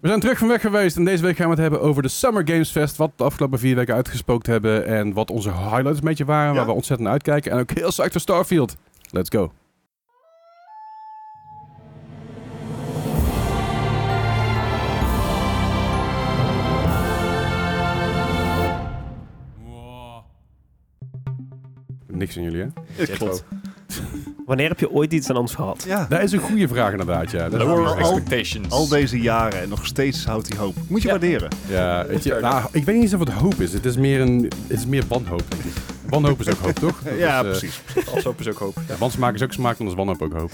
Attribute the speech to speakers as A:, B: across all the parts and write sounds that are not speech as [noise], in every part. A: We zijn terug van weg geweest en deze week gaan we het hebben over de Summer Games Fest. Wat de afgelopen vier weken uitgespookt hebben en wat onze highlights een beetje waren.
B: Ja.
A: Waar we ontzettend naar uitkijken. En ook heel psyched voor Starfield. Let's go. Niks aan jullie, hè?
B: Ik klopt.
C: Wanneer heb je ooit iets aan ons gehad?
B: Ja.
A: Dat is een goede vraag inderdaad, ja. Dat is
B: Lower
A: een goede
B: all-
A: vraag.
D: expectations.
B: Al deze jaren en nog steeds houdt hij hoop. Moet je waarderen.
A: Ja, weet je, nou, ik weet niet eens of het hoop is. Het is meer, een, het is meer wanhoop, denk ik. Wanhoop is ook hoop, toch? Dat
B: Ja,
A: is, eh,
B: precies.
D: Als hoop is ook hoop.
A: Ja, wansmaak is ook smaak, dan is wanhoop ook hoop.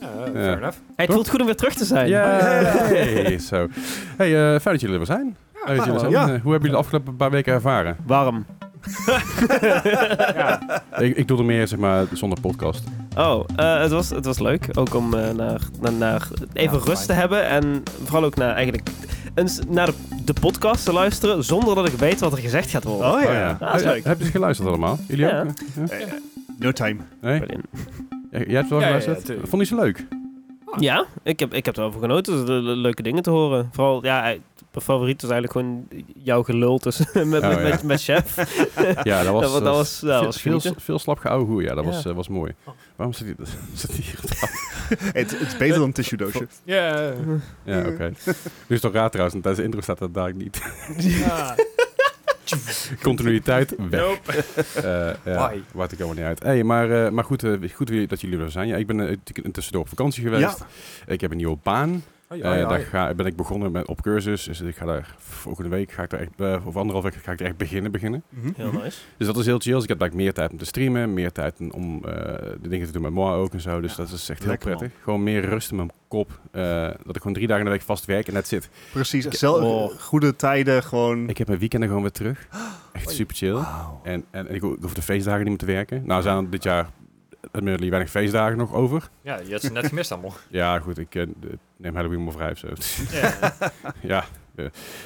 D: Ja,
A: Ja.
D: Oh, fair enough.
C: Hey, het voelt goed om weer terug te zijn.
A: Yay! Zo. Hey, eh, fijn dat jullie er weer zijn. Fijn dat jullie er
B: hallo.
A: zijn.
B: Ja.
A: Eh, Hoe hebben jullie de afgelopen paar weken ervaren?
C: Warm.
A: Ik, ik doe er meer, zeg maar, zonder podcast.
C: Oh, eh, het, was, het was leuk. Ook om eh, naar, naar, naar even
D: Ja,
C: rust te hebben. En vooral ook naar, eigenlijk, eens naar de, de podcast te luisteren. Zonder dat ik weet wat er gezegd gaat worden.
B: Oh
A: Oh,
B: ja.
C: dat is
A: Eh,
C: leuk.
A: Hebben ze geluisterd allemaal? Jullie
C: Ja.
A: ook? Ja?
B: Eh, No time.
A: Nee? Jij jij hebt wel
D: Ja, ja, ja,
A: geluisterd?
D: tuurlijk.
A: Vond je ze leuk?
C: Ja, ik heb, ik heb erover genoten. Dus, eh, le- leuke dingen te horen. Vooral, ja, eh, mijn favoriet was eigenlijk gewoon jouw gelul tussen, [laughs] met,
A: Oh,
C: met,
A: ja.
C: met, met chef.
A: Ja, dat was,
C: Dat wa- dat was- dat
A: veel,
C: was
A: veel,
C: genieten.
A: veel slap geouwe hoer. Ja, dat was,
C: Ja.
A: eh, was mooi. Waarom zit hij [laughs] zit hij hier?
B: Het, het is beter dan een tissue doosje.
D: Ja.
A: Ja,
B: Mm.
A: oké. Nu is het toch raar trouwens, want tijdens de intro staat dat daar niet. [laughs]
D: Ja.
A: Continuïteit, weg.
D: Nope.
A: Eh, ja,
D: Why?
A: maakt ik helemaal niet uit. Hey, maar eh, maar goed, eh, goed weer dat jullie er zijn. Ja, ik ben eh, natuurlijk tussendoor op vakantie geweest. Ik heb een nieuwe baan.
D: Oh,
A: Eh, daar ga, ben ik begonnen met, op cursus. Dus ik ga daar volgende week, ga ik daar echt, eh, of anderhalf week, ga ik er echt beginnen beginnen.
C: Heel nice.
A: Dus dat is heel chill. Dus ik heb eigenlijk meer tijd om te streamen, meer tijd om eh, de dingen te doen met Moa ook en zo. Dus
B: Ja,
A: dat is echt heel
B: lekker, man.
A: prettig. Gewoon meer rust in mijn kop. eh, dat ik gewoon drie dagen in de week vast werk en dat zit.
B: Precies. Zelf,
C: Oh.
B: Goede tijden, gewoon.
A: Ik heb mijn weekenden gewoon weer terug. Echt super chill.
B: Wauw.
A: En, en, en ik, ho- ik hoef de feestdagen niet meer te werken. Nou zijn er dit jaar admittedly weinig feestdagen nog over.
D: Ja, je had ze net
A: [laughs]
D: gemist allemaal.
A: Ja, goed, ik eh, neem Halloween maar vrij of zo. [laughs]
D: Ja.
A: ja. eh,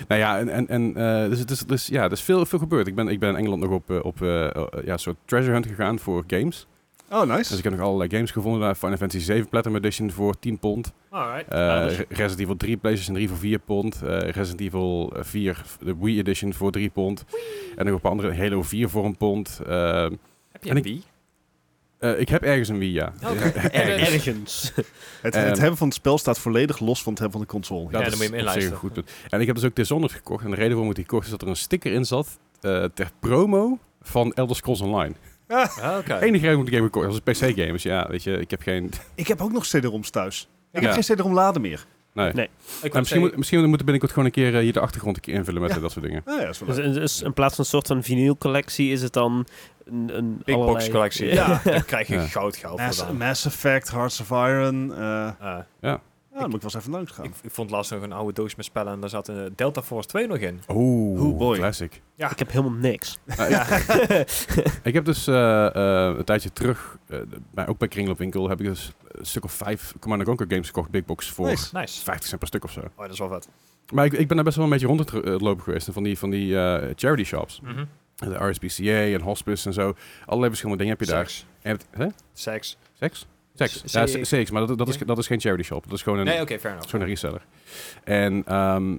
A: nou ja, en, en, en eh, dus, dus, dus, ja, er is veel, veel gebeurd. Ik ben, ik ben in Engeland nog op, eh, op eh, eh, ja, een soort treasure hunt gegaan voor games.
B: Oh,
A: Dus
B: nice.
A: ik heb nog allerlei games gevonden. Daar Final Fantasy 7 Platinum Edition voor 10 pond.
D: Alright. Nou,
A: Eh,
D: Ja, dus- dat is-
A: Re- Resident Evil 3 PlayStation 3 voor 4 pond. Eh, Resident Evil 4 de Wii Edition voor 3 pond. En nog een paar andere Halo 4 voor een pond. Ehm,
D: Heb je
A: en
D: een
A: ik-
D: Wii?
A: eh, ik heb ergens een Wii, ja. [laughs]
D: Oké.
A: Ergens.
D: Ergens.
C: Ergens.
B: Het, het
A: ehm,
B: hebben van het spel staat volledig los van het hebben van de console.
D: Ja,
A: Dat
D: dan
A: is
D: moet je hem
A: op zich
D: inlijsten.
A: een goed punt. En ik heb dus ook Dishonored gekocht. En de reden waarom ik die kocht is dat er een sticker in zat eh, ter promo van Elder Scrolls Online.
D: Ah, Oké.
A: Enige reden waarom ik die game gekocht heb, dat was een PC-game. Dus ja, weet je, ik heb geen...
B: Ik heb ook nog CD-ROMs thuis. Ik
A: Ja.
B: heb geen CD-ROM laden meer.
A: Nee.
C: Nee.
D: Ik
A: Maar
D: wou
A: nou, misschien, moet,
D: zeggen,
A: misschien moeten we binnenkort gewoon een keer eh, hier de achtergrond een keer invullen met
B: Ja.
A: eh, dat soort dingen.
B: Ah, ja, dat is wel
C: Dus
B: leuk.
C: in, dus in plaats van een soort van vinylcollectie is het dan een, een
D: Big
C: allerlei-
D: box collectie.
C: Ja.
D: Ja, daar krijg
A: [laughs]
D: je
A: Ja.
D: goud geld voor
B: Mass,
D: dan.
B: Mass Effect, Hearts of Iron. eh,
D: Ah.
B: ja, dan moet ik wel eens even langs gaan.
D: ik, ik vond laatst nog een oude doos met spellen en daar zat een Delta Force 2 nog in.
A: Oeh,
B: Oh boy.
A: classic.
C: Ik heb helemaal niks.
D: Ah,
A: Nou, ik, ik heb dus eh, eh, een tijdje terug, eh, bij, ook bij Kringloopwinkel, heb ik dus een stuk of vijf Command Conquer games gekocht, Big Box, voor
B: Nice.
D: Nice.
A: 50 cent per stuk of zo.
D: Oh, dat is wel vet.
A: Maar ik, ik ben daar best wel een beetje rond het eh, lopen geweest en van die, van die eh, charity shops.
D: Mhm.
A: De RSPCA en hospice en zo. Allerlei verschillende dingen heb je daar.
D: Seks.
A: En het- hè?
D: Seks.
A: Seks? Seks.
D: S-
A: Ja,
D: C-
A: s- seks, maar dat, dat, is,
D: Ja.
A: dat is geen charity shop. Dat is gewoon een,
D: Nee, oké, fair enough.
A: gewoon een reseller. En ehm,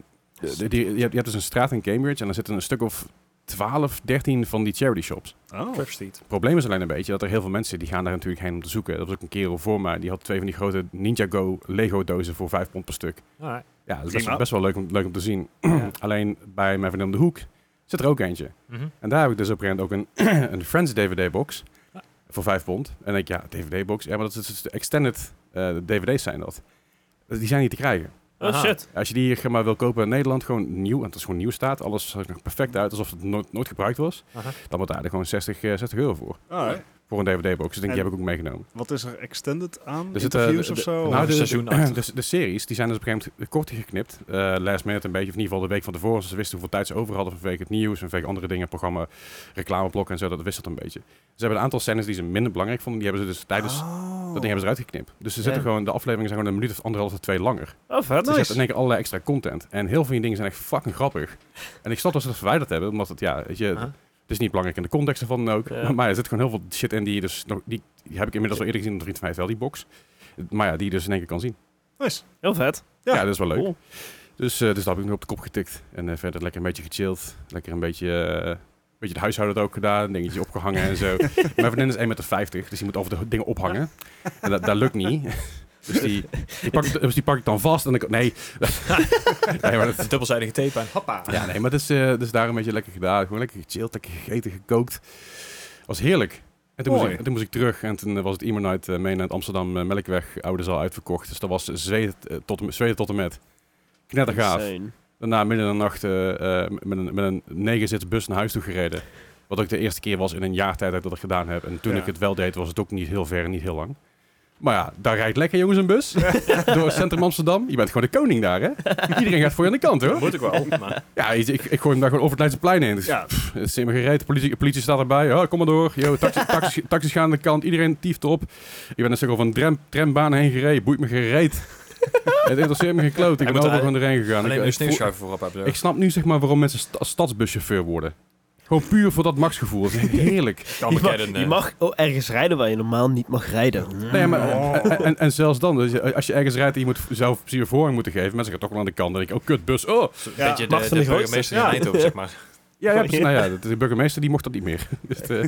A: de- die, je, hebt, je hebt dus een straat in Cambridge en er zitten een stuk of 12, 13 van die charity shops.
B: Oh.
D: Trip Street.
A: Het probleem is alleen een beetje dat er heel veel mensen die gaan daar natuurlijk heen om te zoeken. Dat was ook een kerel voor mij. Die had twee van die grote Ninjago Lego dozen voor 5 pond per stuk.
D: Alright.
A: Ja, dat is best,
B: Prima.
A: best wel leuk om, leuk om te zien. [clears throat]
D: Ja.
A: Alleen bij mijn vriendin om de hoek zit er ook eentje.
D: Mhm.
A: En daar heb ik dus op een gegeven moment ook een, [clears throat] een Friends DVD-box
D: Ja.
A: voor 5 pond. En dan denk ik, ja, DVD-box. Ja, maar dat is- dat is de extended eh, DVD's zijn dat. Die zijn niet te krijgen.
C: [laughs] Oh
D: Aha.
C: shit.
A: Als je die hier maar wil kopen in Nederland, gewoon nieuw, en het is gewoon nieuw staat, alles zag er nog perfect uit, alsof het nooit, nooit gebruikt was,
D: Aha.
A: dan wordt daar er gewoon 60, eh, 60 euro voor.
B: Alright.
A: Voor een DVD-box. Dus ik denk, die
B: En-
A: heb ik ook meegenomen.
B: Wat is er extended aan?
A: Er zitten,
B: Interviews
A: eh,
B: of
A: de-
B: zo?
A: nou,
D: Of
A: de,
D: seizoen
A: de,
D: achter.
A: [clears throat] de, de series, die zijn dus op een gegeven moment korter geknipt. eh last minute een beetje, of in ieder geval de week van tevoren. Ze wisten hoeveel tijd ze over hadden vanwege het nieuws, vanwege andere dingen, programma, reclameblokken en zo. Dat wisselt een beetje. Ze hebben een aantal scènes die ze minder belangrijk vonden. Die hebben ze dus tijdens
B: Oh.
A: dat ding hebben ze eruit geknipt. Dus ze zitten
C: Ja.
A: gewoon, de afleveringen zijn gewoon een minuut of anderhalf of twee langer.
C: Oh vet.
A: Dus je hebt in één keer allerlei extra content. En heel veel van die dingen zijn echt fucking grappig. En ik snap dat ze dat verwijderd hebben, omdat het, ja, weet je,
B: Ah.
D: Aha.
A: het is niet belangrijk in de context ervan ook.
C: Ja.
A: Maar er zit gewoon heel veel shit in die je dus nog, die, die heb ik inmiddels al eerder gezien, dat vriend van mij heeft wel die box. Maar ja, die je dus in één keer kan zien.
B: Nice.
C: Heel vet.
A: Ja,
B: Ja.
A: dat is wel leuk.
C: Cool.
A: Dus, eh, dus dat heb ik nog op de kop getikt. En eh, verder lekker een beetje gechilled. Lekker een beetje, eh, een beetje de huishouden had ook gedaan. Een dingetje opgehangen en zo. Mijn vriendin is 1,50 meter, dus die moet over de dingen ophangen. En dat, dat lukt niet. Dus die, die pak, ik- dus die pak ik dan vast en ik... Nee. [laughs] nee maar dat,
D: [laughs] Een dubbelzijdige tape en hoppa.
B: [laughs]
A: ja, nee, maar het is, eh, dus daar een beetje lekker gedaan. Gewoon lekker gechilled, lekker gegeten, gekookt. was heerlijk. En toen, moest
B: Mooi.
A: ik, toen moest ik terug en toen eh, was het iemand uit eh, mee naar het Amsterdam eh, Melkweg oude zaal uitverkocht. Dus dat was zweet eh, tot, en met- zweten tot en met. Knettergaaf.
C: Insane.
A: Daarna midden in de nacht eh, eh, met een, met een negenzits bus naar huis toe gereden. Wat ook de eerste keer was in een jaar tijd dat ik dat gedaan heb. En toen
B: Ja.
A: ik het wel deed, was het ook niet heel ver en niet heel lang. Maar ja, daar rijdt lekker jongens een
B: [laughs]
A: bus. door het centrum Amsterdam. Je bent gewoon de koning daar, hè? Iedereen gaat voor je aan de kant, hoor.
D: Dat moet ik
A: [laughs]
D: wel, maar
A: Ja, ik, ik, ik gooi hem daar gewoon over het Leidseplein heen. Dus,
B: Ja.
A: pff, het is helemaal gereed. De politie, de politie staat erbij. Oh, kom maar door. Yo,
D: [laughs]
A: taxi, taxi, taxis gaan aan de kant. Iedereen tieft op. Ik ben een stuk over een tram, trambaan heen gereden. Boeit me
D: [laughs]
A: gereed. het interesseert me geen kloot. Ik
D: Hij
A: ben
D: moet
A: overal
D: er-
A: gewoon erheen gegaan.
D: alleen
A: ik, eh,
D: een
A: ik, voel-
D: sneeuwschuiver voorop hebben.
A: ik snap nu zeg maar waarom mensen sta- stadsbuschauffeur worden. Gewoon puur voor dat machtsgevoel. Dat is heerlijk.
D: [laughs] kan
C: Je mag,
D: bekennen,
C: je
D: eh,
C: mag oh, ergens rijden waar je normaal niet mag rijden.
A: Nee, maar,
D: Oh.
A: eh, en, en, en zelfs dan. dus als je ergens rijdt en je moet zelf plezier voorrang moeten geven. Mensen gaan toch wel aan de kant. Dan denk ik, oh kut, bus. Oh.
D: Zo'n
B: Ja,
D: beetje
C: macht
D: de,
C: van
D: de
C: de grootste.
D: burgemeester
B: Ja.
D: in Eindhoven, zeg maar.
A: Ja, ja, precies. nou ja, de, de burgemeester die mocht dat niet meer. [laughs] dus, eh,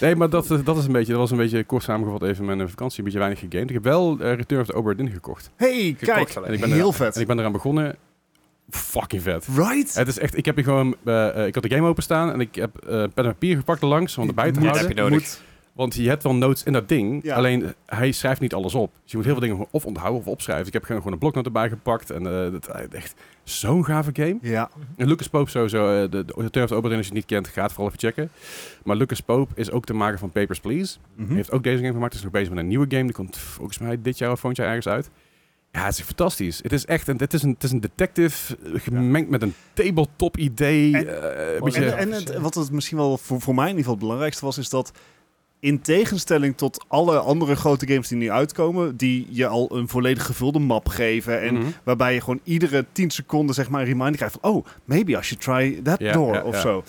A: nee, maar dat, eh, dat, is een beetje, dat was een beetje kort samengevat even mijn eh, vakantie. Een beetje weinig gegamed. Ik heb wel eh, Return of the Oberdin gekocht.
B: Hey, kijk.
D: gelijk.
A: En ik ben
B: Heel
A: En
B: vet.
A: ik ben eraan begonnen. Fucking vet.
B: Right?
A: Het is echt, ik heb hier gewoon, eh, eh, ik had de game openstaan en ik heb eh, pen en papier gepakt langs om erbij te
B: Moet-
A: houden.
D: heb je nodig.
B: moet-
A: Want je hebt wel notes in dat ding.
B: Ja.
A: Alleen hij schrijft niet alles op. Dus je moet heel veel dingen gewoon of onthouden of opschrijven. Dus ik heb gewoon gewoon een bloknoot erbij gepakt. En eh, dat, eh, echt zo'n gave game.
B: Ja.
A: En Lucas Pope sowieso, eh, de, de auteur van Oberdin, als je het niet kent, gaat vooral even checken. Maar Lucas Pope is ook de maker van Papers, Please.
B: Mhm.
A: Hij Heeft ook deze game gemaakt, is nog bezig met een nieuwe game. Die komt volgens mij dit jaar of volgend jaar ergens uit. Ja, het is fantastisch. Het is echt een, het is een, het is een detective eh, gemengd met een tabletop idee.
B: En-
A: eh, een
D: Was
A: beetje,
B: En, en het, wat het misschien wel voor, voor mij in ieder geval het belangrijkste was, is dat in tegenstelling tot alle andere grote games die nu uitkomen, die je al een volledig gevulde map geven en
A: Mhm.
B: waarbij je gewoon iedere 10 seconden zeg maar een reminder krijgt van oh, maybe I should try that
A: Ja,
B: door
A: ja,
B: of
A: ja.
B: zo.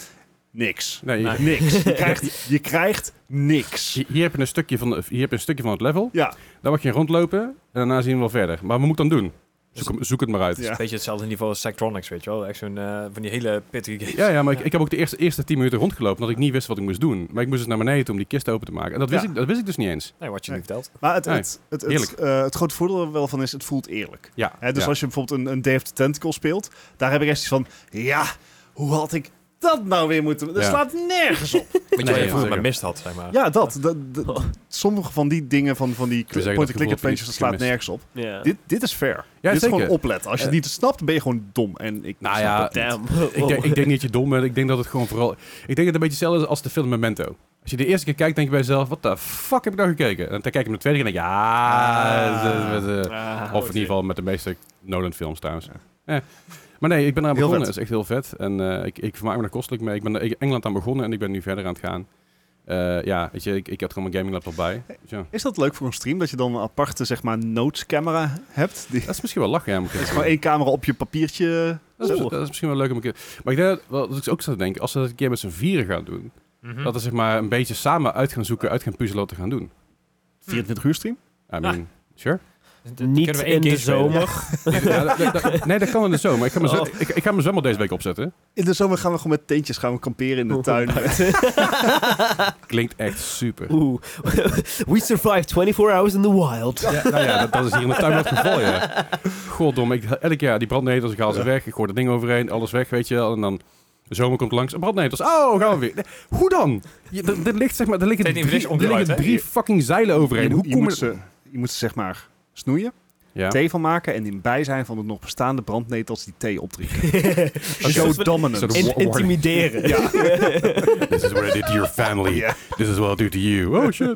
B: Niks.
A: Nee, hier-
B: Niks. Je
A: [laughs]
B: krijgt, je krijgt niks.
A: hier, hier heb je een stukje van, de- hier heb je een stukje van het level.
B: Ja,
A: Daar mag je rondlopen en daarna zien we wel verder. Maar wat moet ik dan doen? Zoek, hem- zoek het maar uit.
B: Dus- ja.
D: Een beetje hetzelfde niveau als Sectronics, weet je wel. Echt zo'n eh, van die hele pittige games.
A: Ja, ja maar Ik, ik heb ook de eerste, eerste 10 minuten rondgelopen omdat ik niet wist wat ik moest doen. Maar ik moest dus naar beneden toe om die kist open te maken. En dat wist,
B: Ja.
A: ik, dat wist ik dus niet eens.
D: Nee, wat je
B: Nee.
D: nu vertelt.
B: Maar het,
A: Nee,
B: het, het, het,
A: eerlijk.
B: eh, het grote voordeel er wel van is, het voelt eerlijk.
A: Ja,
B: Hè, dus
A: ja.
B: als je bijvoorbeeld een, een Day of the Tentacle speelt, daar heb ik echt iets van, ja, hoe had ik dat nou weer moeten doen? Dat
A: Ja.
B: slaat nergens op.
D: Weet je
A: Nee,
D: wat
A: ja,
D: je vroeger
A: zeker.
D: maar mist had, zeg maar.
B: [laughs] ja, dat. dat, dat- sommige van die dingen van, van die
A: zeggen, dat gevoel
B: point-and-click
A: heb je
B: adventures, Oh. dat
A: niet
B: slaat
A: gemist.
B: nergens op.
C: Ja.
B: Dit, dit is fair. dit is
A: zeker.
B: gewoon opletten. Als je het niet snapt, ben je gewoon dom. En ik
A: Nou
B: snap
A: ja,
B: dat niet.
C: Damn. [laughs]
A: Ik denk, ik denk niet dat je dom bent. Ik denk dat het gewoon vooral... Ik denk dat het een beetje hetzelfde is als de film Memento. Als je de eerste keer kijkt, denk je bij jezelf... Wat de fuck heb ik nou gekeken? En dan kijk je hem de tweede keer en denk je... Ja...
B: Ah.
A: dat is- dat is-
C: Ah.
A: of in ieder geval met de meeste Nolan films trouwens. Eh. Maar nee, ik ben eraan
B: Heel
A: begonnen. Dat
B: vet.
A: is echt heel vet. En eh, ik, ik vermaak me er kostelijk mee. Ik ben in Engeland aan begonnen en ik ben nu verder aan het gaan. Eh, ja, weet je, ik, ik had gewoon mijn gaming laptop bij. Dus ja.
B: Is dat leuk voor een stream, dat je dan een aparte, zeg maar, notescamera hebt? Die,
A: Dat is misschien wel lachen, ja. moet ik
B: dat is
A: zeggen.
B: gewoon één camera op je papiertje.
A: Dat is,
B: Oeh.
A: dat is misschien wel leuk om een keer... Maar ik denk dat, wel, dat ik ook zat te denken, als we dat een keer met z'n vieren gaan doen...
B: Hm?
D: Mhm.
A: Dat we zeg maar een beetje samen uit gaan zoeken, uit gaan puzzelen wat te gaan doen.
B: 24 uur stream?
A: I mean, sure. [laughs]
C: Niet
D: Kunnen we één
C: in de
D: game spelen?
C: zomer.
A: Ja, dat- dat- dat- nee, dat kan in de zomer. Ik ga mijn, zo,
C: Oh.
A: ik, ik ga mijn zwembad deze week opzetten.
B: In de zomer gaan we gewoon met tentjes gaan we kamperen in de [laughs] tuin.
A: Klinkt echt super.
C: Oeh. [laughs] We survived 24 hours in the wild. [laughs]
A: Ja, nou ja, dat, dat is hier in de tuin wel het geval, ja. Goddom, ik, elk jaar die brandnetels, ik haal ze weg. Ik gooi dat ding overheen, alles weg, weet je wel. En dan de zomer komt langs, brandnetels. Oh, gaan we weer. Nee, Hoe dan? Je- Er er ligt, zeg maar, er liggen
D: Steeds
A: drie,
D: niet fris
A: er liggen
D: onderuit, hè?
A: drie fucking zeilen overheen.
B: Je,
A: Hoe
B: je
A: kom
B: moet
A: je...
B: ze, je moet ze zeg maar snoeien,
A: Ja.
B: thee van maken en in bijzijn van de nog bestaande brandnetels die thee
C: [laughs]
B: opdrinken. Show
A: Zo
B: dominance.
A: de-
C: In- intimideren.
A: This is what I did to your
D: [laughs]
A: family.
B: Ja.
A: This is what I do to you. Oh shit.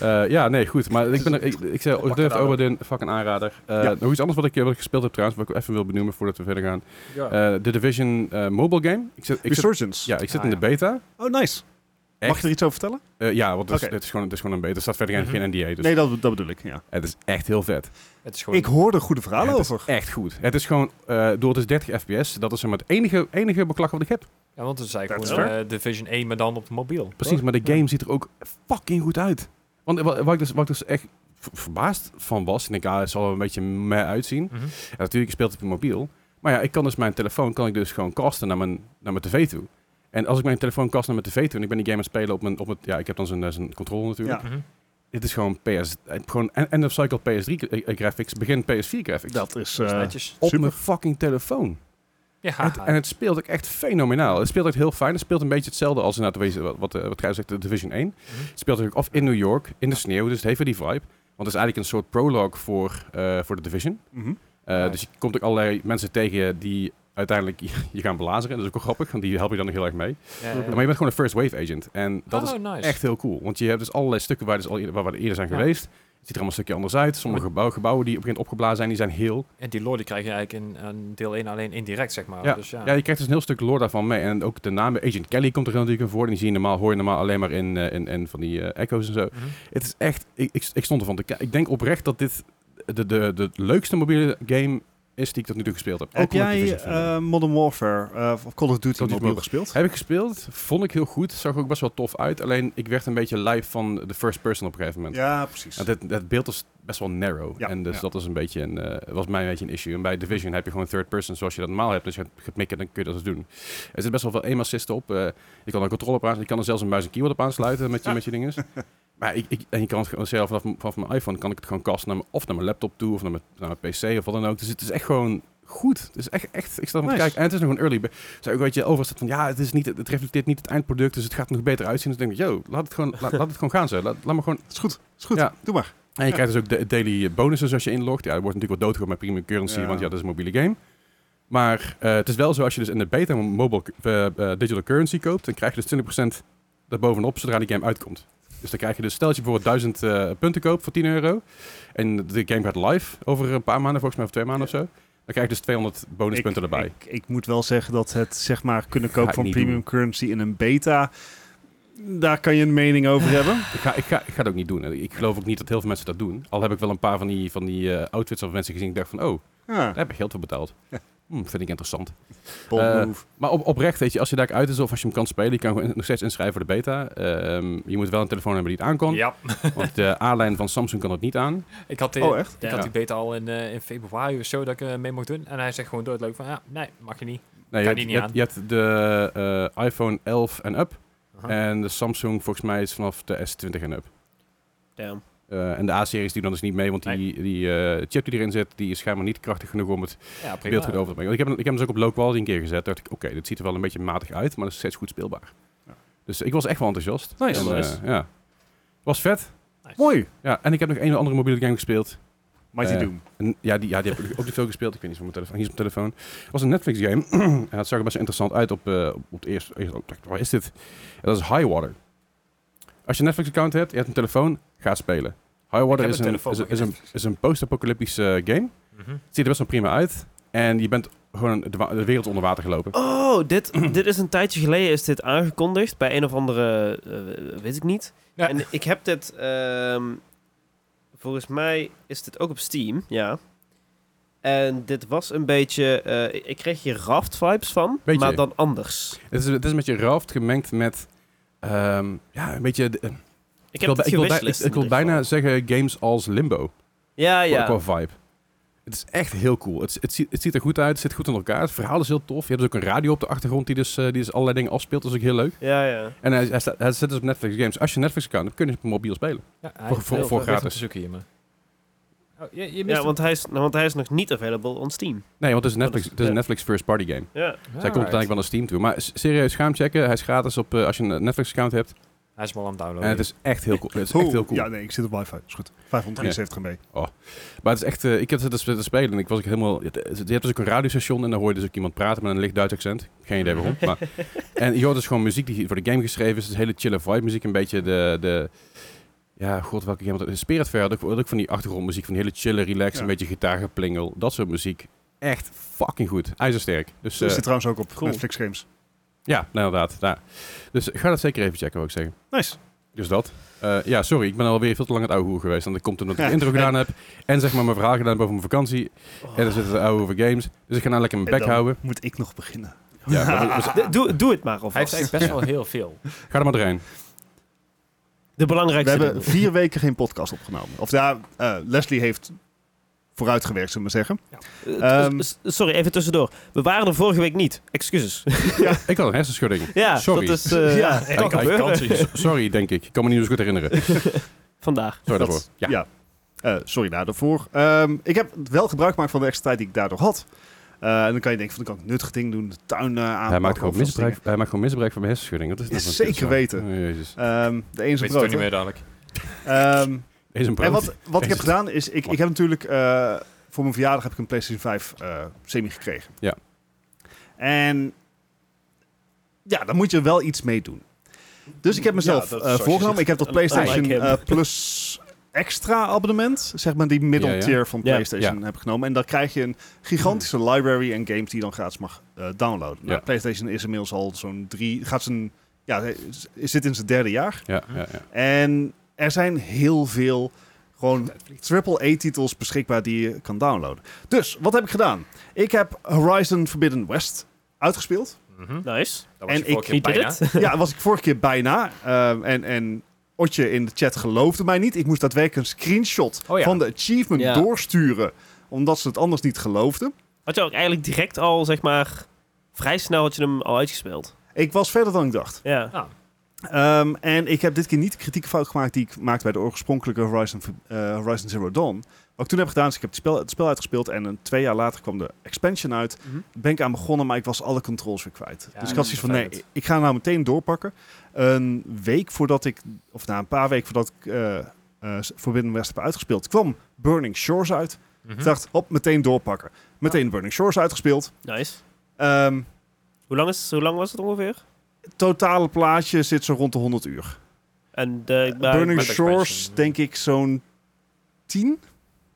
A: Eh, ja, nee, goed. Maar ik, ben er, ik, ik zei,
D: Pak
A: Durf
D: het aan.
A: Oberdin, fucking aanrader. Eh,
B: Ja.
A: Nog iets anders wat ik, wat ik gespeeld heb trouwens, wat ik even wil benoemen voordat we verder gaan.
D: Ja.
A: Eh, de Division eh, mobile game. Ik zit, ik zit,
B: Resurgence.
A: ja, ik zit
D: Oh. Ah,
A: in de
D: ja.
A: beta.
B: Oh, nice. Mag
A: Echt?
B: ik er iets over vertellen?
A: Eh, ja, want het is,
B: Oké.
A: het, is gewoon, het is gewoon een beta. Er staat verder geen-
D: Mhm.
A: geen NDA, dus
B: nee, dat, dat bedoel ik. Ja.
A: het is echt heel vet.
D: Het is
B: Ik
D: gewoon...
B: hoorde goede verhalen
A: Ja, het is
B: over.
A: Echt goed. Het is gewoon, eh door het is 30 fps, dat is maar het enige, enige beklag wat ik heb.
D: Ja, want het is
B: Dat
D: eigenlijk
B: is
D: gewoon eh, Division 1, maar dan op de mobiel.
A: Precies,
D: Toch?
A: maar de game ziet er ook fucking goed uit. Want eh, wa- waar ik dus, waar ik dus echt v- verbaasd van was, ik denk, ah, het zal er een beetje meh uitzien.
D: Mhm.
A: En natuurlijk, je speelt op je mobiel. Maar ja, ik kan dus mijn telefoon kan ik dus gewoon casten naar mijn, naar mijn tv toe. En als ik mijn telefoon cast naar mijn tv toe en ik ben die game aan het spelen op mijn... Op het, ja, ik heb dan zo'n zijn controller natuurlijk.
B: Ja.
D: Mhm.
A: Dit is gewoon PS... eh, Gewoon en- end of cycle PS3 eh, eh, graphics, begin PS4 graphics.
B: Dat is...
D: Dat is
B: eh,
D: netjes.
A: op
B: super.
A: mijn fucking telefoon.
D: Ja,
A: Het- en het speelt ook echt fenomenaal. Het speelt ook heel fijn. Het speelt een beetje hetzelfde als inderdaad, wat, wat, eh, wat Gijs zegt, de Division
D: Mhm.
A: 1. Het speelt natuurlijk of in New York, in de sneeuw, dus het heeft weer die vibe. Want het is eigenlijk een soort prologue voor, eh, voor de Division.
B: mhm.
A: Eh,
D: Nice.
A: Dus je komt ook allerlei mensen tegen die uiteindelijk [laughs] je, je gaan belazeren. Dat is ook wel grappig, want die helpen je dan heel erg mee.
D: Ja,
A: Maar je bent gewoon een first wave agent. En dat
D: oh,
A: is
D: nice.
A: echt heel cool. Want je hebt dus allerlei stukken waar, dus al, eer- waar we eerder zijn
D: Ja.
A: geweest. Het ziet er allemaal een stukje anders uit. Sommige gebouw, gebouwen die op een gegeven moment opgeblazen zijn, die zijn heel.
D: En die lore die krijg je eigenlijk in, eh, deel 1 alleen indirect, zeg maar.
A: Ja.
D: Dus
A: Ja.
D: ja.
A: je krijgt dus een heel stuk lore daarvan mee. En ook de naam Agent Kelly komt er natuurlijk in voor. En die zie je normaal, hoor je normaal alleen maar in, eh, in, in van die eh, echo's en zo.
D: Mhm.
A: Het is echt, ik, ik, ik stond ervan te kijken. Ik denk oprecht dat dit de, de, de leukste mobiele game is die ik tot nu toe gespeeld heb.
B: Heb
A: Ook omdat
B: jij
A: Division fan ben.
B: eh, Modern Warfare eh, of Call of Duty
A: Call of Duty
B: mobiel gespeeld?
A: Heb ik gespeeld, vond ik heel goed, zag er ook best wel tof uit. Alleen ik werd een beetje lijf van de first person op een gegeven moment.
B: Ja, precies.
A: Want het, het Nou, beeld is best wel narrow.
B: Ja,
A: en dus
B: ja.
A: dat is een beetje een, eh, was mij een beetje een issue. En bij Division heb je gewoon third person zoals je dat normaal hebt. Dus je gaat mikken, dan kun je dat dus doen. Er zit best wel veel aim assist op. eh, je kan er een controle op aansluiten. Je kan er zelfs een muis en keyboard op aansluiten
B: [laughs]
A: met je, met je dinges. Maar ik, ik, en je kan het gewoon zelf vanaf, m- vanaf mijn iPhone kan ik het gewoon kasten naar mijn, of naar mijn laptop toe of naar mijn, naar mijn PC of wat dan ook. Dus het is echt gewoon goed. Het is echt, echt ik sta ervan te
B: Nice.
A: kijken. En het is nog een early. be- Dus ook weet je, overal staat van ja, het, is niet, het reflecteert niet het eindproduct, dus het gaat er nog beter uitzien. Dus ik denk ik, yo, laat het gewoon, laat, laat het gewoon gaan zo. Laat, laat me gewoon
B: is goed, is goed.
A: Ja.
B: Doe maar.
A: en je krijgt dus ook de daily bonussen als je inlogt. Ja, dat wordt natuurlijk wel doodgegooid met premium currency,
B: Ja.
A: want ja, dat is een mobiele game. Maar eh, het is wel zo, als je dus in de beta mobile eh, eh, digital currency koopt, dan krijg je dus 20% daarbovenop zodra die game uitkomt. Dus dan krijg je dus, stel dat je bijvoorbeeld 1000 eh, punten koopt voor 10 euro, en de game gaat live over een paar maanden, volgens mij of twee maanden
B: Ja.
A: of zo, dan krijg je dus 200 bonuspunten
B: ik,
A: erbij.
B: Ik, ik moet wel zeggen dat het zeg maar kunnen
A: Ga ik
B: kopen van
A: niet
B: premium
A: doen.
B: currency in een beta, daar kan je een mening
A: [laughs]
B: over hebben.
A: Ik ga, ik, ga, ik ga het ook niet doen. Ik geloof ook niet dat heel veel mensen dat doen. Al heb ik wel een paar van die, van die eh, outfits of mensen gezien, ik dacht van, oh,
B: Ja,
A: daar heb ik geld voor betaald. Hm, vind ik interessant.
B: bold
A: Eh,
B: move.
A: Maar op, oprecht, weet je, als je daar uit is of als je hem kan spelen, je kan gewoon nog steeds inschrijven voor de beta. Ehm, je moet wel een telefoon hebben die het aan kan,
D: Ja,
A: want de A-lijn van Samsung kan het niet aan.
D: ik had,
A: eh,
D: die,
B: Oh,
C: eh,
B: echt?
D: ik
A: Ja.
D: had die beta al in, eh, in februari of zo dat ik eh, mee mocht doen. En hij zegt gewoon doodleuk van, ja, nee, mag je niet.
A: Nee,
D: Kan
A: je, hebt-
D: die niet
A: je hebt-
D: aan.
A: je hebt de eh, iPhone 11 en up
D: Aha.
A: en de Samsung volgens mij is vanaf de S20 en up.
C: Damn.
A: Eh, en de A-series die dan dus niet mee, want die, die eh, chip die erin zit, die is schijnbaar niet krachtig genoeg om het
D: Ja, prima.
A: beeld goed over te brengen. Want ik heb, hem- ik heb hem dus ook op low quality een keer gezet. dacht ik, oké, dit ziet er wel een beetje matig uit, maar dat is steeds goed speelbaar.
B: Ja.
A: Dus ik was echt wel enthousiast.
D: Nice.
A: En, eh,
D: Nice.
A: ja. Was vet.
D: Nice.
B: Mooi,
A: Ja, en ik heb nog een andere mobiele game gespeeld.
B: Mighty
A: Eh,
B: Doom.
A: En ja, die, ja, die heb ik ook niet veel gespeeld. Ik weet niet van mijn telefoon. Hier is mijn telefoon. Het was een Netflix game. [clears throat] en het zag er best wel interessant uit op, eh, op, op het eerste. eerste- ik dacht, waar is dit? En dat is Highwater. Als je een Netflix account hebt, je hebt een telefoon, ga spelen. Highwater
D: heb
A: is
D: een
A: een,
D: telefoon,
A: is, een-
D: maar
A: is
D: geen
A: een, is een post-apocalyptische eh, game.
D: Mhm.
A: Het ziet er best wel prima uit. En je bent gewoon de, wa- de wereld onder water gelopen.
C: Oh,
A: [clears throat]
C: dit, dit is een tijdje geleden is dit aangekondigd bij een of andere, eh, weet ik niet.
D: Ja.
C: En ik heb dit, ehm, volgens mij is dit ook op Steam, ja. En dit was een beetje, eh, ik- ik kreeg hier Raft vibes van,
A: Beetje.
C: maar dan anders.
A: Het, is, het is een beetje raft gemengd met... ehm, ja, een beetje... de-
C: Ik
A: ik
C: heb
A: wil,
C: het
A: ik wil, bij- ik,
C: gewishlist
A: ik wil
C: in ieder
A: bijna
C: geval.
A: zeggen games als Limbo.
C: Ja,
A: ja.
C: ja.
A: qua vibe. Het is echt heel cool. Het, het, ziet- het ziet er goed uit, het zit goed in elkaar. Het verhaal is heel tof. Je hebt dus ook een radio op de achtergrond die dus, eh, die dus allerlei dingen afspeelt. Dat is ook heel leuk.
C: Ja, ja.
A: En hij, hij, staat- hij zit dus op Netflix Games. Als je een Netflix account hebt, kun je het op mobiel spelen.
D: Ja, hij-
A: Voor, voor,
C: heel
A: voor
C: veel
D: gratis.
A: gratis.
D: te zoeken hier, maar... Oh, je, je mist
C: Ja, want hij, is, nou, want hij is nog niet available on Steam.
A: Nee, want het is een
C: Dat
A: Netflix,
C: is-
A: het is een
C: ja.
A: Netflix first party game.
C: Ja.
D: hem.
A: Zij komt
D: Alright.
A: uiteindelijk wel naar Steam toe. Maar s- serieus, ga hem checken. Hij is gratis op, eh, als je een Netflix account hebt.
D: Hij is wel aan het
A: En
D: downloaden.
A: het is echt heel cool. Het is echt heel cool.
B: Ja, nee, ik zit op wifi. Is goed. 573 MB.
A: Maar het is echt, eh, ik heb zitten te spelen en ik was ook helemaal... het- het- Je hebt dus ook een radiostation en dan hoor je dus ook iemand praten met een licht Duits accent. Geen idee waarom,
B: [laughs]
A: maar... En je hoort dus gewoon muziek die voor de game geschreven is. Het is hele chille vibe muziek, een beetje de... de ja, god, welke game... was het? Spiritfarer, had ook, had ook van die achtergrondmuziek, van die hele chille, relax,
B: Ja.
A: een beetje gitaargeplingel. Dat soort muziek. Echt fucking goed. IJzersterk. Dus
B: Zo is
A: eh,
B: dit trouwens ook op
C: cool.
B: Netflix Games.
A: ja, nou, inderdaad. Ja. Dus ga dat zeker even checken, wil ik zeggen.
B: Nice.
A: Dus dat. Eh, ja, sorry, ik ben alweer veel te lang aan het ouwe hoer geweest. Want ik komt omdat ik de
B: Ja. [laughs]
A: intro gedaan heb. En zeg maar mijn verhaal gedaan heb over mijn vakantie.
C: Oh.
A: En dan zitten ze ouwe over games. Dus ik ga nou lekker mijn
B: En
A: bek
B: dan
A: houden.
B: Moet ik nog beginnen?
A: Ja, maar dus-
C: D- Doe, doe het maar
D: Hij heeft
C: alvast.
D: eigenlijk best wel heel veel.
B: [laughs]
A: ga er maar doorheen.
C: De
B: We
C: belangrijkste
B: hebben
C: dingen.
B: vier weken geen podcast opgenomen. Of ja, eh, Leslie nou, heeft vooruitgewerkt, zullen we maar zeggen.
C: Eh,
B: Ehm.
C: s- s- sorry, even tussendoor. We waren er vorige week niet. Excuses.
A: Ik had een
B: [laughs]
A: hersenschudding.
C: ja,
A: Sorry.
C: dat is... eh,
B: Ja,
C: kan
A: Ik- ik-
C: gebeuren.
A: kansen. S- Sorry, denk ik. Ik kan me niet zo goed
B: [laughs]
A: herinneren. Sorry
C: Vandaag.
B: Dat-
A: daarvoor. Ja.
B: ja. Eh, sorry daar- daarvoor. Ehm, ik heb wel gebruik gemaakt van de extra tijd die ik daardoor had. Eh, en dan kan je denken van, dan kan ik nuttig dingen doen, de tuin eh aanpakken.
A: Hij, maakt gewoon
B: of dat soort
A: misbruik, hij maakt gewoon misbruik van mijn hersenschudding. Dat is, nou
B: Is
A: van
B: zeker
A: kutzaak.
B: weten.
A: Oh, jezus.
B: dingen. Ehm, de een is een
D: Weet je toch
B: brood.
D: niet
B: hè?
D: meer dadelijk.
B: Ehm,
A: Is een
B: en
A: brood.
B: wat, wat ik heb
A: Is-
B: gedaan is, ik, ik heb natuurlijk eh, voor mijn verjaardag heb ik een PlayStation 5 eh, semi gekregen.
A: Ja.
B: En ja, dan moet je wel iets mee doen. Dus ik heb mezelf
E: Ja, dat
B: eh,
E: is zoals je
B: voorgenomen. Ik heb dat
C: Unlike
B: PlayStation
C: him.
B: eh, Plus extra abonnement, zeg maar die middle
A: Ja, ja. Hmm.
B: tier van
C: Ja.
B: PlayStation heb ik genomen. En dan krijg je een gigantische library en games die je dan gratis mag eh, downloaden. Nou,
A: Ja.
B: PlayStation is inmiddels al zo'n drie, gaat zijn, ja, is- zit in zijn derde jaar.
A: Ja, ja, ja.
B: En er zijn heel veel gewoon AAA-titels beschikbaar die je kan downloaden. Dus, wat heb ik gedaan? Ik heb Horizon Forbidden West
D: [laughs]
B: uitgespeeld.
D: Mhm.
C: Nice.
D: Dat was
B: En
D: je vorige
B: ik-
D: keer
C: Wie did
D: bijna.
C: it?
B: ja, was ik vorige keer bijna. Ehm, en, en Otje in de chat geloofde mij niet. Ik moest daadwerkelijk een screenshot
D: Oh ja.
B: van de achievement
C: Ja.
B: doorsturen. Omdat ze het anders niet geloofden.
C: Had je ook eigenlijk direct al, zeg maar... Vrij snel had je hem al uitgespeeld.
B: Ik was verder dan ik dacht.
C: Ja.
B: Ehm, en ik heb dit keer niet de kritieke fout gemaakt die ik maakte bij de oorspronkelijke Horizon, eh, Horizon Zero Dawn. Wat ik toen heb gedaan is, ik heb het spel, het spel uitgespeeld en een, twee jaar later kwam de expansion uit.
D: Mhm.
B: Ben ik aan begonnen, maar ik was alle controls weer kwijt.
D: Ja,
B: dus ik had
D: dat is
B: zoiets van, nee,
D: vervelend.
B: ik ga nou meteen doorpakken. Een week voordat ik, of na een paar weken voordat ik eh eh, Forbidden West heb uitgespeeld, kwam Burning Shores uit.
D: Mhm.
B: Ik dacht, hop, meteen doorpakken. Meteen Burning Shores uitgespeeld.
C: Nice.
B: Ehm,
C: Hoe lang, is, hoe lang was het ongeveer?
B: totale plaatje zit zo rond de 100 uur.
C: En de... maar-
B: Eh, Burning
D: met
B: Shores,
D: expansion, ja.
B: denk ik zo'n 10.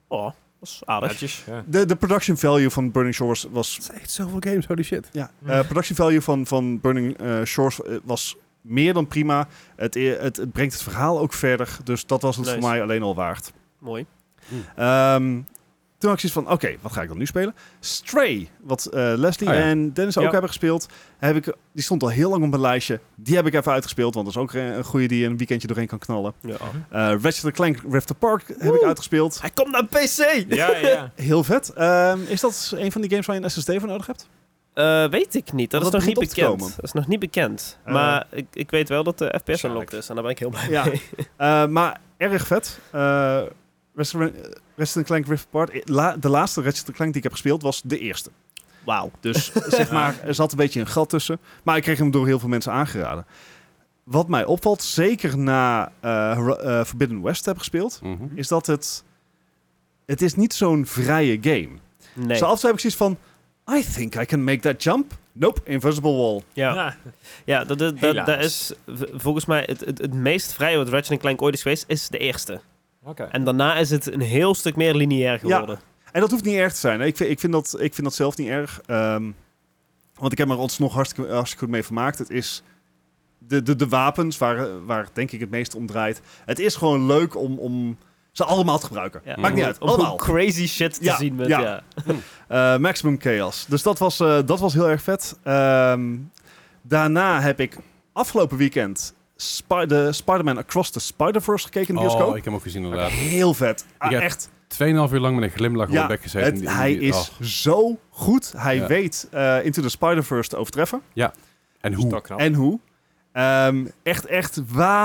C: Oh, dat is aardig.
D: Netjes, ja.
B: De, de production value van Burning Shores was.
A: Het zijn echt zoveel games, holy shit.
B: Ja,
D: Hmm.
B: eh, production value van, van Burning eh, Shores eh, was meer dan prima. Het, eh, het, het brengt het verhaal ook verder. Dus dat was het
C: Nice.
B: voor mij alleen al waard.
C: Mooi.
B: Ehm, toen had ik zoiets van, oké, wat ga ik dan nu spelen? Stray, wat eh, Leslie
A: Oh ja.
B: en Dennis
C: Ja.
B: ook hebben gespeeld. Heb ik, die stond al heel lang op mijn lijstje. Die heb ik even uitgespeeld, want dat is ook eh, een een goede die je een weekendje doorheen kan knallen.
C: Ja.
B: Eh Ratchet Clank Rift Apart heb ik uitgespeeld.
C: Hij komt naar
D: [laughs]
C: PC!
D: Ja, ja.
B: Heel vet. Ehm, is dat een van die games waar je een SSD voor nodig
C: [laughs]
B: hebt?
C: Eh, weet ik niet. Dat,
B: Want dat
C: is nog
B: begint
C: niet
B: op te
C: bekend.
B: komen.
C: Dat is nog niet bekend.
B: Eh.
C: maar ik, ik weet wel dat de FPS
D: Waarschijnlijk.
C: unlocked is. En daar ben ik heel blij
B: Ja. [laughs]
C: mee.
B: Eh, maar erg vet. Eh Resident eh, Resident Clank Rift Apart. eh, La- de laatste Resident Clank die ik heb gespeeld was de eerste.
C: Wauw. [laughs]
B: Dus zeg maar, er zat een beetje een gat tussen. Maar ik kreeg hem door heel veel mensen aangeraden. Wat mij opvalt, zeker na eh, Hor- eh, Forbidden West heb gespeeld,
A: Mhm.
B: is dat het... Het is niet zo'n vrije game.
C: Nee.
B: Zo af en toe heb ik zoiets van... I think I can make that jump. Nope, invisible wall.
C: Ja,
D: Ja.
C: ja dat, dat, dat,
D: Helaas.
C: dat is v- volgens mij het, het, het meest vrije wat Ratchet Clank ooit is geweest, is de eerste.
D: Oké.
C: En daarna is het een heel stuk meer lineair geworden.
B: En dat hoeft niet erg te zijn. hè. Ik vind, ik vind, dat, ik vind dat zelf niet erg. ehm, want ik heb me er ons nog hartstikke, hartstikke goed mee vermaakt. Het is de, de, de wapens waar, waar het denk ik het meest om draait. Het is gewoon leuk om, om ze allemaal te gebruiken.
C: Ja,
B: Maakt
C: om-
B: niet uit.
C: Om
B: Allemaal.
C: crazy shit te
B: Ja,
C: zien met,
B: ja.
C: ja.
B: Eh, maximum Chaos. Dus dat was, eh, dat was heel erg vet. Ehm, daarna heb ik afgelopen weekend Spi- de Spider-Man Across the Spider-Verse gekeken in de bioscoop.
A: Oh, ik heb hem ook gezien inderdaad.
B: Heel vet. Ah,
A: Ik heb-
B: echt.
A: Tweeënhalf uur lang met een glimlach
B: Ja,
A: op weggezeten.
B: Het-
A: Die- die-
B: hij
A: die-
B: is
A: oh.
B: zo goed. Hij
A: Ja.
B: weet eh, Into the Spider-Verse te overtreffen.
A: En
D: Dat is
A: hoe?
D: toch knap.
B: En hoe. Ehm, echt, echt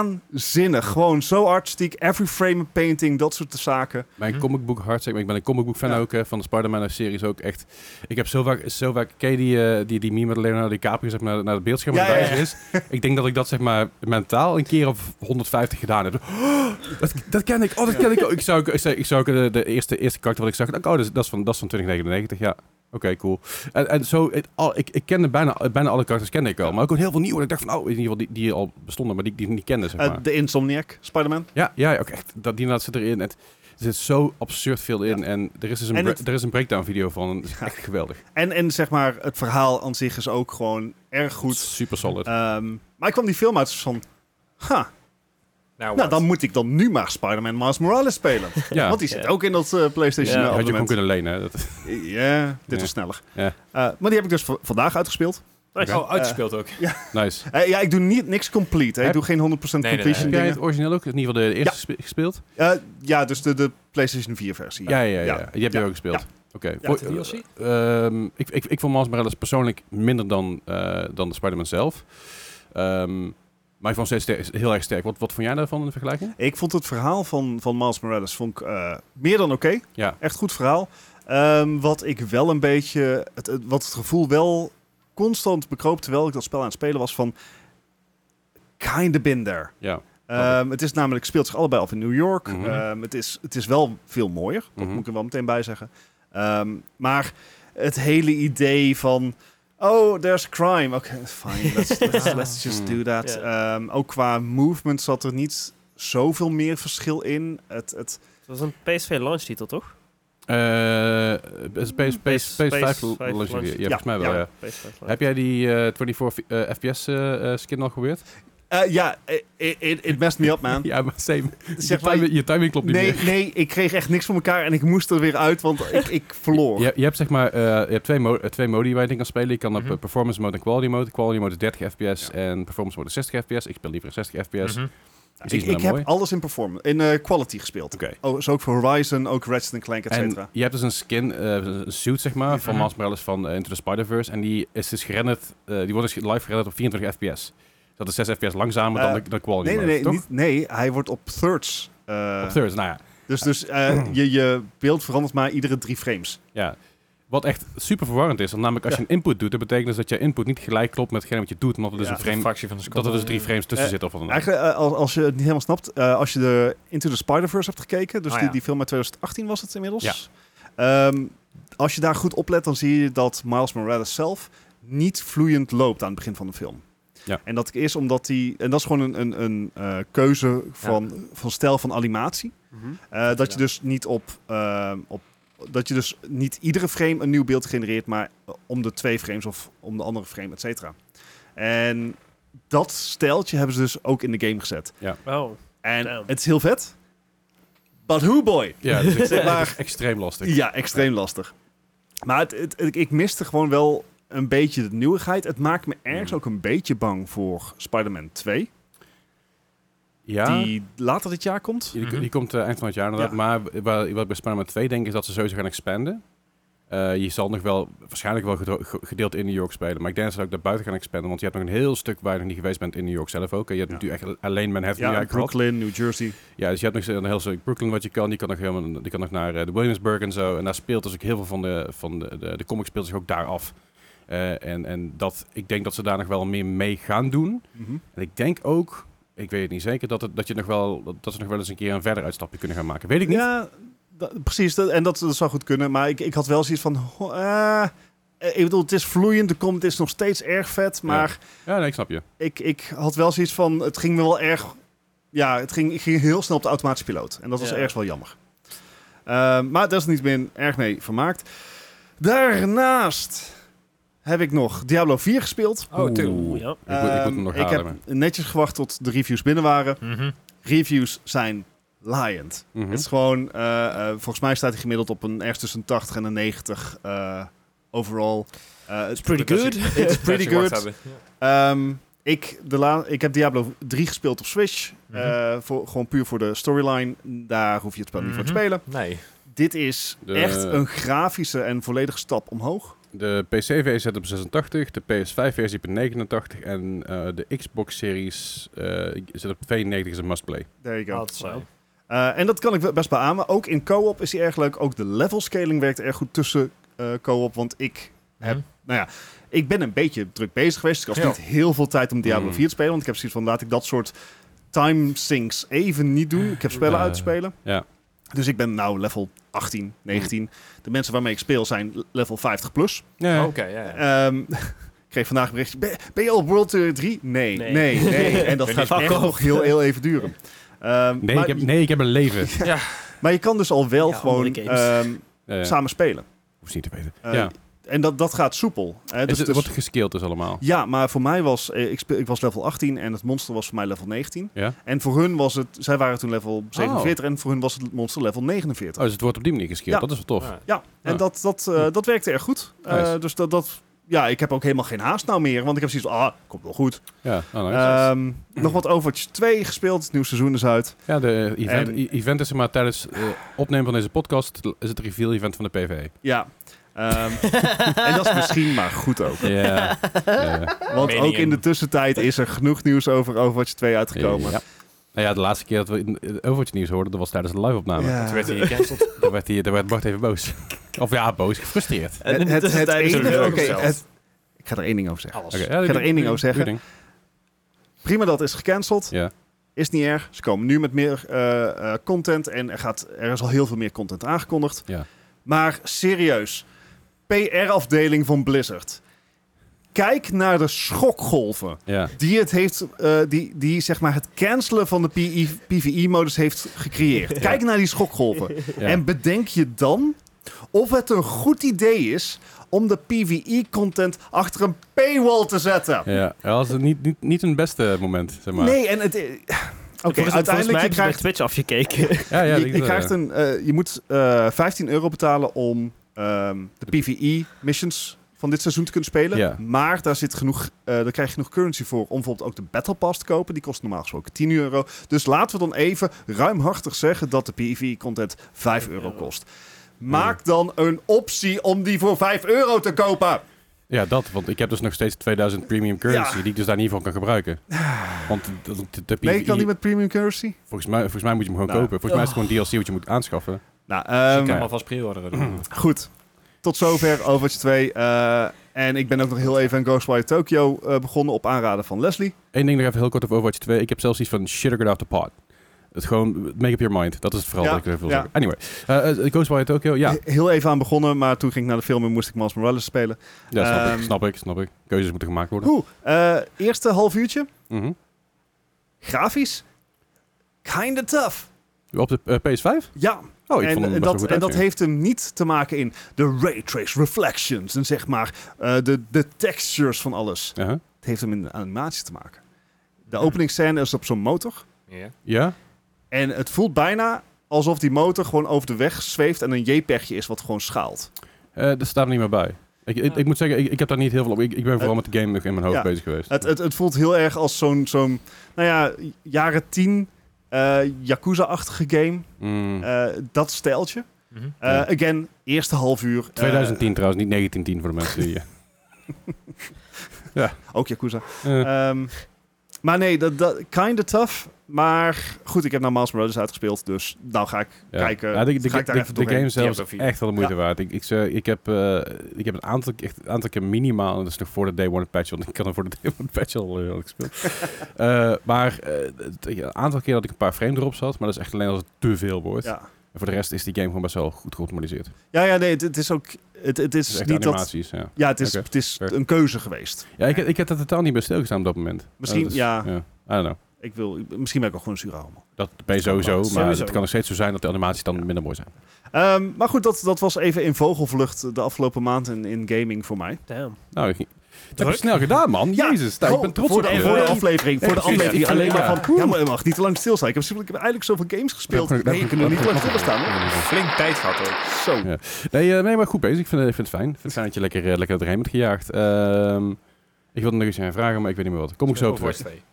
B: waanzinnig. Gewoon zo artistiek. Every frame a painting, dat soort zaken.
A: Mijn comic book hart, zeg maar. Ik ben een comic book fan
B: Hm? Ja.
A: ook, hè, van de Spider-Man-series ook echt. Ik heb zo vaak, zo vaak ken je die, eh, die, die meme met Leonardo DiCaprio, zeg maar, naar- naar het beeldscherm
B: Ja,
A: aan het
B: ja,
A: wijzen
B: [laughs]
A: is. Ik denk dat ik dat, zeg maar, mentaal een keer of 150 gedaan heb. [gasps] Oh, dat, dat ken ik, oh, dat ken ik ook. Ik zou ook, ik zou, ik zou ook eh, de, de eerste, eerste karakter wat ik zag, dacht, oh, dat is, dat is van, dat is van 2099, ja. Oké, cool. En, en zo, het, al, ik, ik kende bijna, bijna alle karakters kende ik al, maar ook heel veel nieuwe. Ik dacht van, oh, in ieder geval die, die al bestonden, maar die, die ik niet kende, zeg
B: Eh,
A: maar.
B: de Insomniac, Spider-Man.
A: Ja, ja, ja, ook echt. Dat, die laat zit erin. Het, er zit zo absurd veel in. En er is dus een,
B: En
A: bre-
B: het-
A: er is een breakdown video van. Het is echt geweldig.
B: En, en zeg maar, het verhaal aan zich is ook gewoon erg goed.
A: Super solid.
B: Ehm, maar ik kwam die film uit dus van...
A: Oh,
B: Ha,
D: Nou,
B: nou
D: wat?
B: dan moet ik dan nu maar Spider-Man Miles Morales spelen.
A: [laughs] ja,
B: Want die zit ook in dat eh, PlayStation
C: Ja.
A: had je gewoon
B: abonnement.
A: kunnen lenen. hè. Dat,
B: Ja, dit
A: Ja.
B: was sneller.
A: Ja.
B: Eh, maar die heb ik dus v- vandaag uitgespeeld.
C: Nice.
D: Oh, uitgespeeld ook.
A: [laughs] nice.
B: Eh, ja, ik doe niet, niks complete. Hè.
A: Heb-
B: Ik doe geen 100%
D: nee, nee.
B: completion
A: Heb jij het
B: dingen.
A: origineel ook? In ieder geval de eerste gespe- gespeeld?
B: Eh, ja, dus de, de PlayStation 4 versie.
A: Ja, ja, ja.
B: Ja.
A: Die heb je
B: Ja.
A: ook gespeeld.
B: Ja.
A: Oké.
B: Ja,
A: Voor-
D: de DLC?
A: ehm, ik, ik, ik vond Miles Morales persoonlijk minder dan, eh dan Spider-Man zelf. Ehm, maar ik vond het steeds heel erg sterk. Wat, wat vond jij daarvan in de vergelijking?
B: Ik vond het verhaal van, van Miles Morales vond ik, eh, meer dan oké.
A: Ja.
B: Echt goed verhaal. Ehm, wat ik wel een beetje, het, het- wat het gevoel wel constant bekroop terwijl ik dat spel aan het spelen was van kinda been there.
A: Ja.
B: Ehm, het is namelijk, het speelt zich allebei af in New York.
A: Mhm.
B: Ehm, het, is, het is wel veel mooier, dat
A: Mhm.
B: moet ik er wel meteen bij zeggen. Ehm, maar het hele idee van, oh, there's crime. Oké, fine,
A: [laughs]
B: let's, let's, let's just
A: Mhm.
B: do that. Ehm, ook qua movement zat er niet zoveel meer verschil in. Het, het,
C: Het was een PSV launch titel, toch?
A: Eh, PS, PS, PS,
C: PS5
A: PS5
C: launch
A: launch
C: video.
A: video. Ja,
B: Ja,
A: volgens mij wel,
B: ja.
A: ja.
C: PSV launch.
A: Heb jij die eh, 24 eh, FPS eh, eh, skin al geprobeerd?
B: eh, ja, eh, it, it, it messed me up, man.
A: [laughs] Ja, maar same. Je,
B: [laughs] Zeg maar,
A: timing, je timing klopt niet
B: nee,
A: meer.
B: nee, ik kreeg echt niks voor elkaar en ik moest er weer uit, want ik,
A: [laughs]
B: ik verloor.
A: Je, je hebt zeg maar eh, je hebt twee, mo- eh, twee modi waar je in kan spelen. Je kan op
D: Mhm.
A: eh, performance mode en quality mode. Quality mode is 30 fps
B: Ja.
A: en performance mode is 60 fps. Ik speel liever in 60 fps.
D: Mhm.
A: Precies,
B: ik
A: maar
B: ik heb
A: mooi.
B: alles in performance, in eh, quality gespeeld.
A: Oké.
B: Oh, is ook voor Horizon, ook Ratchet Clank, et
A: En
B: cetera.
A: je hebt dus een skin, eh, een suit zeg maar, van
D: Mhm.
A: Miles Morales van eh, Into the Spider-Verse. En die is dus gerenderd, eh, die wordt dus live gerenderd op 24 fps. Dat is 6 fps langzamer dan,
B: Eh,
A: de, dan quality
B: Nee, nee,
A: mode,
B: nee,
A: toch?
B: niet, nee, hij wordt op thirds. eh,
A: Op thirds, nou ja.
B: Dus,
A: [clears throat]
B: dus eh, je, je beeld verandert maar iedere drie frames.
A: ja. Wat echt super verwarrend is, want namelijk als
B: Ja.
A: je een input doet, dat betekent dus dat je input niet gelijk klopt met hetgeen wat je doet, omdat er dus
B: Ja.
A: een
D: Een
A: frame,
D: fractie van de seconde.
A: dat er dus drie frames tussen
B: Eh,
A: zitten of wat dan ook.
B: Eigenlijk, eh, als, als je het niet helemaal snapt, eh, als je de Into the Spider-Verse hebt gekeken, dus
D: Oh,
B: die,
D: ja.
B: die film uit 2018 was het inmiddels.
A: Ah, Ja.
B: Ehm, als je daar goed oplet, dan zie je dat Miles Morales zelf niet vloeiend loopt aan het begin van de film.
A: Ja.
B: En dat is omdat hij, en dat is gewoon een, een, een eh, keuze van, van stijl van animatie.
C: Mhm.
B: Eh, dat je dus niet op, ehm, op. Dat je dus niet iedere frame een nieuw beeld genereert, maar eh, om de twee frames of om de andere frame, et cetera. En dat steltje hebben ze dus ook in de game gezet.
C: Oh,
B: En
C: Damn.
B: het is heel vet. But who boy?
A: Ja, dat is
B: Zeg maar-
A: echt extreem lastig.
B: [laughs] Ja, extreem lastig. Maar het, het- ik- ik miste gewoon wel een beetje de nieuwigheid. Het maakt me ergens
A: Mm.
B: ook een beetje bang voor Spider-Man 2.
A: Ja, die,
B: Die later dit jaar komt.
A: die,
D: Mhm.
A: komt eh, eind van het jaar inderdaad.
B: Ja.
A: Maar wa- wa- wat ik bij Spider-Man 2 denk is dat ze sowieso gaan expanden. Eh, je zal nog wel, waarschijnlijk wel gedo- ge- gedeeld in New York spelen. Maar ik denk dat ze ook daar buiten gaan expanden. Want je hebt nog een heel stuk waar je nog niet geweest bent in New York zelf ook. En Je hebt
B: Ja.
A: natuurlijk echt alleen Manhattan
B: Ja,
A: ja, gehad.
B: Brooklyn, New Jersey.
A: Ja, dus je hebt nog een heel stuk Brooklyn wat je kan. Die kan nog, helemaal, die kan nog naar eh, de Williamsburg en zo. En daar speelt dus ook heel veel van de, van de, de, de comic speelt zich ook daar af. Eh, en en dat, ik denk dat ze daar nog wel meer mee gaan doen.
B: Mhm.
A: En ik denk ook, ik weet het niet zeker, dat, het, dat, je nog wel, dat ze nog wel eens een keer een verder uitstapje kunnen gaan maken. Weet ik niet.
B: Ja, da- precies. Dat, en dat, dat zou goed kunnen. Maar ik, ik had wel zoiets van... ho- eh, eh, ik bedoel, het is vloeiend. De komt is nog steeds erg vet. Maar
A: Ja, nee, ik snap je.
B: ik, ik had wel zoiets van... Het ging me wel erg... Ja, het ging, ik ging heel snel op de automatische piloot. En dat was
C: Ja.
B: ergens wel jammer. Ehm, maar daar is niet meer erg mee vermaakt. Daarnaast heb ik nog Diablo 4 gespeeld.
D: Oh, tuurlijk.
A: Oeh.
C: ja.
A: Ik, moet- ik moet
B: Ehm,
A: hem nog
B: ik
A: halen.
B: heb
A: maar-
B: netjes gewacht tot de reviews binnen waren.
D: Mhm.
B: Reviews zijn laaiend.
A: Mhm.
B: Het is gewoon, eh, eh, volgens mij staat hij gemiddeld op een ergens tussen een 80 en een 90 eh, overall. Eh,
C: It's pretty good.
A: [laughs]
B: It's pretty
D: [laughs] Dat ze gewacht
B: good. Ehm,
D: hebben.
B: ik, de la- ik heb Diablo 3 gespeeld op Switch.
D: Mhm.
B: eh, voor, gewoon puur voor de storyline. Daar hoef je het spel niet voor te
D: Mhm.
B: spelen.
D: Nee.
B: Dit is
A: De-
B: echt een grafische en volledige stap omhoog.
A: De PC-versie zit op 86, de PS5-versie op 89 en eh, de Xbox-series eh, zit op 92 is een must-play.
B: There you go.
D: Dat zo.
B: Eh, en dat kan ik wel best beamen. Ook in co-op is hij erg leuk. Ook de level scaling werkt erg goed tussen eh, co-op. Want ik Heb-
D: Mhm.
B: Nou ja, ik ben een beetje druk bezig geweest. Dus ik had
D: Ja.
B: niet heel veel tijd om Diablo
A: Mm.
B: 4 te spelen. Want ik heb zoiets van, laat ik dat soort time sinks even niet doen. Ik heb spellen
A: Eh,
B: uit te spelen.
A: ja.
B: Dus ik ben nou level 18, 19. De mensen waarmee ik speel zijn level 50 plus.
A: Nee.
D: Oké, ja, ja.
B: Ehm, [laughs] ik kreeg vandaag een berichtje. Ben, ben je al op World Tour 3? Nee,
C: Nee.
B: nee, nee.
C: [laughs]
B: En dat
D: Ben
B: gaat
C: niet-
B: echt
C: Fuck
B: nog heel, heel even duren. Ehm,
A: Nee,
B: maar,
A: ik heb, nee, ik heb een
B: [laughs]
A: leven.
B: maar je kan dus al wel
C: Ja,
B: gewoon
C: andere games.
B: ehm,
A: Ja, ja.
B: samen spelen.
A: Hoef je niet te weten.
B: Eh,
A: ja.
B: En dat, dat gaat soepel. Eh,
A: het,
B: dus-
A: het
B: dus-
A: wordt gescaled dus allemaal.
B: Ja, maar voor mij was... eh, Ik, speel, ik was level 18 en het monster was voor mij level 19.
A: Ja.
B: En voor hun was het... Zij waren toen level 47 en voor hun was het monster level 49.
A: Oh, dus het wordt op die manier gescaled.
B: Ja.
A: Dat is wel tof.
D: Ja.
B: Ja, en
A: Oh. Ja.
B: Dat, dat, eh, dat werkte erg goed. Eh,
A: Nice.
B: dus dat, dat ja, ik heb ook helemaal geen haast nou meer. Want ik heb zoiets van, ah, komt wel goed.
A: Ja, oh, nice.
B: Ehm, nog wat Overwatch 2 gespeeld. Het nieuwe seizoen is uit.
A: ja, de event,
B: en-
A: e- event is er maar tijdens eh, opnemen van deze podcast is het reveal event van de PvE.
B: Ja. Ehm, en dat is misschien maar goed ook.
A: [laughs] Ja.
B: Want
D: Medium.
B: ook in de tussentijd is er genoeg nieuws over Overwatch 2 uitgekomen.
A: Ja. Nou ja, de laatste keer dat we in- eh, Overwatch nieuws hoorden, dat was tijdens de live-opname.
B: Ja.
D: Toen werd hij
A: Eh.
D: gecanceld.
A: Daar, werd hij, daar werd Bart even
B: [laughs]
A: boos. Of ja, boos, gefrustreerd.
C: En in de tussentijd is
B: enige-
C: [laughs] het
D: enige-
C: ook
B: oké,
C: zelf.
B: het- ik ga er één ding over zeggen.
D: Alles.
A: Oké, ja,
B: Ik ga er één ding over
A: doe je
B: zeggen.
A: ding.
B: Prima dat is gecanceld.
A: Ja.
B: Is niet erg. Ze komen nu met meer eh, eh, content. En er, gaat, er is al heel veel meer content aangekondigd.
A: Ja.
B: Maar serieus. PR-afdeling van Blizzard. Kijk naar de schokgolven.
A: Ja.
B: Die het heeft, eh, die, die zeg maar het cancelen van de PvE-modus heeft gecreëerd. Kijk naar die schokgolven.
A: Ja.
B: En bedenk je dan of het een goed idee is om de PvE-content achter een paywall te zetten.
A: Ja, dat was niet, niet, niet een beste moment, zeg maar.
B: Nee, en het. eh, Oké,
C: Volgens- volgens mij
B: uiteindelijk je
C: hebben ze bij
B: krijgt,
C: Twitch
B: [laughs]
C: afgekeken.
A: Ja, Ah ja,
B: je,
A: ik-
B: je krijgt een, eh, je moet eh 15 euro betalen om ehm, de PvE-missions van dit seizoen te kunnen spelen.
A: Ja.
B: Maar daar, zit genoeg, eh, daar krijg je genoeg currency voor om bijvoorbeeld ook de Battle Pass te kopen. Die kost normaal gesproken 10 euro. Dus laten we dan even ruimhartig zeggen dat de PvE-content 5 euro kost. Maak dan een optie om die voor 5 euro te kopen.
A: Ja, dat, want ik heb dus nog steeds 2000 premium currency die ik dus daar niet voor kan gebruiken. Want de, de, de
B: Nee, ik kan
A: PvE
B: niet met premium currency.
A: volgens, mij, volgens mij moet je hem gewoon
B: Nou.
A: kopen. Volgens mij is het gewoon DLC wat je moet aanschaffen.
B: Nou,
D: Dus je
B: ehm,
D: kan maar vast pre-orderen. doen.
B: Goed. Tot zover Overwatch 2. eh, en ik ben ook nog heel even aan Ghostwire Tokyo eh, begonnen op aanraden van Leslie.
A: Eén ding nog even heel kort over Overwatch 2. Ik heb zelfs iets van shit it out the pot. Het gewoon, make up your mind. Dat is het vooral
B: Ja,
A: wat ik er wil
B: ja.
A: zeggen. Anyway, eh uh, Ghostwire Tokyo, ja.
B: He- Heel even aan begonnen, maar toen ging ik naar de film en moest ik Miles Morales spelen.
A: Ja, snap,
B: Ehm,
A: ik, snap ik, snap ik. Keuzes moeten gemaakt worden.
B: Oeh, eh, eerste half uurtje.
A: Mhm.
B: Grafisch. Kinda tough.
A: Op de eh, PS5?
B: Ja,
A: Oh, ik
B: en,
A: vond hem
B: en
A: best wel
B: dat,
A: goed
B: en dat
A: uitzien.
B: heeft hem niet te maken in de raytrace reflections en zeg maar eh, de, de textures van alles.
A: Uh-huh.
B: Het heeft hem in de animatie te maken. De openingsscène is op zo'n motor.
D: Ja.
A: Ja?
B: En het voelt bijna alsof die motor gewoon over de weg zweeft en een JPEGje is wat gewoon schaalt.
A: Eh dat staat er niet meer bij. Ik, ik, ik moet zeggen, ik, ik heb daar niet heel veel op. Ik, ik ben vooral met de game nog in mijn hoofd
B: ja.
A: bezig geweest.
B: Het, het, het voelt heel erg als zo'n, zo'n nou ja, jaren tien eh Yakuza-achtige game.
A: Mm.
B: Eh, dat stijltje.
D: Mhm.
B: Eh,
A: Ja.
B: Again, eerste half uur. eh,
A: 2010 trouwens, niet 1910 voor de mensen die...
B: ook Yakuza.
A: eh,
B: Ehm, maar nee, dat, dat kinda tough. Maar goed, ik heb nou Miles Brothers uitgespeeld, dus nou ga ik
A: Ja.
B: kijken.
A: Ja, de, de,
B: ga ik daar
A: de-
B: even
A: de
B: doorheen.
A: game zelf
D: Die
A: is
D: hebben
A: echt wel de moeite waard. Ik, ik, zeg, ik, heb, eh, ik heb een aantal, echt, een aantal keer minimaal, en dat is nog voor de Day One patch, want ik kan er voor de Day One patch al eh, al gespeeld.
B: [laughs]
A: Eh, maar eh, het- een aantal keer dat ik een paar frame drops had, maar dat is echt alleen als het te veel wordt.
B: Ja.
A: En voor de rest is die game gewoon best wel goed geoptimaliseerd. Het
B: ja, ja, nee, het, het is ook... Het, het is
A: is echt
B: niet dat...
A: animaties, ja.
B: Ja, het is,
A: Oké,
B: het is
A: fair.
B: een keuze geweest.
A: Ja, ik, ik heb daar totaal niet bij stilgestaan op dat moment.
B: Misschien,
A: Eh, dus,
B: ja.
A: ja. I don't know.
B: Ik wil, misschien ben ik ook gewoon een zure homo.
A: Dat ben je sowieso, maar
C: Sowieso.
A: het kan nog steeds zo zijn dat de animaties dan minder mooi zijn.
B: Ehm, maar goed, dat, dat was even in vogelvlucht de afgelopen maand in, in gaming voor mij.
C: Damn.
A: Nou, ik, dat heb je snel gedaan, man.
B: Ja,
A: Jezus, nou, ik ben
B: Gewoon
A: trots
B: voor
A: op
B: de,
A: je.
B: voor de
A: Ja.
B: aflevering. Voor de
A: Ja, precies.
B: aflevering
A: Ja,
B: alleen
A: ja.
B: maar van... Ja, maar je mag niet te lang stilstaan. Ik heb, ik heb eigenlijk zoveel games gespeeld.
A: Ja,
B: Nee, je kunt er niet lang stilstaan. Hoor.
D: Flink tijd gehad hoor.
B: Zo.
A: Ja. Nee, eh, nee, maar goed bezig. Ik vind, ik vind het fijn. Ik vind het fijn dat je lekker, eh, lekker doorheen bent gejaagd. Ehm, ik wilde nog iets aan vragen, maar ik weet niet meer wat. Kom ik zo op terug.
D: Overwatch 2.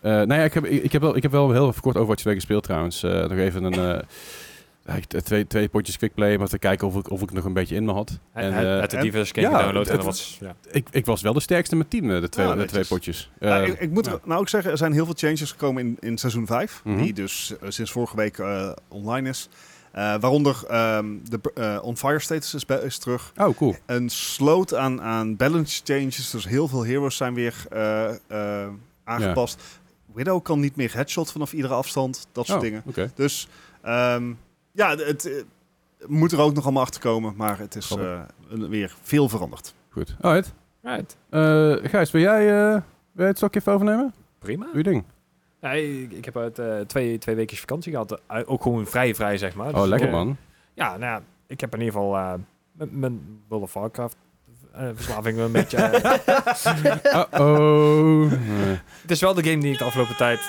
A: Eh nou ja, ik heb, ik, ik heb wel, ik heb wel heel even kort over wat je gespeeld trouwens. Eh, nog even een... eh, ja, ik- twee, twee potjes quickplay, om even te kijken of ik, of ik nog een beetje in me had. En,
D: Hij
A: eh,
D: had de diverse game
A: ja,
D: gedownload en
A: het-
D: dat was... Ja.
A: ik, ik was wel de sterkste met team, eh, de twee,
B: Ah,
A: de
B: netjes.
A: twee potjes. Eh,
B: Nou, ik, ik moet
A: ja.
B: nou ook zeggen, er zijn heel veel changes gekomen in, in seizoen 5.
A: Mhm.
B: Die dus eh, sinds vorige week eh, online is. Eh, waaronder ehm, de eh, on-fire status is, be- is terug.
A: Oh, cool.
B: Een sloot aan, aan balance changes. Dus heel veel heroes zijn weer eh, eh, aangepast. Widow kan niet meer headshot vanaf iedere afstand. Dat soort
A: Oh,
B: dingen.
A: Oké.
B: Dus ehm, ja, het, eh, moet er ook nog allemaal achter komen. Maar het is eh, een- weer veel veranderd.
A: Goed. Alright.
D: Right.
A: Eh, Gijs, wil jij, eh, wil jij het stokje even overnemen?
D: Prima.
A: Doe je ding.
D: Ja, ik, ik heb uit eh, twee, twee weken vakantie gehad. Eh, ook gewoon vrij vrij, zeg maar.
A: Oh,
D: Dus,
A: lekker
D: eh,
A: [laughs] man.
D: Ja, nou ja, ik heb in ieder geval eh, m- mijn World of Warcraft eh, verslaving een beetje...
A: [laughs]
D: eh,
A: Uh-oh. Eh, oh.
D: het is wel de game die ik de afgelopen tijd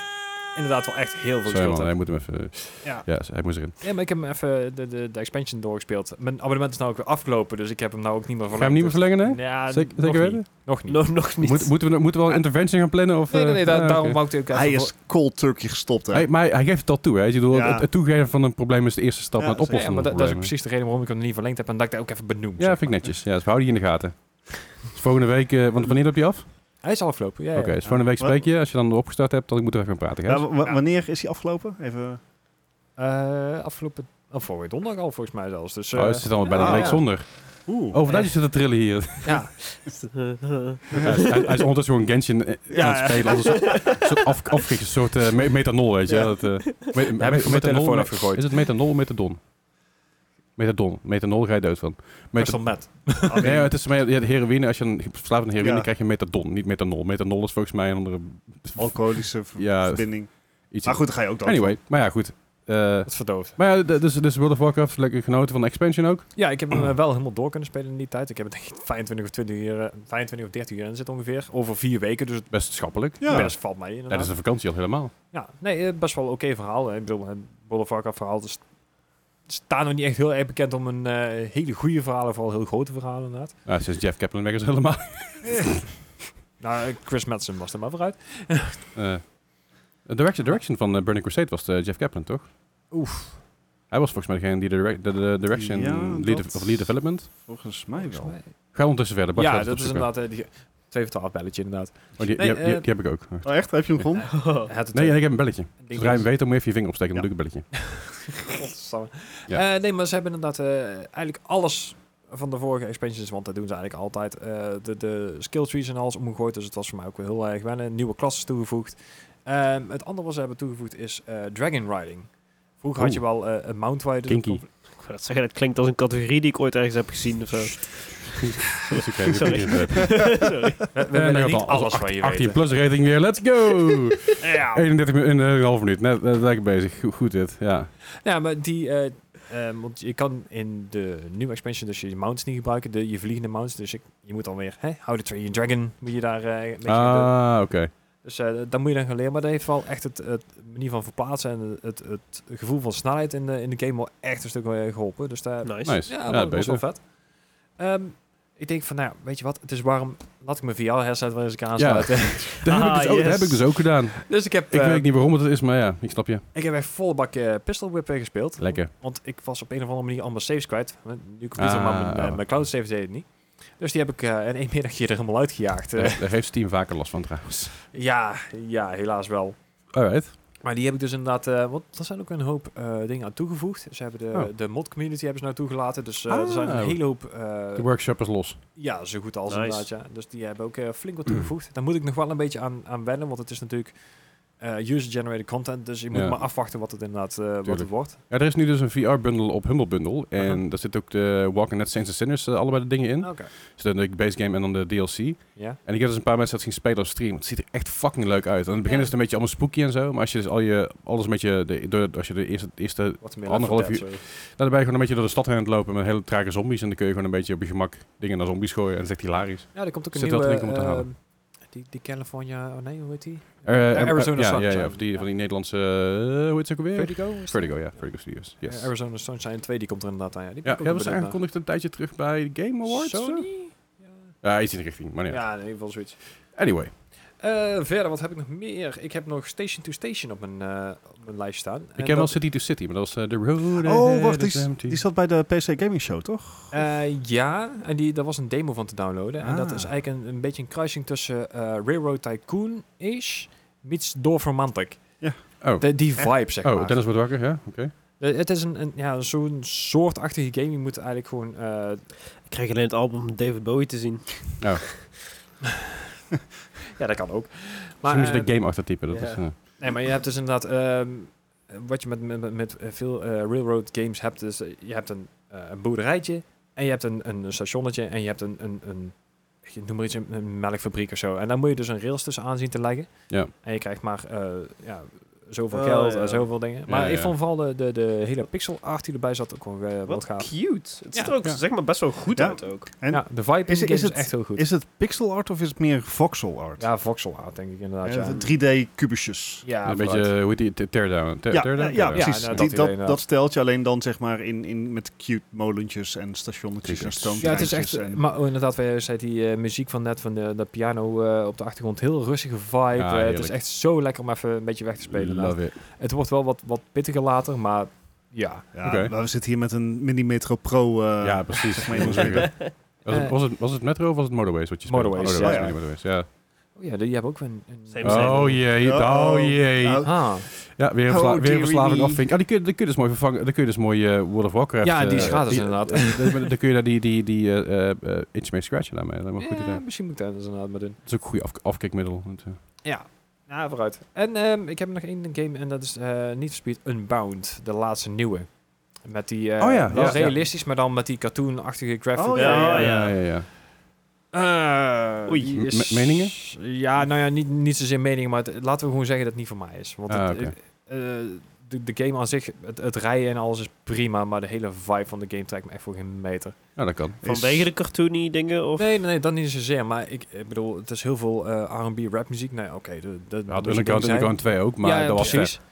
D: inderdaad wel echt heel veel
A: Sorry
D: gespeeld
A: man, hij
D: heb.
A: moet hem even...
D: Ja.
A: Ja, hij moest erin.
D: ja, maar ik heb hem even de, de, de expansion doorgespeeld. Mijn abonnement is nou ook weer afgelopen, dus ik heb hem nou ook niet meer
A: Ga je hem niet meer verlengen, hè?
D: Ja,
A: Zeker,
D: nog
A: zeker
D: niet.
A: weten?
D: Nog niet.
C: Nog, nog niet.
A: Moet,
C: [laughs]
A: moeten, we, moeten we al een intervention gaan plannen? Of,
D: nee, nee, nee,
A: eh,
D: da-
A: ah, oké.
D: daarom wou ik het ook even
B: Hij
D: voor-
B: is cold turkey gestopt, hè?
A: Hey, maar hij, hij geeft het al toe, hè? Ik bedoel,
B: Ja.
A: het, het toegeven van een probleem is de eerste stap
B: Ja,
A: naar het
D: Ja,
A: oplossen
D: maar
A: van
D: dat,
A: een
D: dat is ook
A: probleem,
D: precies de reden waarom ik hem niet verlengd heb en dat ik dat ook even benoem.
A: hè? Ja,
D: zeg
A: vind ik
D: maar.
A: netjes. Ja, dus we houden die in de gaten. Dus volgende week... eh, want wanneer heb je af?
D: Hij is al afgelopen, ja. ja.
A: Oké, dus volgende week
B: Wat-
A: spreek je. Als je dan opgestart hebt, dan moeten we even gaan praten,
B: Ja,
A: Gijs.
B: w- w- wanneer is hij afgelopen? Even...
D: Eh, afgelopen... Of vorige week donderdag al, volgens mij zelfs. Dus, eh,
A: Oh, het zit al bijna
B: Ah,
A: een week
D: ja.
A: zonder.
B: Oeh.
A: Oh, vandaar dat je zit te trillen
D: [laughs]
A: hier.
D: ja.
A: hij, is- hij is ondertussen gewoon Genshin eh, aan
B: Ja,
A: het spelen. Als een soort,
C: [laughs]
A: soort af, afgekeken soort eh, me- metanol, weet je.
B: Ja.
A: Ja. Dat, eh, me- me-
D: heb ik van mijn
A: metanol-
D: telefoon afgegooid.
A: Is het metanol of metadon? Metadon. Metanol ga je dood van.
D: Maar
A: Meta-
D: met.
A: nee, het is meer- ja, de heroïne. Als je een verslaafd aan heroïne
B: Ja.
A: krijg je metadon, niet metanol. Metanol is volgens mij een andere...
B: Alcoholische v-
A: Ja,
B: verbinding.
A: Iets
B: Maar goed, dan ga je ook dan.
A: Anyway, maar ja, goed. Eh,
D: Dat is verdoofd.
A: maar ja, d- dus, dus World of Warcraft, lekker genoten van de expansion ook.
D: Ja, ik heb hem eh, wel helemaal door kunnen spelen in die tijd. Ik heb het denk ik 25 of, 20 uur, eh, 25 of 30 uur in zit ongeveer. Over vier weken, dus het
A: Best schappelijk.
B: Ja.
D: best valt mij inderdaad.
A: Tijdens de vakantie al helemaal.
D: Ja, nee, eh, best wel een oké verhaal. hè. Ik bedoel, het World of Warcraft verhaal is- staat nog niet echt heel erg bekend om een eh, hele goede verhalen, vooral heel grote verhalen inderdaad.
A: Nou, sinds Jeff Kaplan weg is helemaal.
D: Nou, eh, Chris Madsen was er maar vooruit.
A: Eh, de direction, direction van eh, Burning Crusade was eh, Jeff Kaplan, toch?
D: Oef.
A: Hij was volgens mij degene die de, direct- de, de direction
B: Ja,
A: lead,
B: dat-
A: of lead development.
B: Volgens mij wel.
A: Ga ondertussen verder. Bart
D: Ja,
A: gaat het
D: dat is
A: opzoeken.
D: inderdaad eh, die 7 12 belletje inderdaad.
A: Oh, die,
D: Nee,
A: die, die-
D: eh,
A: die heb ik ook.
B: Oh, echt? Heb je hem gevonden?
D: Hij had het
A: Nee,
D: eh,
A: ik heb een belletje.
D: ding dus-
A: Zodra je
D: is-
A: hem weet, dan moet je even je vinger opsteken. Dan
B: Ja.
A: doe ik een
D: [laughs]
A: belletje.
D: Godsamme.
A: Ja.
D: Eh, nee, maar ze hebben inderdaad eh, eigenlijk alles van de vorige expansions, want dat doen ze eigenlijk altijd. eh, de, de skill trees en alles omgegooid, dus het was voor mij ook wel heel erg wennen. Nieuwe klassen toegevoegd. Ehm, het andere wat ze hebben toegevoegd is eh, dragon riding. Vroeger had je wel eh, een mount waar je dus
A: Kinky.
D: op kon-
C: Ik wou net zeggen, dat klinkt als een categorie die ik ooit ergens heb gezien of zo.
A: Dat is oké, we
C: Sorry.
A: kunnen het, eh,
C: Sorry.
D: We, we
A: en dan
D: willen
A: gaat
D: [laughs] niet
A: al-
D: alles
A: acht-
D: van je
A: 18
D: weten.
A: plus rating weer, let's
D: [laughs]
A: go!
D: Ja.
A: 31 minuten en een half minuut, net, net lekker bezig. Goed, goed dit, ja.
D: [laughs] Ja, maar die... eh, ehm, want je kan in de nieuwe expansion dus je mounts niet gebruiken, de, je vliegende mounts. Dus ik, je moet dan weer, hè, How to Train Your Dragon, moet je daar eh, een beetje de-
A: Ah, oké.
D: Dus eh dat moet je dan gaan leren. Maar dat heeft wel echt het, het manier van verplaatsen en het, het gevoel van snelheid in de, in de game wel echt een stuk eh, geholpen. Dus daar,
C: Nice.
A: Nice.
D: ja,
A: Nou, Ja,
D: dat was wel
A: beter.
D: vet. Ehm, ik denk van, nou, weet je wat, het is warm. Laat ik mijn VR-headset wel eens een keer
A: Ja.
D: aansluiten.
A: [laughs]
D: [laughs]
A: Dat, heb ik
C: Ah,
A: dus ook, dat
C: yes.
A: heb ik dus ook gedaan.
D: dus ik heb,
A: Ik
D: eh,
A: weet niet waarom het is, maar ja, ik snap je.
D: ik heb echt volle bak eh, Pistol Whip eh, gespeeld.
A: Lekker.
D: Want ik was op een of andere manier allemaal saves kwijt. Eh, Nu computer,
A: Ah,
D: maar mijn, eh,
A: oh.
D: mijn cloud saves deed het niet. Dus die heb ik eh, in één middagje er helemaal uitgejaagd. Eh,
A: Daar daar heeft Steam vaker last van trouwens.
D: ja, ja, helaas wel.
A: Alright.
D: Maar die heb ik dus inderdaad, eh want er zijn ook een hoop eh, dingen aan toegevoegd. Ze hebben de,
A: Oh.
D: de mod community hebben ze nou toegelaten, dus eh, er
A: Ah.
D: zijn een hele hoop, eh,
A: De workshop is los.
D: ja, zo goed als
C: Nice.
D: inderdaad, ja. Dus die hebben ook eh, flink
A: Hmm.
D: wat toegevoegd. Daar moet ik nog wel een beetje aan, aan wennen, want het is natuurlijk eh, user-generated content, dus je moet
A: Ja.
D: maar afwachten wat het inderdaad eh, wat het
A: Tuurlijk.
D: wordt.
A: Ja, er is nu dus een VR-bundle op Humble Bundle. En
D: Aha. Oh.
A: daar zit ook de Walking Dead Saints and Sinners, eh, allebei de dingen in.
D: Oké.
A: Dus dan de base game en dan de DLC.
D: Ja.
A: En ik heb dus een paar mensen dat zien spelen op stream. Het ziet er echt fucking leuk uit. Aan het begin
D: Ja.
A: is het een beetje allemaal spooky en zo. Maar als je dus al je, alles een beetje... De, de- als je de eerste, eerste... Nou,
D: Wat meer
A: Anderhalf
D: verteld, sorry.
A: dan ben je gewoon een beetje door de stad heen aan het lopen met hele trage zombies. En dan kun je gewoon een beetje op je gemak dingen naar zombies gooien. En dat is echt hilarisch.
D: Ja, er komt ook een
A: Zit wel te
D: nieuwe,
A: denken om te
D: eh,
A: halen.
D: die, die California, oh nee, hoe heet die?
A: Eh, en-
D: Arizona
A: ja, ja,
D: Sunshine.
A: ja, of die, van die Nederlandse... eh, hoe heet ze ook alweer?
D: Vertigo? is dat?
A: Vertigo, ja. Vertigo Studios. Yes.
D: Eh, Arizona Sunshine 2, die komt er inderdaad aan, ja. Die ben
A: Ja,
D: ik ook
A: ja,
D: wel
A: was
D: benieuwd naar.
A: aangekondigd een tijdje terug bij de Game Awards. eh? of zo? Oh,
D: Sony?
A: Ja, Eh, iets in de richting. Maar
D: Ja,
A: nee.
D: ja in ieder geval zoiets.
A: Anyway.
D: Eh, verder, wat heb ik nog meer? Ik heb nog Station to Station op mijn, eh, op mijn lijst staan. En
A: Ik ken wel
D: dat-
A: City to City, maar dat was eh, de road.
B: Oh,
A: ahead
B: wacht, die,
A: is
B: is-
A: empty.
B: die zat bij de PC Gaming Show, toch?
D: eh, ja, en die, daar was een demo van te downloaden. En dat
B: Ah.
D: is eigenlijk een, een beetje een kruising tussen eh, Railroad Tycoon-ish meets Dorf Romantic.
B: Ja.
A: Oh.
D: De- die vibe, zeg
A: Oh,
D: maar.
A: Dennis wordt wakker, ja? Oké.
D: Eh, het is een, een, ja, zo'n soortachtige game. Je moet eigenlijk gewoon... eh,
C: Ik krijg alleen het album van David Bowie te zien.
D: ja, dat kan ook.
A: Maar, Misschien is
D: eh,
A: het een game achtertype. Dat
C: ja.
A: is, eh,
D: Nee, maar je hebt dus inderdaad... ehm, wat je met, met, met eh, veel eh, railroad games hebt, is eh, je hebt een, eh, een boerderijtje en je hebt een, een stationnetje en je hebt een, een, een ik noem maar iets, een, een melkfabriek of zo. En daar moet je dus een rails tussen aan zien te leggen.
A: Ja.
D: En je krijgt maar eh, ja, zoveel
C: Oh,
D: geld
C: ja.
D: en zoveel dingen. Maar
A: ja.
D: ik vond vooral de, de, de hele pixel art die erbij zat ook wel eh, wat
C: Wat
D: gaaf.
C: cute. Het ziet
D: Ja.
C: er ook
A: Ja.
C: zeg maar best wel goed
B: Ja.
C: uit ook.
B: En
D: ja, de vibe
B: is-
D: is,
B: is
D: is
B: het-
D: echt heel goed.
B: Is het pixel art of is het meer voxel art?
D: ja, voxel art denk ik inderdaad. Ja,
B: Eh, 3D-kubusjes.
D: ja
A: een beetje,
D: vooruit.
A: eh, hoe heet die, Te- teardown? Te-
B: ja,
A: teardown?
B: eh, ja,
A: Teardown.
B: precies.
D: Ja,
B: Die-
D: nou, dat idee,
B: dat, dat,
D: inderdaad.
B: stelt je alleen dan zeg maar in, in, met cute molentjes en stationnetjes en
A: Precies.
D: Ja, het is echt,
B: stoomtreintjes en-
D: maar oh, inderdaad, wat jij zei, die eh, muziek van net, van de, dat piano eh, op de achtergrond, heel rustige vibe. Eh, het is
A: Ah, heerlijk.
D: echt zo lekker om even een beetje weg te spelen. inderdaad.
A: Love it.
D: Het wordt wel wat, wat pittiger later, maar ja.
B: Ja,
A: Oké.
B: maar we zitten hier met een Mini Metro Pro. eh,
A: ja,
B: [laughs]
A: precies.
B: maar je moet
A: was, het, was, het, was het Metro of was het Motorways wat je speelde?
D: Eh. Motorways,
B: ja, ja.
A: mini Motorways, ja.
D: Oh ja, die hebben ook weer een... een-
C: Same, same.
A: Oh jee, oh jee.
B: Oh.
D: Ah.
A: Ja, weer een,
B: Oh,
A: versla- weer
B: dearie
A: een verslaving
B: me.
A: afvinken. Ah, die kun, je- die kun je dus mooi vervangen. Dan kun je dus mooi eh, World of Warcraft...
D: Ja, die is
A: eh,
D: gratis
A: die-
D: inderdaad.
A: eh, dan- Dan kun je daar [laughs] die, die, die eh, eh, eh, itch mee scratchen daarmee. Dat is goed
D: Ja,
A: idee.
D: misschien moet ik daar dus inderdaad maar doen.
A: Dat is ook een goede af- afkikmiddel. Want, eh,
D: Ja. Ja, vooruit. En ehm, ik heb nog één game en dat is eh Need for Speed Unbound, de laatste nieuwe. Met die, eh
A: Oh ja,
D: wel
A: ja, ja.
D: realistisch, maar dan met die cartoonachtige graphic.
B: Oh
C: ja, ja,
A: ja,
C: ja.
A: ja, ja.
D: Eh,
C: Oei.
D: die
A: M-
D: is-
A: me- meningen?
D: Ja, nou ja, niet, niet zozeer meningen, maar het- laten we gewoon zeggen dat het niet voor mij is. Want
A: Ah,
D: het-
A: oké.
D: eh, eh, de, de game aan zich, het, het rijden en alles is prima, maar de hele vibe van de game trekt me echt voor geen meter.
A: Nou, dat kan.
C: Vanwege de cartoony dingen of...
D: Nee, nee, nee, dat niet zozeer, maar ik, ik bedoel, het is heel veel eh, R&B rap muziek. Nou ja, oké, de- de-
A: We hadden
D: moet je
A: Underground,
D: ding zijn.
A: Underground 2 ook, maar
D: Ja,
A: dat was
D: precies.
A: vet.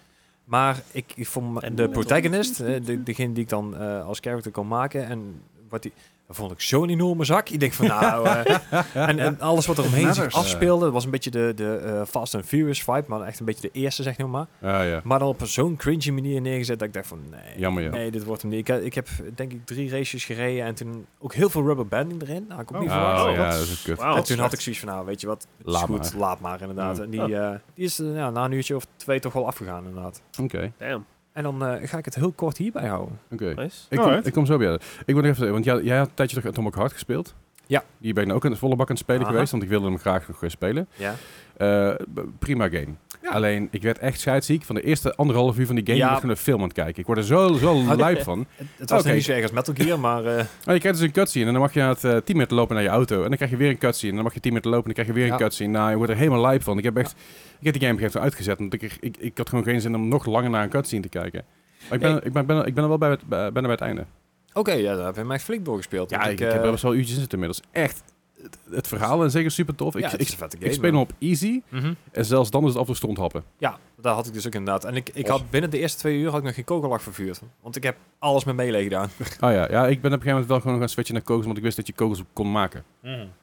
D: Maar ik, ik vond
C: En
D: de
C: Metal.
D: protagonist, eh, de, degene die ik dan eh, als character kon maken, en wat die, dat vond ik zo'n enorme zak. Ik denk van [laughs]
A: [laughs]
D: nou, eh, en, en alles wat er omheen zich
B: Matters.
A: eh.
D: afspeelde, dat was een beetje de, de eh, Fast and Furious vibe, maar echt een beetje de eerste zeg maar.
A: Ja, ja.
D: Maar dan op zo'n cringy manier neergezet dat ik dacht van nee,
A: Jammer, ja.
D: nee dit wordt hem niet. Ik, ik heb denk ik drie races gereden en toen ook heel veel rubber banding erin. Nou, ik ook niet
B: Oh,
D: verwacht.
A: Oh,
C: Oh,
A: ja,
C: dat
A: dat
C: is-
A: is kut.
C: Wauw.
D: En toen had ik
C: slecht.
D: zoiets van, nou weet je wat, het is
A: Laat
D: goed,
A: maar.
D: laat maar inderdaad.
A: Mm.
D: En die, eh, die is eh, ja, na een uurtje of twee toch wel afgegaan inderdaad.
A: Oké,
C: Damn,
D: En dan eh, ga ik het heel kort hierbij houden.
A: oké.
C: nice.
A: Ik, kom-
B: Alright.
A: ik kom zo bij jou. Ik wil nog even, want jij, jij had een tijdje terug Atomic Heart gespeeld.
D: Ja.
A: Die ben ik nou ook in de volle bak aan het spelen
D: Aha.
A: geweest, want ik wilde hem graag nog eh, spelen.
D: Ja.
A: Eh, b- prima game.
D: Ja.
A: Alleen, ik werd echt scheidsziek van de eerste anderhalf uur van die game.
D: Ja.
A: Ik was gewoon een film aan het kijken. Ik word er zo,
D: [laughs]
A: zo
D: dit-
A: lui van.
D: Het, het was
A: Oké.
D: nog niet zo erg als Metal Gear, maar eh,
A: Nou, je krijgt dus een cutscene en dan mag je na het eh, 10 minuten lopen naar je auto. En dan krijg je weer een cutscene en dan mag je 10 minuten lopen en dan krijg je weer
D: Ja.
A: een cutscene. Nou, je wordt er helemaal lijp van. Ik heb echt, ik heb die game op een gegeven moment uitgezet, want ik, ik, ik had gewoon geen zin om nog langer naar een cutscene te kijken. Maar ik ben,
D: Nee.
A: ik ben, ben, ik ben er wel bij het, bij- ben er bij het einde.
D: oké, ja, daar heb je mij flink doorgespeeld.
A: Ja,
D: Want
A: ik, ik heb
D: eh,
A: er best wel uurtjes in zitten inmiddels. Echt, het, het verhaal en zeker super tof. Ik,
D: ja, het
A: ik,
D: is een vette game.
A: ik speel hem
D: man.
A: op easy
D: Mhm.
A: en zelfs dan is het af en toe stond happen.
D: Ja, daar had ik dus ook inderdaad. En ik, ik
A: Of.
D: had binnen de eerste twee uur had ik nog geen kogelak vervuurd. Want ik heb alles met melee gedaan.
A: Oh ja, ja, ik ben op een gegeven moment wel gewoon gaan switchen naar kogels, want ik wist dat je kogels kon maken.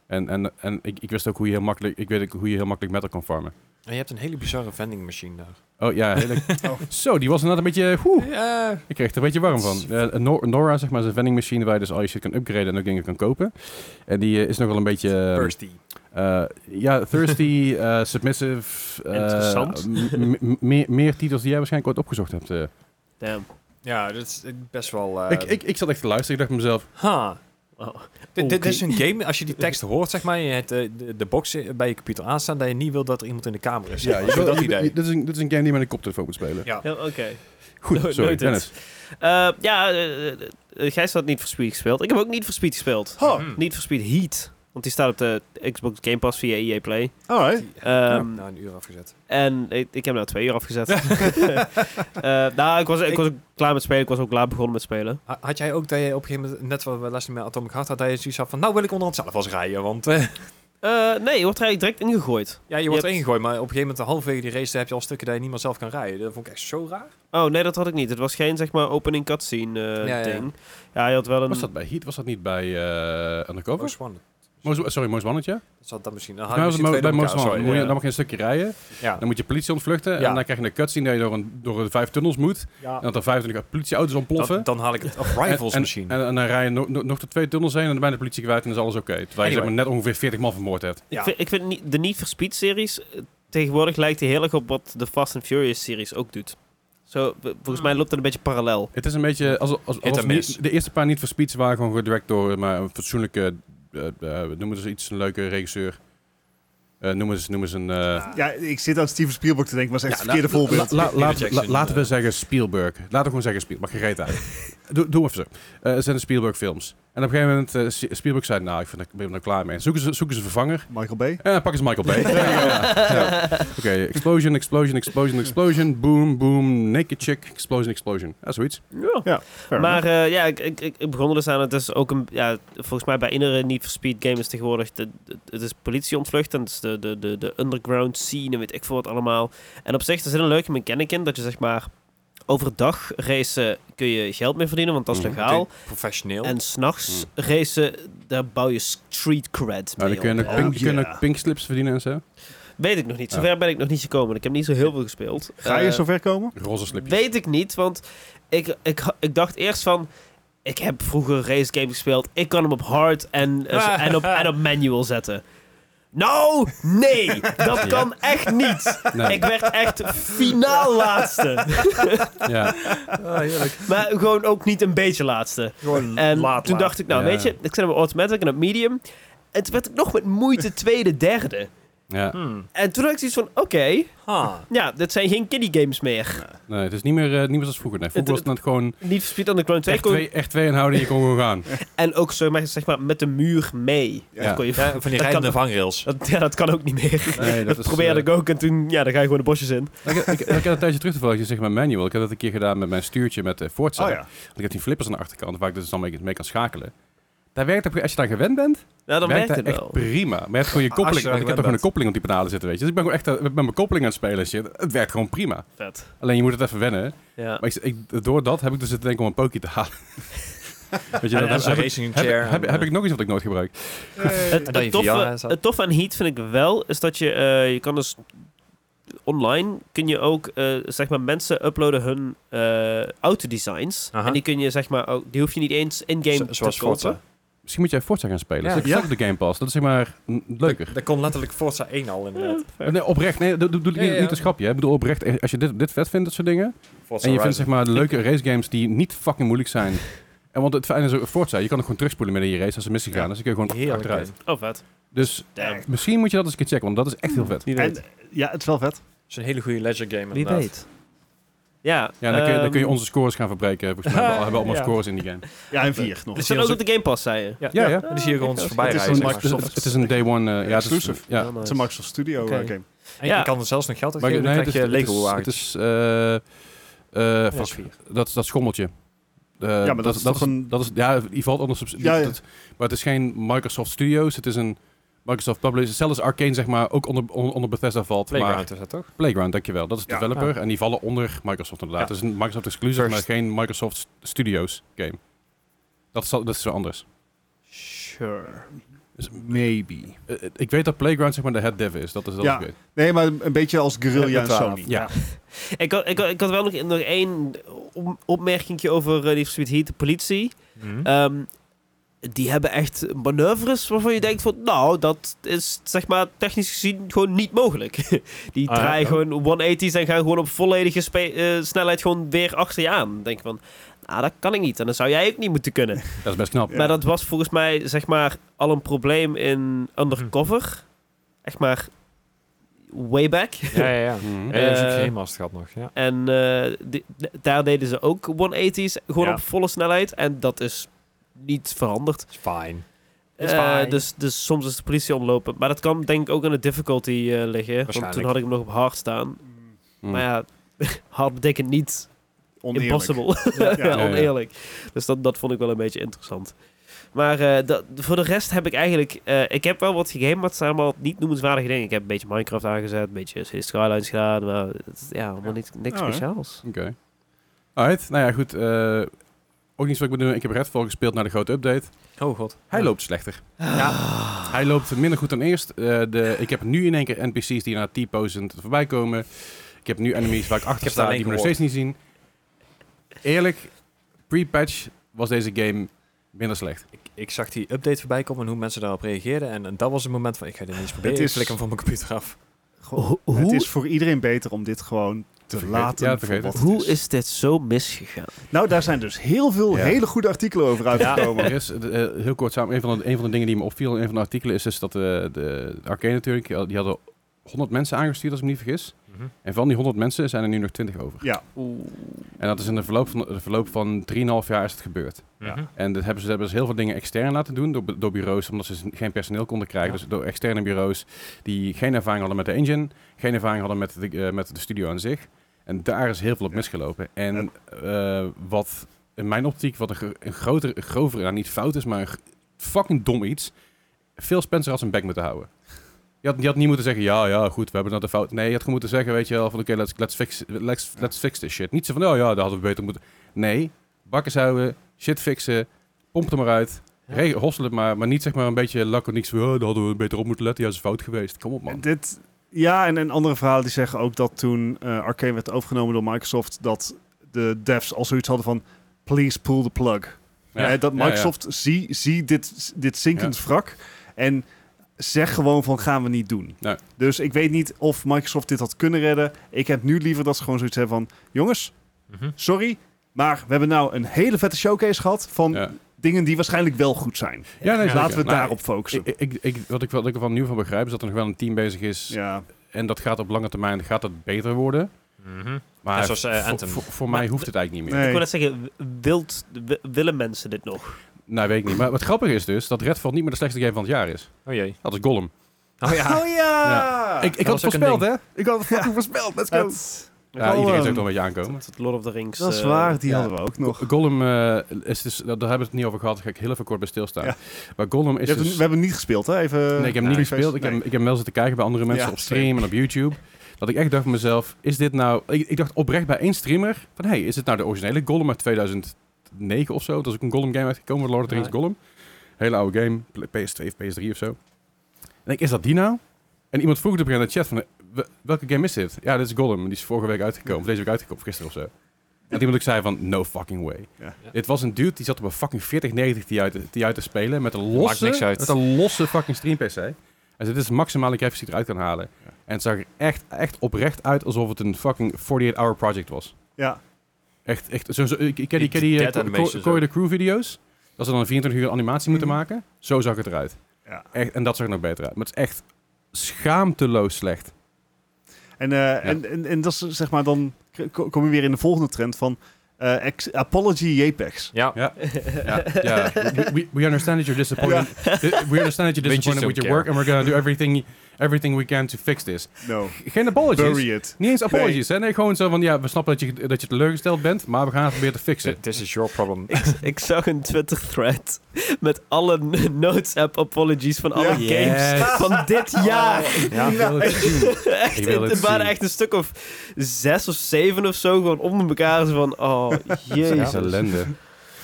A: En, en, en ik, ik wist ook hoe je heel makkelijk, ik weet ook hoe je heel makkelijk metal kon farmen.
D: En je hebt een hele bizarre vending machine daar.
A: [laughs] Oh ja, hele- zo, die was inderdaad een beetje, woe,
D: Ja,
A: Ik kreeg er een beetje warm van. Eh, Nor- Nora, zeg maar, is een vending machine waar je dus al je shit kan upgraden en ook dingen kan kopen. En die eh, is nogal een beetje... eh,
D: thirsty.
A: eh, ja, thirsty, [laughs] eh, submissive. eh,
C: Interessant.
A: m- m- m- meer, meer titels die jij waarschijnlijk ooit opgezocht hebt. eh.
C: Damn.
D: Ja, dat is eh, best wel... eh,
A: ik, ik, ik zat echt te luisteren. Ik dacht bij mezelf,
D: Ha.
C: Wow.
D: Dit, dit
C: Oké.
D: is een game, als je die tekst hoort, zeg maar, je hebt eh, de, de box eh, bij je computer aanstaan, dat je niet wil dat er iemand in de kamer is.
A: ja,
D: Ja,
A: je, wil-
D: dat
A: je-
D: idee.
A: je- dit, is een, dit is een game die je met een koptelefoon moet spelen.
D: Ja.
C: Ja, Oké.
A: [laughs] Goed,
C: Nooit-
A: sorry,
C: nooit
A: Dennis.
C: Eh, ja, eh, eh, eh, Gijs had niet voor Speed gespeeld. Ik heb ook niet voor Speed gespeeld.
D: Hm.
C: Niet voor Speed Heat. Want die staat op de Xbox Game Pass via EA Play.
B: Alright.
D: Ja,
C: Ehm,
D: na nou, een uur afgezet.
C: En ik, ik heb nou twee uur
D: [laughs]
C: afgezet. Eh, nou, ik was, ik,
D: Ik-
C: was ook klaar met spelen. Ik was ook klaar begonnen met spelen.
D: Ha- Had jij ook dat je op een gegeven moment, net wat we laatst met Atomic Heart had, dat je zoiets had van, nou wil ik onderhand zelf als rijden, want eh,
C: Eh, nee, je wordt er eigenlijk direct ingegooid.
D: ja, je wordt
C: hebt-
D: erin gegooid, maar op een gegeven moment, eh, halverwege die race, daar heb je al stukken dat je niet meer zelf kan rijden. Dat vond ik echt zo raar.
C: Oh, nee, dat had ik niet. Het was geen, zeg maar, opening cutscene eh,
D: Ja, ja, ja.
C: ding. Ja, je had wel een...
A: Was dat bij Heat? Was dat niet bij eh, Undercover?
D: Most Wanted.
A: Moos- Ah, sorry, Moos Wannetje?
D: Dat zat dan misschien... Dan
A: Volgens
D: haal
A: mij
D: ik
A: was het mo-
D: misschien
A: bij Moos
D: twee door elkaar,
A: Wannetje.
D: sorry.
A: Moet je- Dan mag je een stukje rijden.
D: Ja.
A: Dan moet je politie ontvluchten. En
D: Ja.
A: dan krijg je een cutscene dat je door, een, door de vijf tunnels moet.
D: Ja.
A: En dat er 25 politieauto's ontploffen.
D: Dan, dan haal ik het... Of
A: En-
D: Rivals
A: en,
D: misschien.
A: En, en dan rij je no- no- nog de twee tunnels heen en dan ben je de politie kwijt en dan is alles oké. Terwijl je
D: Anyway.
A: zeg maar, net ongeveer 40 man vermoord hebt.
D: ja.
C: Ik vind, ik vind niet- de Need for Speed series eh, tegenwoordig lijkt die heel erg op wat de Fast and Furious series ook doet. Zo, w- volgens mij loopt dat een beetje parallel.
A: Het is een beetje als, als,
D: Hit
A: als
D: and miss.
A: niet, de eerste paar niet voor speeds waren gewoon gedirect door maar een fatsoenlijke, eh, eh, noemen ze iets, een leuke regisseur. Eh noemen ze, noemen ze een... eh,
B: Ja, ik zit aan Steven Spielberg
D: nou,
B: te denken, maar dat is echt
A: ja,
B: het verkeerde
A: la-
B: voorbeeld.
A: la- la-
D: Peter
A: laat-
D: Jackson,
A: la- laten we
D: eh.
A: zeggen Spielberg. Laten we gewoon zeggen Spielberg. Maar gereed uit. Doe, doe even zo. Eh, het zijn de Spielberg films. En op een gegeven moment, eh, Si- Spielberg zei, nou, ik vind, ik ben er nou klaar mee. Zoeken ze, zoeken ze een vervanger.
B: Michael Bay.
A: En dan pakken ze Michael Bay. Ja, ja, ja. Oké, explosion, explosion, explosion, explosion. Boom, boom, naked chick, explosion, explosion. Ja, zoiets. Eh,
C: Ja.
B: Fair
C: Maar eh, ja, ik, ik, ik ik begon er dus aan. Het is ook een. Ja, volgens mij bij iedere Need for Speed game is tegenwoordig. De, de- het is politie ontvlucht. En het is de, de, de, de underground scene. En weet ik veel wat allemaal. En op zich er zit een leuke mechanic in. Dat je zeg maar. Overdag racen kun je geld mee verdienen, want dat is
A: Mhm.
C: legaal.
D: Professioneel.
C: En s'nachts racen, daar bouw je street cred
A: Nou,
C: mee.
A: dan kun je nog
C: op.
B: Oh,
A: pink, kun je
B: yeah.
A: nog pink slips verdienen en zo.
C: Weet ik nog niet.
A: Ja.
C: Zover ben ik nog niet gekomen. Ik heb niet zo heel veel
A: [laughs]
C: gespeeld.
B: Ga je
C: Eh,
B: zover komen?
A: Roze slipjes.
C: Weet ik niet, want ik, ik, ha- ik dacht eerst van... Ik heb vroeger race games gespeeld. Ik kan hem op hard en, eh, zo- en, op, en op manual zetten. Nou, nee. Dat kan echt niet.
A: Nee,
C: Ik werd echt finaal laatste.
A: ja.
C: Maar gewoon ook niet een beetje laatste.
D: Gewoon
C: En
D: laat,
C: toen
D: laat.
C: dacht ik, nou
A: Ja.
C: weet je, ik zet hem op automatic en op medium. En toen werd ik nog met moeite tweede, derde.
A: ja.
D: Hmm. Ah.
C: En toen had ik zoiets van, oké,
D: Ha.
C: ja, dit zijn geen kiddie games meer.
A: Nee, het is niet meer, eh, niet meer zoals vroeger. Nee, vroeger was
C: Het-
A: het net gewoon
C: Niet for Speed Underground 2
A: echt
C: kon,
A: twee, echt twee inhouden en je kon gewoon gaan.
C: en ook zeg maar, zeg maar met de muur mee.
B: Ja.
C: Dat kon je,
D: Ja, van
C: [laughs] dat
D: die
C: kan-
D: rijdende vangrails.
C: dat, ja, dat kan ook niet meer.
A: Nee,
C: dat probeerde
A: eh,
C: ik ook en toen, ja, dan ga je gewoon de bosjes in.
A: Ik, ik, ik had een tijdje terug toevallig, je zegt mijn manual. Ik heb dat een keer gedaan met mijn stuurtje met eh Forza.
B: Oh ja.
A: Want ik heb die flippers aan de achterkant waar ik dus dan mee, mee kan schakelen. Daar werkt het, als je daar gewend bent,
C: Nou, dan
A: werkt
C: werkt het
A: dat echt
C: wel.
A: prima. Maar je hebt gewoon je
D: Als je
A: koppeling,
D: daar
A: want ik heb er
D: gewend
A: gewoon
D: bent.
A: een koppeling op die pedalen zitten, weet je. Dus ik ben gewoon echt eh, met mijn koppeling aan het spelen en shit. Het werkt gewoon prima.
C: Vet.
A: Alleen je moet het even wennen.
C: Ja.
A: Maar ik, ik, door dat heb ik dus het denken om een pokie te halen. weet je, dat
D: En dan
A: heb,
D: zo'n
A: heb,
D: racing
A: heb,
D: chair.
A: heb,
D: en,
A: heb
D: eh,
A: ik nog iets wat ik nooit gebruik.
C: Het,
D: En
C: het
D: dat je VR
C: toffe,
D: is dat.
C: het toffe aan Heat vind ik wel, is dat je, eh, je kan dus online, kun je ook, eh, zeg maar, mensen uploaden hun eh, autodesigns.
D: Aha.
C: En die kun je, zeg maar, ook, die hoef je niet eens
D: Zo-
C: in-game
D: zoals
C: te kopen.
D: Forza.
A: Misschien moet jij Forza gaan spelen.
D: Ja.
A: Dat is
B: Ja.
A: ook op de Game Pass. Dat is zeg maar mm, leuker.
D: Dat kon letterlijk Forza 1 al eh, inderdaad.
A: Eh, Nee, oprecht. Nee, dat doe doe ik
D: Ja,
A: niet,
D: ja.
A: niet een schapje. hè. Ik bedoel oprecht, eh, als je dit, dit vet vindt, dat soort dingen.
D: Forza
A: en je vindt
D: Horizon.
A: zeg maar leuke racegames die niet fucking moeilijk
D: [laughs]
A: zijn. En want het fijne is ook Forza, je kan ook gewoon terugspoelen midden in je race als ze misgaan.
B: Ja.
A: Dus je kun je gewoon
D: Heerlijk.
A: achteruit.
D: hè.
C: Oh, vet.
A: Dus
C: Damn.
A: misschien moet je dat eens een keer checken, want dat is echt heel vet.
C: Wie
B: En, ja, het is wel vet.
D: Dat is een hele goede leisure game
C: Wie
D: inderdaad.
C: weet. Ja,
A: Ja, dan kun, je, dan kun je
C: ehm,
A: onze scores gaan verbreken. Volgens mij
D: [laughs]
A: hebben we al- hebben we allemaal
D: Ja. eh,
A: scores in die game.
B: Ja, en vier nog.
C: Dit staat ook op de Game Pass, zei je.
D: Ja,
A: Ja,
D: ja,
A: ja.
D: En die zie je gewoon
C: Ja,
D: voorbij
B: het is
D: rijden.
B: een
D: zeg maar,
A: Het is-
B: Microsoft-
D: soms.
A: Het is een day one eh, ja, het is-
B: Exclusive.
A: Ja,
C: nice.
B: Het is een Microsoft Studio
C: Oké.
B: eh, game.
D: En
C: Ja.
D: je kan er zelfs nog geld aan
A: Maar
D: geven,
A: ik-
D: dan
A: nee,
D: krijg je
A: het is-
D: Lego
A: Het
D: wagens.
A: is, eh, eh,
D: Dat is
A: fuck,
D: vier.
A: dat, dat schommeltje. Eh,
B: maar dat is toch een-
A: Dat is, ja, die valt onder subsidie.
B: Ja, ja.
A: Dat- maar het is geen Microsoft Studios, het is een Microsoft Publisher. Zelfs Arcane, zeg maar, ook onder, on- onder Bethesda valt. Maar
D: Playground is dat toch?
A: Playground, dankjewel. Dat is de
B: Ja.
A: developer en die vallen onder Microsoft inderdaad.
D: Ja.
A: Het is een Microsoft Exclusive,
D: First.
A: maar geen Microsoft S- Studios game. Dat is, al- dat is zo anders.
C: Sure.
A: Dus maybe. ik weet dat Playground zeg maar de head dev is. Dat is dat
B: Ja.
A: ik weet.
B: Nee, maar een beetje als Guerrilla en
D: Met 12.
B: Sony.
A: Ja.
C: Ik had, ik, had, ik had wel nog, nog één op- opmerking over uh, Need for Speed Heat, de politie.
E: Eh,
C: Ehm, die hebben echt manoeuvres waarvan je denkt van... Nou, dat is zeg maar technisch gezien gewoon niet mogelijk. [laughs] die
D: Ah, ja,
C: draaien
D: ja.
C: gewoon 180's en gaan gewoon op volledige spe- eh, snelheid gewoon weer achter je aan. Dan denk je van... Nou, dat kan ik niet. En dat zou jij ook niet moeten
D: [laughs]
C: kunnen.
A: Dat is best knap.
B: Ja.
C: Maar dat was volgens mij zeg maar al een probleem in Undercover. Echt maar way back.
D: Ja, ja,
E: [laughs]
D: ja.
A: Mhm.
D: Ja, je hebt
C: Eh,
D: geen master gehad nog, ja.
C: En eh, di- daar deden ze ook 180's, gewoon
D: Ja.
C: op volle snelheid. En dat is niet veranderd.
D: Is fine. Is
C: Eh,
D: fine.
C: dus, dus soms is de politie onlopen. Maar dat kan denk ik ook aan de difficulty eh, liggen. Want
D: Waarschijnlijk.
C: toen had ik hem nog op hard
B: Hmm.
C: staan.
A: Mm.
C: Maar ja, [laughs] hard betekent niet
B: Oneerlijk.
C: impossible. [laughs]
B: Ja.
C: ja,
A: Ja, ja.
C: oneerlijk. Dus dat, dat vond ik wel een beetje interessant. Maar eh, dat, voor de rest heb ik eigenlijk... eh, ik heb wel wat gegamed, maar het zijn allemaal niet noemenswaardige dingen. Ik heb een beetje Minecraft aangezet, een beetje Cities Skylines gedaan. Maar het is, ja, allemaal niet, niks
B: Oh, hè?
C: speciaals.
A: Oké. Alright, nou ja, goed. eh, ook niet zo wat ik moet doen. Ik heb Redfall gespeeld na de grote update.
D: Oh god.
A: Hij loopt slechter.
E: Ah.
C: Ja.
A: Hij loopt minder goed dan eerst. Eh, de, ik heb nu in één keer NPC's die naar T-posen voorbij komen. Ik heb nu enemies waar ik achter
D: heb
A: sta
D: het
A: die
D: alleen
A: me nog steeds niet zien. Eerlijk, pre-patch was deze game minder
D: [laughs]
A: slecht.
D: Ik, ik zag die update voorbij komen en hoe mensen daarop reageerden. En, en dat was het moment van, ik ga dit
E: [laughs]
D: niet eens proberen.
B: Het
D: Ik
B: is-
D: flik hem van mijn computer af.
C: Ho-
B: Het
C: hoe,
B: is voor iedereen beter om dit gewoon te
A: vergeten.
B: laten.
A: Ja, te
B: voor
A: vergeten.
B: wat het
C: hoe is dit zo misgegaan?
B: Nou, daar zijn dus heel veel
A: Ja.
B: hele goede artikelen over uitgekomen.
A: Er is, eh, eh, heel kort samen, een van, de, een van de dingen die me opviel in een van de artikelen is, is dat eh, de Arcane natuurlijk, eh, die hadden
E: Mhm.
A: 100 mensen aangestuurd als ik me niet vergis. En van die 100 mensen zijn er nu nog 20 over.
B: Ja,
C: Oeh.
A: En En dat is in de verloop van, de verloop van 3,5 jaar is het gebeurd.
C: Ja.
A: En dat hebben ze, hebben ze heel veel dingen extern laten doen door, bu- door bureaus, omdat ze geen personeel konden krijgen.
D: Ja.
A: Dus door externe bureaus die geen ervaring hadden met de engine, geen ervaring hadden met de, eh, met de studio aan zich. En daar is heel veel op
B: Ja.
A: misgelopen. En eh, wat in mijn optiek, wat een, gro- een grotere, een grovere, nou niet fout is, maar een g- fucking dom iets. Phil Spencer had zijn bek moeten houden. Je had, je had niet moeten zeggen, ja, ja, goed, we hebben dat een fout. Nee, je had gewoon moeten zeggen, weet je wel, van oké, let's, let's, fix, let's, let's fix this shit. Niet zo van, oh ja, dat hadden we beter moeten... Nee, bakken zouden, shit fixen, pomp er maar uit,
D: Ja.
A: regel, hossel het maar, maar niet zeg maar een beetje laconiek van, oh, daar hadden we beter op moeten letten, ja, dat is fout geweest. Kom op, [laughs]
B: En
A: man.
B: Dit, ja, en, en andere verhalen die zeggen ook dat toen eh, Arcane werd overgenomen door Microsoft, dat de devs al zoiets hadden van, please pull the plug.
A: Ja.
B: Eh, dat
A: Ja, ja.
B: Microsoft, zie, zie dit, dit zinkend wrak en zeg gewoon van, gaan we niet doen.
A: Nee.
B: Dus ik weet niet of Microsoft dit had kunnen redden. Ik heb nu liever dat ze gewoon zoiets hebben van, jongens,
E: Mhm.
B: sorry, maar we hebben nou een hele vette showcase gehad van
A: Ja.
B: dingen die waarschijnlijk wel goed zijn.
A: Ja, nee,
E: Ja,
A: zeker.
B: Laten we het
A: Nou,
B: daarop focussen.
A: Ik, ik, ik- wat, ik, wat ik er van nu van begrijp, is dat er nog wel een team bezig is.
B: ja.
A: En dat gaat op lange termijn gaat dat beter worden.
E: Mhm.
A: Maar
E: Ja, zoals, eh,
A: voor-
E: Anthem.
A: voor, voor
C: Maar
A: mij hoeft het eigenlijk niet meer.
B: Nee.
C: Ik wil net zeggen, wilt, wi- willen mensen dit nog?
A: Nou, weet ik niet. Maar wat grappig is dus, dat Redfall niet meer de slechtste game van het jaar is.
D: Oh jee.
A: Dat is Gollum.
E: Oh ja.
B: Ah,
A: ik ik
E: was
A: had
E: ook
A: het voorspeld,
E: een
A: hè? Ik had het fucking voorspeld. Let's go.
B: Dat,
A: Ja, iedereen
B: Gollum.
A: zou er een beetje aankomen.
C: Het Lord of the Rings.
B: dat is
C: eh,
B: waar, die
A: ja.
B: hadden we ook nog.
A: Go- Gollum eh, is dus... Daar hebben we het niet over gehad. Daar ga ik heel even kort bij stilstaan.
B: Ja.
A: Maar Gollum is
B: Je hebt
A: dus...
B: hem- we hebben hem niet gespeeld, hè? Even,
A: eh,
B: eh,
A: Nee, ik heb hem niet gespeeld. Ik, heb, hem- ik heb hem wel zitten kijken bij andere mensen
B: Ja,
A: op stream en op YouTube. Dat ik echt dacht van mezelf, is dit nou... Ik, ik dacht oprecht bij één streamer van, hey, is dit nou de originele Gollum uit 2009 of zo? Dat is ook een Gollum game uitgekomen, Lord of the Rings
D: Ja.
A: Gollum. Hele oude game, pl- PS2 of PS3 of zo. En ik denk, is dat die nou? En iemand vroeg het op een gegeven moment in de chat van, "Wel- welke game is dit? Ja, dit is Gollum. Die is vorige week uitgekomen, of deze week uitgekomen, of gisteren of zo. En iemand ook zei van, no fucking way.
B: Ja.
E: Ja.
A: Dit was een dude, die zat op een fucking 4090 die uit, die uit te spelen met een
E: maakt
A: losse,
E: niks uit.
A: Met een losse fucking stream PC. En dit is het maximale graphics die je eruit kan halen.
B: Ja.
A: En het zag er echt, echt oprecht uit alsof het een fucking 48-hour project was.
B: Ja,
A: Echt, echt. Zo, zo, ik ik ken die,
E: Die
A: ken die eh,
E: dead
A: Co- Co-
E: animations
A: Cory
E: ook.
A: de Crew video's. Dat ze dan een 24 uur animatie moeten
B: Mhm.
A: maken. Zo zag het eruit.
B: ja.
A: Echt, en dat zag er nog beter uit. Maar het is echt schaamteloos slecht.
B: En, eh, en, en, en dat is zeg maar dan k- kom je weer in de volgende trend van eh, ex- apology JPEGs.
E: Ja.
A: [laughs]
C: [laughs]
A: Ja, ja. We, we- we understand that you're disappointed. We understand that you're
E: We just
A: disappointed
E: don't
A: with your
E: care.
A: work. And we're gonna do everything, everything we can to fix this.
B: [laughs] No,
A: Geen apologies.
B: bury it.
A: Niet eens apologies, hè? Nee, gewoon zo van, ja, we snappen dat je, dat je teleurgesteld bent, maar we gaan het proberen te fixen.
E: This is your problem.
C: Ik zag een Twitter-thread met alle n- Notes app apologies van alle
A: Ja.
C: games
A: Yes.
C: [laughs] van dit
A: [laughs]
C: jaar.
A: Ja, ik wil het zien.
C: [laughs] echt,
A: Ik wil
C: het
A: het
C: waren
A: zien.
C: echt een stuk of zes of zeven of zo, gewoon onder elkaar. Zo van,
A: [laughs]
C: oh, jezus.
A: Jezus. ellende.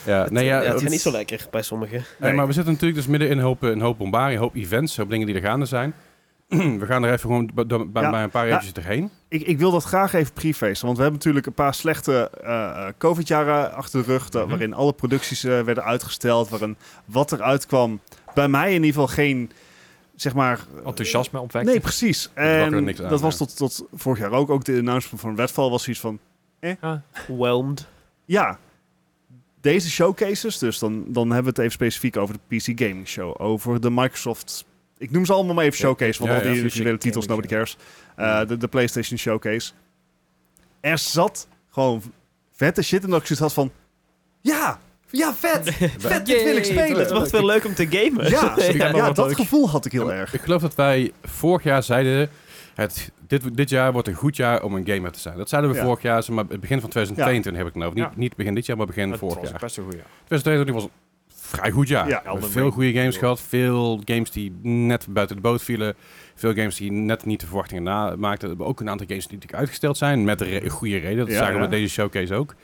A: Ja, nee, ja,
C: Ja, het
A: het-
C: is niet zo lekker bij sommigen.
A: nee,
B: Nee.
A: maar we zitten natuurlijk dus midden in een hoop, eh, een hoop bombarie, een hoop events, een hoop dingen die er gaande zijn. [clears throat] we gaan er even gewoon b- door- bij,
B: Ja.
A: bij een paar
B: Ja.
A: eventjes doorheen.
B: Ik, ik wil dat graag even prefacen, want we hebben natuurlijk een paar slechte eh, eh, COVID-jaren achter de rug, da-
E: Mhm.
B: waarin alle producties eh, werden uitgesteld, waarin wat er uitkwam bij mij in ieder geval geen, zeg maar...
E: Enthousiasme opwekken.
B: Nee, precies.
A: er
B: En
A: niks aan,
B: dat was
A: ja.
B: tot, tot vorig jaar ook. Ook de announcement van Redfall was zoiets van...
A: [laughs]
C: Whelmed.
B: Ja, deze showcases, dus dan, dan hebben we het even specifiek over de PC Gaming Show, over de Microsoft. Ik noem ze allemaal maar even
E: Ja.
B: showcase, want
A: Ja,
B: al die
A: ja.
B: individuele titels,
D: Gaming
B: nobody cares. Eh, de, de PlayStation Showcase. Er zat gewoon vette shit en dat ik zoiets had van... Ja,
A: [laughs]
B: ja vet! vet, dit wil ik spelen!
C: [laughs] Het wordt weer leuk om te gamen. [laughs]
B: Ja, ja,
A: wel wat
B: dat
A: leuk.
B: gevoel had ik heel erg.
A: Ik geloof dat wij vorig jaar zeiden, het, dit, dit jaar wordt een goed jaar om een gamer te zijn. Dat zeiden we
B: Ja.
A: vorig jaar, zeg maar het begin van 2022 heb ik het nou. Niet,
E: Ja.
A: niet begin dit jaar, maar begin
E: Dat
A: vorig
E: was
A: jaar.
E: best een goeie.
A: 2022 was een vrij goed jaar.
B: Ja,
A: We hebben
E: Elden
A: veel
E: Ring.
A: goede games gehad. Veel games die net buiten de boot vielen. Veel games die net niet de verwachtingen namaakten. Maar ook een aantal games die natuurlijk uitgesteld zijn. Met re- goede reden. Dat
B: Ja,
A: zagen we
B: ja.
A: met deze showcase ook.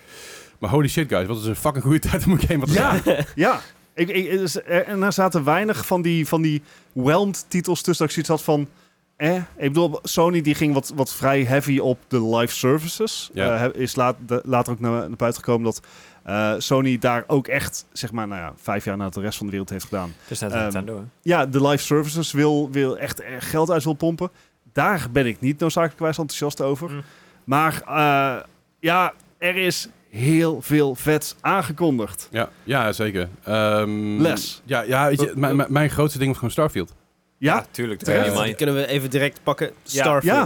A: Maar holy shit, guys. Wat is een fucking goede [laughs] tijd om een game wat te
B: Ja,
A: maken. [laughs]
B: ja. Ik, ik, er is- er- en er zaten weinig van die, van die whelmed titels tussen dat ik zoiets had van... Eh, ik bedoel, Sony die ging wat, wat vrij heavy op de live services.
A: Ja.
B: Eh, he- is laat, de- later ook naar, naar buiten gekomen dat eh, Sony daar ook echt, zeg maar, nou ja, vijf jaar na de rest van de wereld heeft gedaan.
D: Het is net
B: Ehm,
D: Nintendo, hè?
B: Ja, de live services wil, wil echt eh, geld uit wil pompen. Daar ben ik niet noodzakelijkwijs enthousiast over.
E: Mm.
B: Maar eh, ja, er is heel veel vets aangekondigd.
A: Ja, ja zeker. Ehm,
B: Les.
A: Ja, ja weet je, mijn- mijn- mijn grootste ding was gewoon Starfield.
B: Ja,
E: tuurlijk.
B: Terecht.
E: Ja,
A: Eh,
C: kunnen we even direct pakken.
E: Ja.
C: Starfield.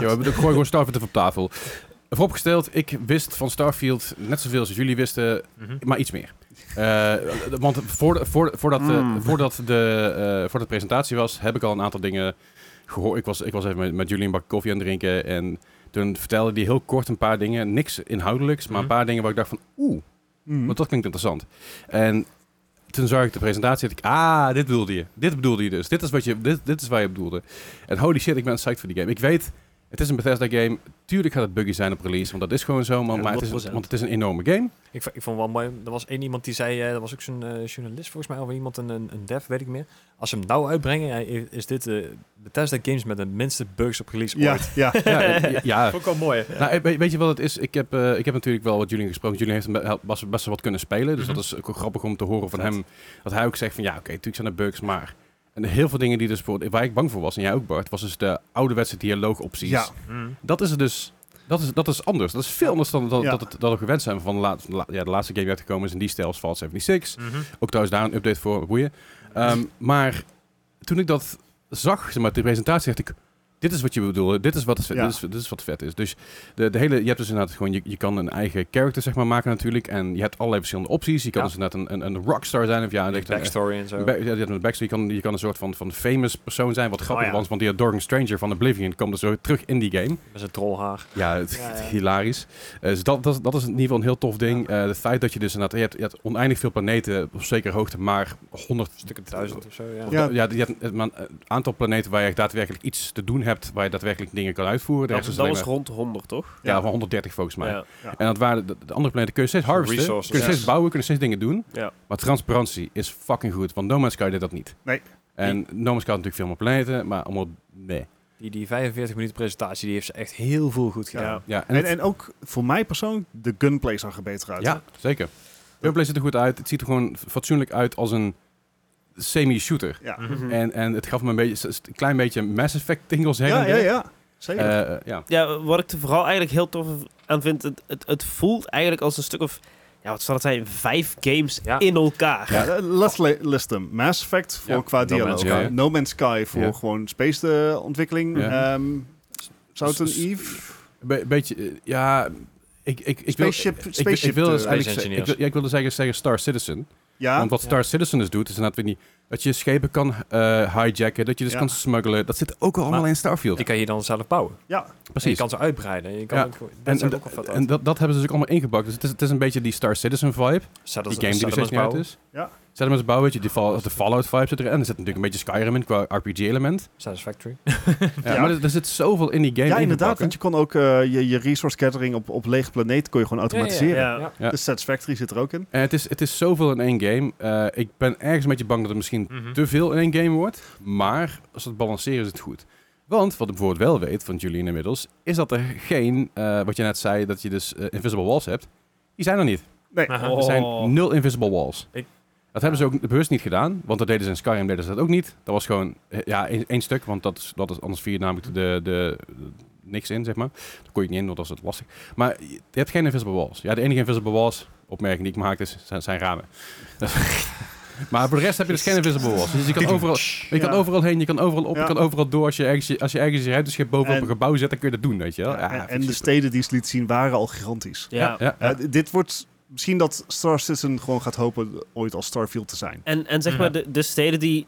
B: Ja.
A: Ja, we gooien gewoon Starfield even op tafel. Vooropgesteld, ik wist van Starfield net zoveel als jullie wisten,
E: Mhm.
A: maar iets meer. Eh, want voor de- voor de- voordat, eh,
C: Mm.
A: voordat, de, eh, voordat de presentatie was, heb ik al een aantal dingen gehoord. Ik was, ik was even met, met jullie een bak koffie aan het drinken en toen vertelde die heel kort een paar dingen. Niks inhoudelijks, maar een
E: Mhm.
A: paar dingen waar ik dacht van, oeh,
B: Mm.
A: want dat klinkt interessant. En toen zag ik de presentatie en dacht ik, ah, dit bedoelde je. Dit bedoelde je dus. Dit is, wat je, dit, dit is waar je bedoelde. En holy shit, ik ben psyched voor die game. Ik weet, het is een Bethesda game. Tuurlijk gaat het buggy zijn op release, want dat is gewoon zo. Maar, maar het is,
D: 100%.
A: want het is een enorme game.
D: Ik, vo- ik vond wel mooi, er was één iemand die zei, eh er was ook zo'n eh, journalist volgens mij, of iemand, een, een, een dev, weet ik meer. Als ze hem nou uitbrengen, ja, i- is dit eh, de Tesla Games met de minste bugs op release
B: Ja,
D: ooit.
B: ja.
A: Ja, eh, ja.
E: Vond ik wel mooi.
A: Nou, eh, weet, weet je wat het is? Ik heb, eh, ik heb natuurlijk wel wat Julian gesproken. Julian heeft hem be- best, best wel wat kunnen spelen. Dus
E: Mhm.
A: dat is ook wel grappig om te horen van
D: Vet.
A: hem. Dat hij ook zegt van ja, oké, natuurlijk zijn er bugs, maar... En heel veel dingen die dus voor, waar ik bang voor was, en jij ook Bart, was dus de ouderwetse dialoogopties.
B: Ja.
E: Mhm.
A: Dat is het dus. Dat is, dat is anders. Dat is veel anders dan, dan
B: Ja.
A: dat, het, dat we gewend zijn van de, laat, la- ja, de laatste game die uitgekomen is in die stijl is Fallout 76.
E: Mhm.
A: Ook trouwens daar een update voor, boeien. Ehm, maar toen ik dat zag, zeg maar de presentatie, dacht ik, dit is wat je bedoelde, dit is wat, het vet,
B: Ja.
A: dit is, dit is wat vet is. Dus de, de hele, je hebt dus inderdaad gewoon, je, je kan een eigen character zeg maar maken natuurlijk. En je hebt allerlei verschillende opties. Je kan
D: Ja.
A: dus inderdaad een, een, een rockstar zijn of ja, een, echt een,
D: Backstory en zo.
A: Ba- ja, die had een backstory. Je kan, je kan een soort van, van famous persoon zijn, wat grappig
D: Oh ja.
A: was, want die Adoring Stranger van Oblivion kwam er zo terug in die game.
D: Met zijn trollhaar.
A: Ja, het,
D: Ja, ja.
A: hilarisch. Eh, dus dat, dat, is- dat is in ieder geval een heel tof ding. Eh, het feit dat je dus inderdaad, je hebt, je hebt oneindig veel planeten op zekere hoogte, maar 100
D: Stukken duizend of zo, ja.
A: ja. ja, je hebt een- een aantal planeten waar je daadwerkelijk iets te doen hebt, waar je daadwerkelijk dingen kan uitvoeren. De
C: Dat,
A: rest is
C: dus
A: dus
C: dat
A: alleen
C: was
A: maar-
C: rond 100, toch?
A: ja, van 130 volgens mij.
C: Ja.
A: En dat waren de, de andere planeten kun je steeds harvesten,
D: Resources.
A: kun je steeds
D: Ja.
A: bouwen, kun je steeds dingen doen.
C: Ja.
A: Maar transparantie is fucking goed, want No Man's Sky deed dat niet.
B: Nee.
A: En No Man's Sky had natuurlijk veel meer planeten, maar allemaal nee.
D: Die, die 45 minuten presentatie, die heeft ze echt heel veel goed gedaan.
C: Ja.
A: Ja, en,
B: En,
A: het-
B: en ook voor mij persoonlijk, de gunplay zag er beter uit.
A: ja zeker. Gunplay ziet er goed uit. Het ziet er gewoon fatsoenlijk uit als een semi-shooter.
B: Ja.
E: Mhm.
C: Mhm.
A: En, en het gaf me een, beetje, een klein beetje Mass Effect tingles her
B: Ja,
A: en
B: ja,
A: der.
B: ja. Zeker.
A: Eh, eh, ja.
C: Ja, wat ik er vooral eigenlijk heel tof aan vind, het, het, het voelt eigenlijk als een stuk of, ja, wat zal het zijn, vijf games
D: Ja.
C: in elkaar.
A: ja.
B: Ja, eh, let's li- list them. Mass Effect voor
A: Ja.
B: qua
A: No
B: dialoog.
A: Man's
B: No
A: Sky,
B: Man's
A: ja.
B: Sky, voor
A: Ja.
B: gewoon space eh, ontwikkeling.
A: Ja.
B: Ehm, Southern
A: S- s-
B: Eve.
A: Be- beetje, eh, ja, ik, ik, ik wil...
B: Spaceship-
A: ik- Ik, ik
B: spaceship,
A: wil
B: eh,
A: dus
D: Space
A: eigenlijk... ze- Ik,
D: engineers.
A: wil- ja, ik wilde zeggen, zeggen Star Citizen.
B: Ja,
A: Want wat Star Citizen dus doet, is inderdaad weer niet... Dat je schepen kan eh, hijacken, dat je dus
B: Ja.
A: kan smuggelen. Dat zit ook al allemaal
D: Maar-
A: in Starfield.
D: Die kan je dan zelf bouwen.
B: ja.
D: En je
A: Precies.
D: kan ze uitbreiden. Je kan
A: Ja.
D: ook, dat
A: en
D: zijn
A: en-
D: ook al vet
A: en
D: uit.
A: dat, dat hebben ze dus ook allemaal ingepakt. Dus het is, het is een beetje die Star Citizen vibe.
D: Settlers-
A: Die game die er steeds
D: settlements
A: niet uit
D: bouwen.
A: is.
B: Ja.
A: Settlements bouwen, weet je, die fall, de Fallout vibe zit erin. En er zit natuurlijk een beetje Skyrim in qua RPG-element.
D: Satisfactory.
A: Ja,
B: [laughs] Ja.
A: Maar er, er zit zoveel in die game
B: ja, inderdaad.
A: ingepakt, hè.
B: Want je kon ook eh, je, je resource gathering op, op lege planeet kon je gewoon automatiseren.
C: ja.
A: ja.
B: De Satisfactory zit er ook in.
A: En het is, het is zoveel in één game. Eh, ik ben ergens een beetje bang dat het misschien
E: Mhm.
A: te veel in één game wordt. Maar als we het balanceren is het goed. Want wat ik bijvoorbeeld wel weet van Julian inmiddels, is dat er geen, eh, wat je net zei, dat je dus eh, invisible walls hebt. Die zijn er niet.
E: Aha.
C: Oh.
A: Er zijn nul invisible walls.
D: Ik-
A: Dat hebben ze ook bewust niet gedaan, want dat deden ze in Skyrim deden ze dat ook niet. Dat was gewoon eh, ja, één, één stuk, want dat is, dat is anders vier namelijk de, de, de- niks in, zeg maar. Daar kon je niet in, want dat is het lastig. Maar je je hebt geen invisible walls. Ja, de enige invisible walls, opmerking die ik maakte, is- zijn, zijn ramen. [laughs] maar voor de rest heb je dus geen invisible walls. Dus je kan overal, je kan
B: Ja.
A: overal heen, je kan overal op,
B: Ja.
A: je kan overal door. Als je ergens je, als je, ergens je ruimteschip bovenop
B: En-
A: een gebouw zet, dan kun je dat doen, weet je wel. Ja,
B: en
A: vind
B: en
A: ik
B: de
A: super.
B: steden die ze liet zien waren al gigantisch.
C: Ja.
A: Ja, ja.
B: Eh, d- dit wordt misschien dat Star Citizen gewoon gaat hopen ooit als Starfield te zijn.
C: En, en zeg
E: Ja.
C: maar, de, de steden die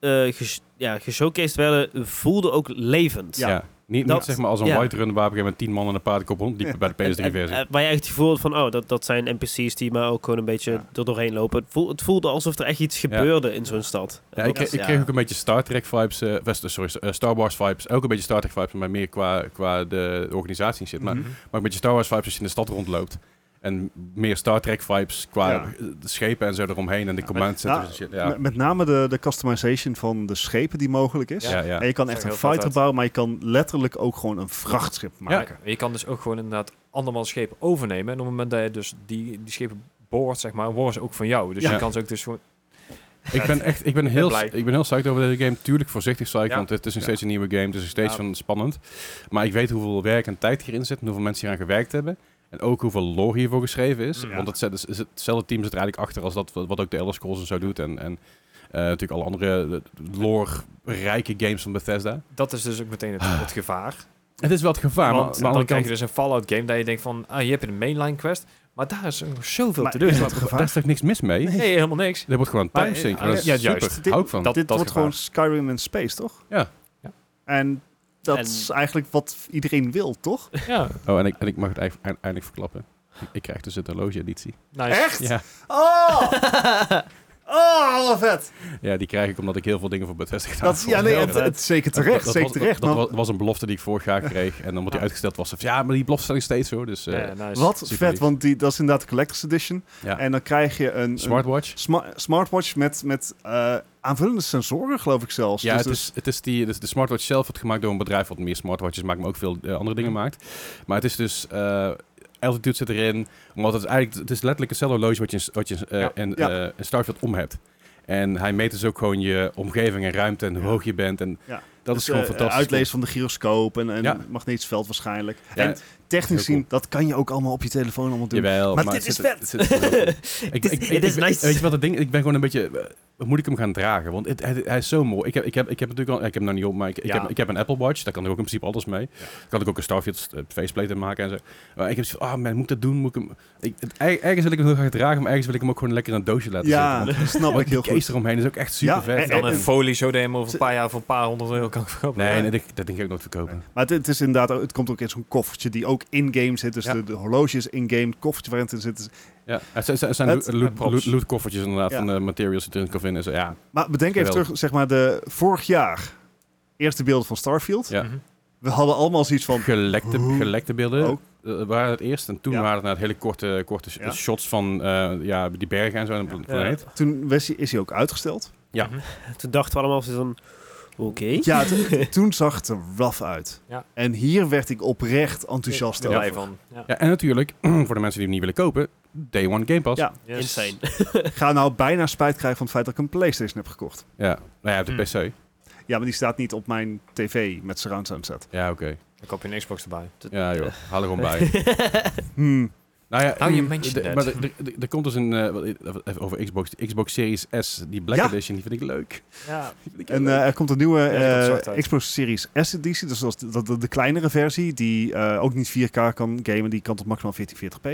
C: eh ges- ja, geshowcased werden, voelden ook levend.
B: Ja.
A: Ja. Niet,
C: Dat-
A: niet zeg maar als een
C: ja.
A: white run waar op een gegeven moment tien man en een paardenkop rondliepen bij de
C: [laughs] En- en-
A: PS3-versie.
C: eh, waar je echt het gevoel had van, oh, dat, dat zijn NPC's die maar ook gewoon een beetje
B: Ja.
C: er doorheen lopen. Het, voel- het voelde alsof er echt iets gebeurde in zo'n stad.
A: Ja,
C: En
A: ik,
C: dat
A: kreeg-
C: is-
A: ik kreeg ook een beetje Star Trek vibes, eh, west- sorry, eh, Star Wars vibes. Ook een beetje Star Trek vibes, maar meer qua, qua de organisatie en shit. Maar,
B: Mhm.
A: maar een beetje Star Wars vibes als je in de stad rondloopt. En meer Star Trek vibes qua
B: Ja.
A: eh, de schepen en zo eromheen. En de command centers en shit. Ja,
B: Nou, Met, met name de, de customization van de schepen die mogelijk is.
A: ja, ja.
B: En je kan
D: Zag
B: echt
D: er
B: een
D: heel vet
B: fighter
D: uit.
B: bouwen, maar je kan letterlijk ook gewoon een vrachtschip maken.
D: Maar je kan dus ook gewoon inderdaad andermans schepen overnemen. En op het moment dat je dus die, die schepen boort, zeg maar, worden ze ook van jou. Dus
A: Ja.
D: je kan ze ook dus gewoon...
A: Ik ben echt ik ben heel,
D: blij.
A: ik ben heel psyched over deze game. Tuurlijk voorzichtig psyched,
D: Ja.
A: want het is nog
B: Ja.
A: steeds een nieuwe game. dus Het is nog steeds
D: Ja.
A: van spannend. Maar ik weet hoeveel werk en tijd hierin zit. En hoeveel mensen hier aan gewerkt hebben. En ook hoeveel lore hiervoor geschreven is.
E: Ja.
A: Want het, zet- is- is hetzelfde team zit er eigenlijk achter als dat wat wat ook de Elder Scrolls en zo doet. En, en eh, natuurlijk alle andere eh, lore-rijke games van Bethesda.
D: Dat is dus ook meteen het, het gevaar.
A: Het is wel het gevaar, Ah. maar,
E: Want
A: maar aan de
E: dan
A: andere
E: krijg je
A: kant...
E: dus een Fallout game dat je denkt van, ah, hier heb je een mainline quest. Maar daar is nog zoveel
B: Maar
E: te
B: is
E: doen.
A: [laughs]
B: dat gevaar?
A: Daar is toch niks mis mee?
E: Nee, helemaal niks.
A: Er wordt gewoon
E: Maar,
A: time sink.
E: eh,
A: dat is
E: ja,
A: super.
E: juist.
B: Dit-
A: Hou ik van.
E: Dat-
B: Dit
E: is
B: wordt gewoon Skyrim in space, toch?
A: Ja.
E: Ja.
B: En dat
C: En-
B: is eigenlijk wat iedereen wil, toch?
E: Ja,
A: Oh, en ik, en ik mag het eigenlijk eindelijk verklappen. Ik- Ik krijg dus het horloge-editie.
E: nice.
B: Echt?
A: Ja.
E: [laughs]
B: Oh! Oh, wat vet!
A: ja, die krijg ik omdat ik heel veel dingen voor Bethesda gedaan
B: Dat,
A: heb.
B: ja, nee,
E: heel
B: het,
E: vet.
B: het- zeker terecht,
A: Dat- dat
B: zeker
A: was-
B: terecht.
A: Dat,
B: man.
A: dat was een belofte die ik vorig jaar kreeg. En dan wordt die
E: Ja.
A: uitgesteld was. Of, ja, maar die belofte staat nog steeds hoor. Dus eh,
E: Ja, nice.
B: wat
A: super
B: vet,
A: lief.
B: want die, dat is inderdaad de Collector's Edition.
A: Ja.
B: En dan krijg je een, een
A: smartwatch.
B: sma- smartwatch met, met eh, aanvullende sensoren, geloof ik zelfs.
A: Ja,
B: Dus-
A: het
B: dus-
A: is, het is die, dus de smartwatch zelf wordt gemaakt door een bedrijf wat meer smartwatches maakt, maar ook veel eh, andere dingen maakt. Maar het is dus, eh, altitude zit erin, omdat het eigenlijk, het is letterlijk hetzelfde horloge wat je, in- wat je eh,
E: Ja.
A: in,
B: Ja.
A: eh, in Starfield om hebt. En hij meet dus ook gewoon je omgeving en ruimte en hoe
B: Ja.
A: hoog je bent. En
B: Ja.
A: dat is
B: dus,
A: gewoon
B: eh,
A: fantastisch.
B: Uitlezen van de gyroscoop en, en
A: Ja.
B: magnetisch veld waarschijnlijk.
A: Ja,
B: en
A: heel
B: technisch
A: cool.
B: zien, dat kan je ook allemaal op je telefoon allemaal doen.
A: Jawel,
B: Maar dit
A: het
B: is
A: zit-
B: vet.
A: het zit er wel in.
B: [laughs]
C: Het is- het is
A: ik-
C: nice.
A: Weet je wat het ding? Ik ben gewoon een beetje. eh, moet ik hem gaan dragen? Want het, hij, hij is zo mooi. Ik heb, ik heb, ik heb natuurlijk al. Ik heb hem nog niet op, maar ik, ik,
E: Ja.
A: heb, ik heb een Apple Watch. Daar kan ik ook in principe alles mee. Daar kan ik ook een Starfield eh, faceplate in maken en zo. Maar ik heb zoiets van, ah man, moet ik dat doen? Moet ik hem. Ik, het- er- ergens wil ik hem heel graag dragen, maar ergens wil ik hem ook gewoon lekker in een doosje laten
B: Ja,
A: zitten.
B: dat
A: [laughs]
B: snap ik
A: Want
B: heel
A: die case
B: goed.
A: eromheen is ook echt super
B: Ja,
A: vet.
B: en-
E: Dan
B: en-
E: een folie zo dat je hem over een paar jaar voor een paar honderd euro kan verkopen.
A: Nee, nee, dat, dat denk ik ook nooit verkopen.
B: Maar het, het is inderdaad, ook- het komt ook in zo'n koffertje die ook in-game zit. Dus
A: Ja.
B: de, de horloge is in-game, het koffertje waarin het in zit. is-
A: Ja, het zijn, het zijn
B: Het-
A: loot- loot,
E: props.
A: loot- lootkoffertjes inderdaad
B: Ja.
A: van de materials die erin kan vinden. en zo. Ja,
B: Maar bedenk even
A: Geweldig.
B: terug, zeg maar, de, vorig jaar, eerste beelden van Starfield.
A: Ja.
E: Mhm.
B: We hadden allemaal zoiets van,
A: gelekte,
B: Hoe?
A: gelekte beelden
B: Ook.
A: eh, waren het eerst. En toen
B: Ja.
A: waren het nou hele korte, korte sh-
B: Ja.
A: shots van eh, ja, die bergen en zo. En de planeet.
B: toen was hij- is hij ook uitgesteld.
A: Ja.
E: Mhm.
C: Toen dachten we allemaal van, oké.
B: Ja,
A: [laughs]
B: t- toen zag het er rough uit.
E: Ja.
B: En hier werd ik oprecht enthousiast
E: Ik ben
B: over.
E: blij van. Ja.
A: Ja, en natuurlijk, [clears throat] voor de mensen die hem niet willen kopen, Day One Game Pass.
B: Ja.
E: Yes.
C: Insane.
B: Ik ga nou bijna spijt krijgen van het feit dat ik een Playstation heb gekocht.
A: Ja, nou ja, op de
E: Hmm.
A: PC.
B: Ja, maar die staat niet op mijn tv met surround sound set.
A: Ja, oké.
E: Dan koop je een Xbox erbij.
A: Ja,
B: [laughs]
A: joh. Haal er gewoon
C: [laughs]
A: bij.
B: Hmm.
A: nou ja,
E: Hou je
A: mm,
E: mention
A: de-
E: net.
A: Maar er- er- er komt dus een, eh, wat- even over Xbox, de Xbox Series S, die Black
B: Ja.
A: Edition, die vind ik leuk.
E: Ja,
A: Die vind ik heel
B: En
A: leuk.
B: eh, er komt een nieuwe
E: die komt
B: eh,
E: zwart uit.
B: Xbox Series S editie. Dus dat is de, de, de kleinere versie die eh, ook niet 4K kan gamen. Die kan tot maximaal 1440p.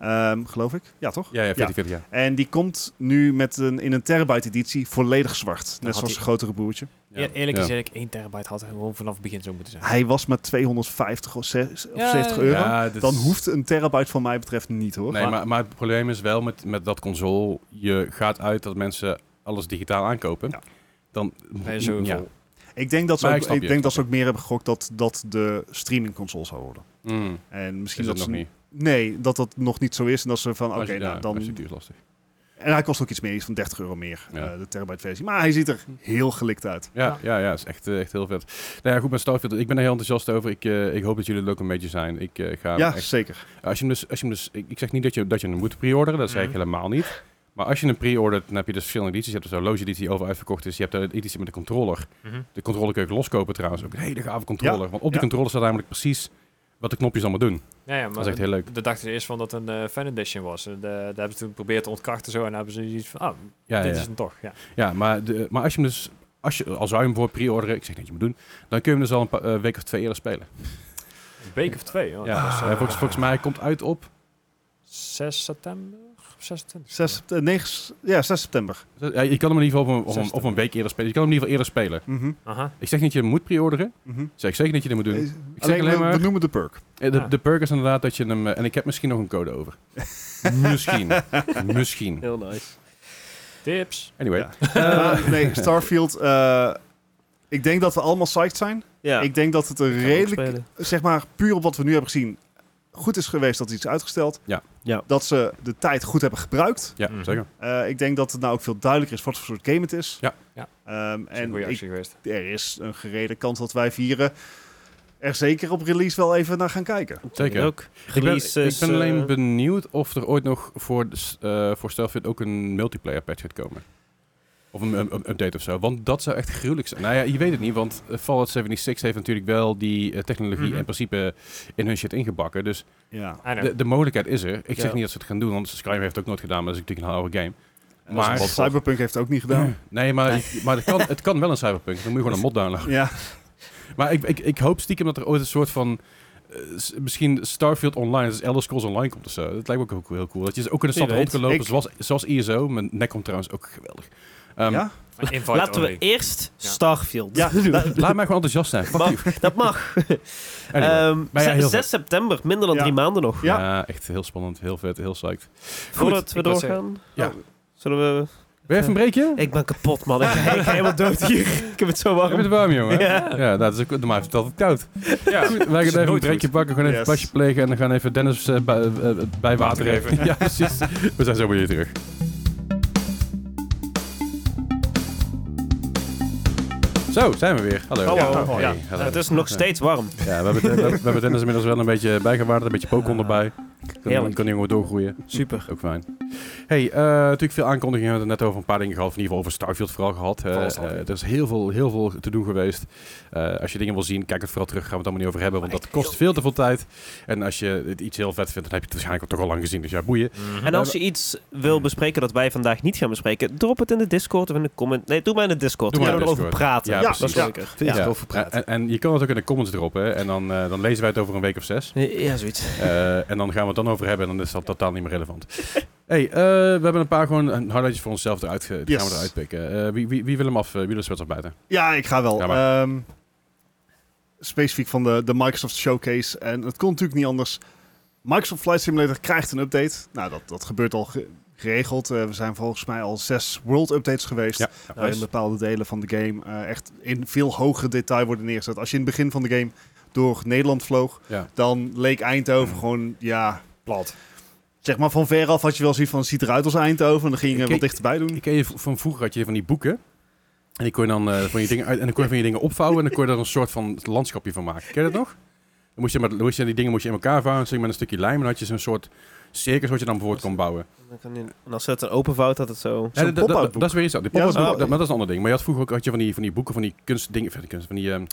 B: Ehm, geloof ik. Ja, toch?
A: ja, ja, 40, 40, ja.
B: En die komt nu met een, in een terabyte editie volledig zwart. Net
E: had
B: zoals
E: hij-
B: zijn grotere broertje.
E: Eer- eerlijk
A: Ja.
E: gezegd, 1 terabyte had gewoon vanaf het begin zo moeten zijn.
B: Hij was maar 250 of, zes- of
E: Ja,
B: 70
E: ja.
B: euro.
A: Ja, dit
B: Dan
A: is-
B: hoeft een terabyte van mij betreft niet hoor.
A: Nee, maar, maar het probleem is wel met, met dat console, je gaat uit dat mensen alles digitaal aankopen.
B: Ja.
A: Dan,
E: Nee, zo
A: ja.
E: vol.
B: Ik denk dat ze,
A: Maar
B: ook,
A: ik
B: ik
A: snap je,
B: denk
A: ik
B: dat ze
A: snap
B: ook meer hebben gegokt dat dat de streaming console zou worden.
A: Mm,
B: En misschien
A: is
B: dat
A: het nog
B: ze-
A: niet.
B: Nee, dat dat nog niet zo is. En dat ze van, oké,
A: Als je-
B: nou,
A: ja,
B: dan...
A: als je duur is lastig.
B: En hij kost ook iets meer, iets van 30 euro meer,
A: Ja.
B: eh, de terabyte versie. Maar hij ziet er heel gelikt uit.
A: Ja,
E: Ja.
A: ja, ja, is echt, eh, echt heel vet. Nou ja, goed, met Starfield, ik ben er heel enthousiast over. Ik, eh, ik hoop dat jullie het ook een beetje zijn. Ik eh, ga
B: ja,
A: echt-
B: zeker.
A: als je hem dus, als je hem dus, ik, ik zeg niet dat je, dat je hem moet pre-orderen, dat zeg ik
B: Mm.
E: Mhm.
A: helemaal niet. Maar als je hem pre-ordert, dan heb je dus verschillende edities. Je hebt dus een loge editie die over uitverkocht is. Je hebt de editie met de controller.
E: Mhm.
A: De controller kun je ook loskopen trouwens. Ook een hele gave controller. Want op die
B: Ja.
A: controller staat namelijk precies wat de knopjes allemaal doen.
E: Ja, ja,
A: Dat
E: maar
A: is echt heel leuk.
E: de dachten ze eerst van dat het een eh, fan edition was. En eh, daar hebben ze toen geprobeerd te ontkrachten zo. En hebben ze iets van, ah,
A: Ja,
E: dit
A: ja, ja.
E: is hem toch. Ja.
A: Ja, maar, de, maar als je hem dus... Als je, al zou je hem voor pre-orderen, ik zeg niet dat je moet doen, dan kun je hem dus al een paar, eh, week of twee eerder spelen.
E: Een week of twee. hoor.
A: Ja,
E: Dat is,
A: eh,
E: eh,
A: volgens, volgens mij komt uit op...
E: 6 september? 26?
B: 6, sept- eh, 9, s- ja, 6 september.
A: Ja, je kan hem in ieder geval op een, op, een,
E: Zesde.
A: op een week eerder spelen. Je kan hem in ieder geval eerder spelen.
B: Mhm,
E: Aha.
A: Ik zeg niet dat je hem moet pre-orderen.
B: mhm.
A: Ik zeg zeker dat je dat moet doen.
B: Eh,
A: Eh,
B: alleen,
A: alleen
B: we-
A: maar-
B: we noemen de
C: [laughs]
B: perk.
A: De,
E: Ja.
A: de perk is inderdaad dat je hem... eh, En ik heb misschien nog een code
E: [laughs]
A: over. misschien. Misschien.
C: Heel nice.
E: Tips.
A: Anyway.
B: Ja. Maar Ah, nee, Starfield. eh, ik denk dat we allemaal psyched zijn.
C: Ja.
B: Ik denk dat het een
C: Gaan we
B: redelijk,
C: spelen.
B: zeg maar, puur op wat we nu hebben gezien, goed is geweest dat iets uitgesteld.
A: Ja.
C: Ja.
B: Dat ze de tijd goed hebben gebruikt.
A: Ja,
E: Mhm.
A: zeker.
B: Eh, ik denk dat het nou ook veel duidelijker is wat voor soort game het is.
A: Ja.
E: Ja.
B: Ehm,
E: En een
B: en
E: goede
B: ik,
E: actie geweest.
B: er is een gerede kans dat wij vieren er zeker op release wel even naar gaan kijken.
A: Zeker.
C: Ook.
A: Ik ben,
C: Release
A: ik
C: is,
A: ben alleen
C: eh,
A: benieuwd of er ooit nog voor, de s- eh voor Starfield ook een multiplayer patch gaat komen. Of een, een- een update of zo. Want dat zou echt gruwelijk zijn. Nou ja, je weet het niet, want eh, Fallout 76 heeft natuurlijk wel die eh, technologie
E: Mhm.
A: in principe in hun shit ingebakken. Dus
B: Ja.
E: I know.
A: de, de mogelijkheid is er. Ik zeg
C: Ja.
A: niet dat ze het gaan doen, want Skyrim heeft het ook nooit gedaan, maar dat is natuurlijk een oude game.
B: Maar
A: Maar-
B: Cyberpunk heeft het ook niet gedaan.
A: Nee, maar, maar het, kan, het kan wel een Cyberpunk. Dan moet je gewoon een mod downloaden.
B: [clears throat] Ja,
A: Maar ik, ik, ik hoop stiekem dat er ooit een soort van... eh, s- misschien Starfield Online, dus Elder Scrolls Online komt of zo. Dat lijkt me ook heel cool. Dat je ook in de
C: Wie
A: stad rond kan
C: weet.
A: lopen,
B: Ik-
A: zoals, zoals ISO. Mijn nek komt trouwens ook geweldig. Ehm,
B: ja?
E: Maar invite
C: Laten we
E: only.
C: eerst
E: Ja.
C: Starfield [laughs]
B: Ja,
C: doen.
B: da-
A: Laat mij gewoon enthousiast zijn. Fuck you.
C: Dat mag.
A: [laughs] Anyway.
C: Ehm,
A: Maar ja,
C: ze-
A: heel
C: 6
A: vet.
C: september, minder dan
B: Ja.
C: drie maanden nog.
B: ja.
A: ja. echt heel spannend, heel vet, heel psyched.
C: Voordat we
D: ik wou
C: doorgaan.
A: Ja.
C: Zullen we...
A: Weer even een breekje?
C: Eh, Ik ben kapot, man. Ik ga, ik ga helemaal dood hier. [laughs] Ik heb het zo
A: Heb je het
C: warm.
A: warm, jongen?
C: Ja.
A: Ja, dat is ook, normaal is het altijd koud.
E: Ja.
A: Goed, wij
E: is
A: gaan even een
E: nooit
A: drankje
E: goed.
A: pakken, gewoon even
B: Yes.
A: een plasje plegen en dan gaan even Dennis eh, bij, eh, eh, bij water even. [laughs] Ja, precies. We zijn zo weer hier terug. Zo, zijn we weer. Hallo.
C: Hallo.
A: Oh, Ja,
B: Ja.
A: hoi.
C: Ja.
A: Hallo.
C: het is nog steeds warm.
A: Ja, we hebben, we hebben Dennis inmiddels wel een beetje bijgewaard, een beetje Pokémon
D: Ah,
A: erbij. Kan,
C: Heerlijk.
A: kan die jongen doorgroeien.
C: Super.
A: Ook fijn. Hey, eh, natuurlijk veel aankondigingen. We hebben het net over een paar dingen gehad. Of in ieder geval over Starfield vooral gehad. Eh,
D: Vooral Starfield.
A: eh, er is heel veel, heel veel te doen geweest. Eh, als je dingen wil zien, kijk het vooral terug. Gaan we het allemaal niet over hebben, want
D: Ah,
A: dat kost veel te veel tijd. En als je het iets heel vet vindt, dan heb je het waarschijnlijk toch al lang gezien. Dus ja, boeien.
E: Mhm.
C: En als je iets wil bespreken dat wij vandaag niet gaan bespreken, drop het in de Discord of in de comment. Nee, doe maar in de Discord.
A: Doe
C: We
A: maar
C: gaan
A: in de
C: erover
A: Discord.
C: praten.
A: Ja,
C: dat is
A: precies.
C: leuker.
D: Veel
A: Ja.
D: erover praten.
A: En, en je kan het ook in de comments droppen. En dan, eh, dan lezen wij het over een week of zes.
C: Ja, zoiets.
A: Eh, en dan gaan we het dan over hebben en dan is dat totaal niet meer relevant. hey, eh, we hebben een paar gewoon eh, highlightjes voor onszelf eruit, ge- die
B: Yes.
A: gaan we eruit pikken. Eh, wie, wie, wie wil hem af? eh, wie wil de sweats afbijten?
B: Ja, ik ga wel.
A: Ja,
B: Ehm, specifiek van de, de Microsoft Showcase. En het kon natuurlijk niet anders. Microsoft Flight Simulator krijgt een update. Nou, dat, dat gebeurt al ge- geregeld. Eh, we zijn volgens mij al zes world updates geweest.
A: Ja.
B: waarin Nou, bepaalde delen van de game eh, echt in veel hoger detail worden neergezet. Als je in het begin van de game door Nederland vloog,
A: Ja.
B: dan leek Eindhoven gewoon, ja,
D: Plat.
B: zeg maar van veraf had je wel zoiets van, ziet eruit als Eindhoven. En dan ging je
A: Ik-
B: wat dichterbij doen.
A: Ik ken je v- van vroeger had je van die boeken. En die kon je dan eh, van je dingen uit- en dan kon je van je dingen opvouwen en dan kon je er een soort van landschapje van maken. Ken je dat nog? Dan moest je, met, moest je die dingen moest je in elkaar vouwen, zeg met een stukje lijm en dan had je zo'n soort cirkels wat je dan bijvoorbeeld kon bouwen.
C: Dan kan die- En als je het een openvouwt, dat het zo...
A: Ja,
B: Zo'n
A: dat- dat- dat,
B: pop-out
A: dat is weer iets. anders. Die
B: Ja,
A: pop-out
B: zo'n
A: boek, dat- maar dat is een ander ding. Maar je had vroeger ook had je van die, van die boeken van die kunstdingen, van die, kunst, van die ehm,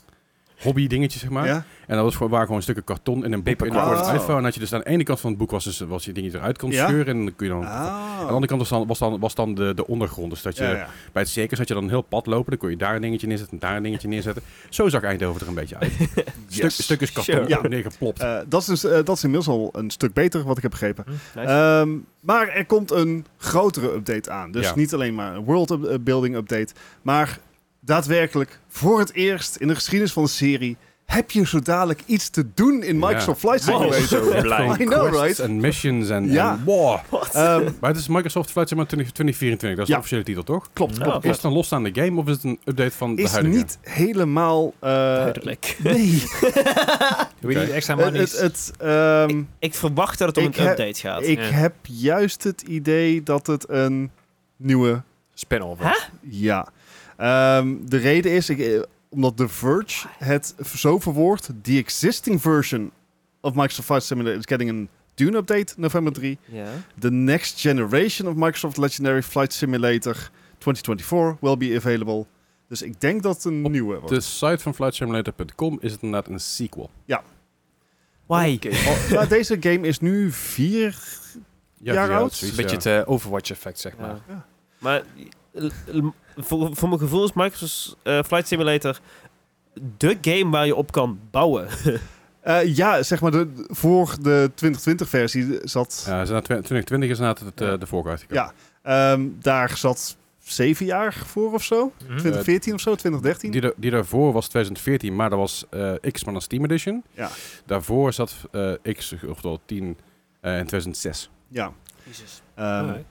A: hobby dingetjes zeg maar.
B: Ja?
A: En dat was gewoon, waren gewoon stukken karton in een boek en dan kon je het
B: Oh.
A: uitvouwen. En had je dus aan de ene kant van het boek was dus was je dingen eruit kon
B: Ja?
A: scheuren en dan kun je dan aan
B: Ah.
A: de andere kant was dan, was dan, was dan de, de ondergrond. Dus dat je
B: Ja, ja.
A: Bij het circus had je dan een heel pad lopen. Dan kon je daar een dingetje neerzetten en daar een dingetje neerzetten. Zo zag Eindhoven er een beetje
B: [laughs]
A: uit. Stuk,
B: Yes.
A: stukjes karton
C: Sure.
B: Ja.
A: neergeplopt.
B: Eh, dat, is dus, eh, dat is inmiddels al een stuk beter, wat ik heb begrepen.
C: Nice.
B: Ehm, maar er komt een grotere update aan. Dus
A: Ja.
B: niet alleen maar een world up- eh, building update, maar daadwerkelijk voor het eerst in de geschiedenis van de serie heb je zo dadelijk iets te doen in
A: Ja.
B: Microsoft Flight
E: Wow.
A: [laughs]
B: Simulator.
E: Zo blij.
B: I know, right?
A: En missions en...
B: Ja.
A: en- wow.
B: Ehm,
A: Maar het is Microsoft Flight Simulator 20- 2024. Dat is
B: Ja.
A: de officiële titel, toch?
B: klopt,
C: Nou,
B: klopt.
A: Is het een losstaande game of is het een update van de
B: Is
A: huidige?
B: niet helemaal... eh,
C: [laughs] Duidelijk.
B: nee.
E: Doe je
A: Oké.
E: niet extra
B: het,
E: money?
B: Eh, het, het, ehm,
C: Ik verwacht dat het om
B: Ik
C: een
B: heb-
C: update gaat.
B: ik
E: Ja.
B: heb juist het idee dat het een nieuwe
E: Spin-off.
B: Ja. Ehm, de reden is, ik, eh, omdat The Verge het v- zo verwoordt... The existing version of Microsoft Flight Simulator is getting een Dune update November 3.
C: Ja.
B: The next generation of Microsoft Legendary Flight Simulator 2024 will be available. Dus ik denk dat het een
A: Op dus-
B: nieuwe wordt.
A: De site van flightsimulator.com is het inderdaad een sequel.
C: Why?
B: Oh, nou, deze game is nu vier...
A: Ja,
B: Jaar
A: ja,
B: oud?
A: zoiets,
E: Een beetje
A: ja.
E: het eh, Overwatch-effect, zeg maar.
C: Ja. Maar l- l- voor, voor mijn gevoel is Microsoft eh, Flight Simulator de game waar je op kan bouwen.
B: Eh, ja, zeg maar, de, de- voor de 2020-versie zat...
A: Ja, Eh, ze zijn na 2020 is inderdaad het, eh, de voorkant.
B: Ja. ehm, daar zat zeven jaar voor of zo. 2014 of zo, 2013.
A: Mhm. Die, da- die daarvoor was 2014, maar dat was eh, X maar een Steam Edition.
B: Ja.
A: Daarvoor zat eh, X, oftewel 10, eh, in 2006.
B: Ja.
C: Jezus.
B: Ehm,
E: Alright.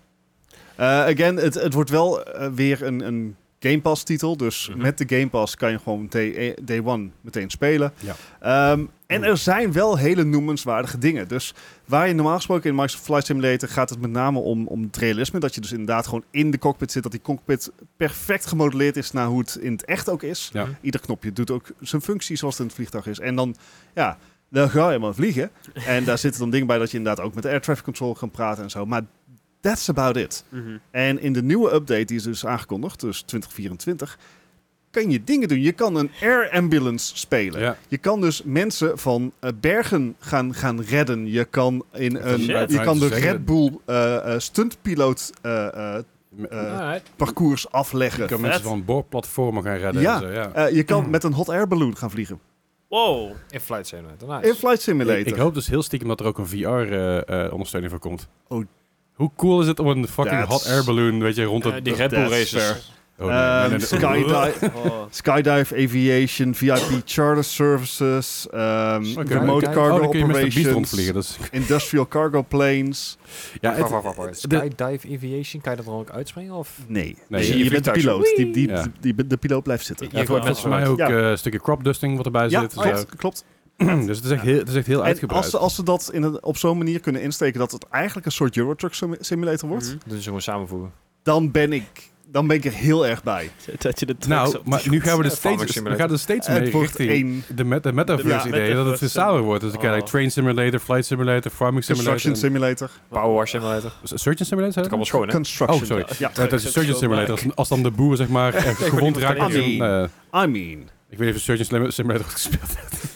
B: eh, again, het, het wordt wel eh, weer een, een Game Pass titel. Dus
E: Mhm.
B: met de Game Pass kan je gewoon day, eh, day one meteen spelen.
A: Ja.
B: Ehm, en er zijn wel hele noemenswaardige dingen. Dus waar je normaal gesproken in Microsoft Flight Simulator gaat het met name om, om het realisme. Dat je dus inderdaad gewoon in de cockpit zit. Dat die cockpit perfect gemodelleerd is naar hoe het in het echt ook is.
A: Ja.
B: Ieder knopje doet ook zijn functie zoals het in het vliegtuig is. En dan, ja, dan ga je maar vliegen. En daar zitten dan dingen bij dat je inderdaad ook met de air traffic control kan praten en zo. Maar that's about it.
C: Mhm.
B: En in de nieuwe update, die is dus aangekondigd, dus 2024, kan je dingen doen. Je kan een air ambulance spelen.
A: Ja.
B: Je kan dus mensen van eh, bergen gaan, gaan redden. Je kan, in
A: Dat
B: een,
C: is vet.
B: je kan de
A: Zeggen.
B: Red Bull eh, eh, stuntpiloot eh, eh, eh,
D: Alright.
B: parcours afleggen.
A: Je kan mensen
C: vet.
A: van boorplatformen gaan redden.
B: Ja.
A: en zo, ja.
B: Eh, je kan met een hot air balloon gaan vliegen.
C: Wow.
D: In Flight Simulator. Nice.
B: In Flight Simulator.
A: Ik, ik hoop dus heel stiekem dat er ook een VR-ondersteuning eh, voor komt.
B: Oh.
A: Hoe cool is het om een fucking
B: That's-
A: hot air balloon, weet je, rond
D: Eh,
A: het...
D: die Red Bull
B: that's
D: races.
A: Oh, nee,
B: Ehm,
A: nee, nee, nee.
B: skydive,
C: Oh.
B: skydive Aviation, VIP Charter Services, ehm,
A: Oké.
B: Remote
D: Kijk.
A: Oh,
B: Cargo
A: dan kun je met de beast
B: Operations,
A: rondvliegen. Dat is,
B: Industrial Cargo Planes. [laughs]
A: ja, het-
D: Wacht, wacht, wacht, wacht.
A: de-
D: Skydive Aviation, kan je dat dan ook uitspringen? Of?
B: Nee, Dus
A: Nee,
B: je,
A: je
B: je bent de
D: vliegtuig zo.
B: piloot. Die, die,
A: Ja.
B: die, die- de piloot blijft zitten.
D: Je-
A: ja,
D: je
A: het wordt
D: wordt
A: volgens mij ook
B: uitgemaakt.
A: eh, een stukje crop dusting wat erbij
B: Ja,
A: zit.
B: klopt.
A: zo.
B: klopt.
A: [clears throat] dus het is echt heel, het is echt heel
B: En
A: uitgebreid.
B: als ze, als ze dat in een- op zo'n manier kunnen insteken dat het eigenlijk een soort Eurotruck sim- simulator wordt,
C: Mhm.
D: Dat is gewoon samenvoegen.
B: dan, ben ik, dan ben ik er heel erg bij.
C: Dat je de trucks
A: nou,
C: op- [laughs]
A: maar nu gaan
B: [laughs]
A: we er
D: Ja, Farming
A: steeds, we
D: Simulator.
A: gaan er steeds mee
B: het wordt
A: richting
B: één
A: de, met, de metaverse
B: Ja.
A: idee dat het
C: Metaverse.
A: samen wordt. Dus ik krijg
C: Oh.
A: train simulator, flight simulator, farming simulator,
B: construction
A: en-
B: simulator.
D: Power Wash Simulator. Dat
A: surgeon simulator. zei
D: kan
A: je?
D: allemaal schoon, hè?
B: Construction.
A: Oh, sorry.
B: Ja,
A: Ja, dat is een surgeon simulator. Als, als dan de boer zeg
B: [laughs]
A: maar echt gewond raakt.
B: kan
A: met
B: ik
A: een,
B: niet.
A: eh,
B: I mean.
A: ik weet even surgeon Slim- simulator wat gespeeld
B: [laughs]
A: heb.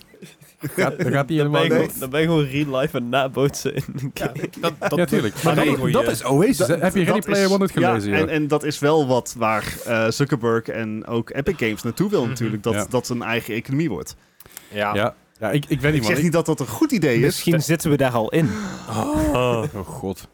A: gaat, dan gaat die
C: Dan ben,
A: helemaal
C: je
A: dood.
C: gewoon, dan ben je gewoon real life een nabootsen in een
B: [laughs]
C: game.
D: Dat, dat,
A: Ja, tuurlijk.
D: Maar
A: Maar
D: nee,
A: dat,
D: goeie-
A: dat is Oasis.
B: Dat-
A: hè? Heb je Ready
B: dat
A: Player
B: is-
A: One het gelezen?
B: Ja,
A: joh?
B: en, en dat is wel wat waar eh, Zuckerberg en ook Epic Games naartoe wil natuurlijk. Dat,
A: Mhm. Ja.
B: dat een eigen economie wordt.
D: ja.
A: ja. ja, ik, ik weet
B: Ik
A: niet, man.
B: zeg niet dat dat een goed idee is.
F: Misschien zitten we daar al in.
A: Oh god.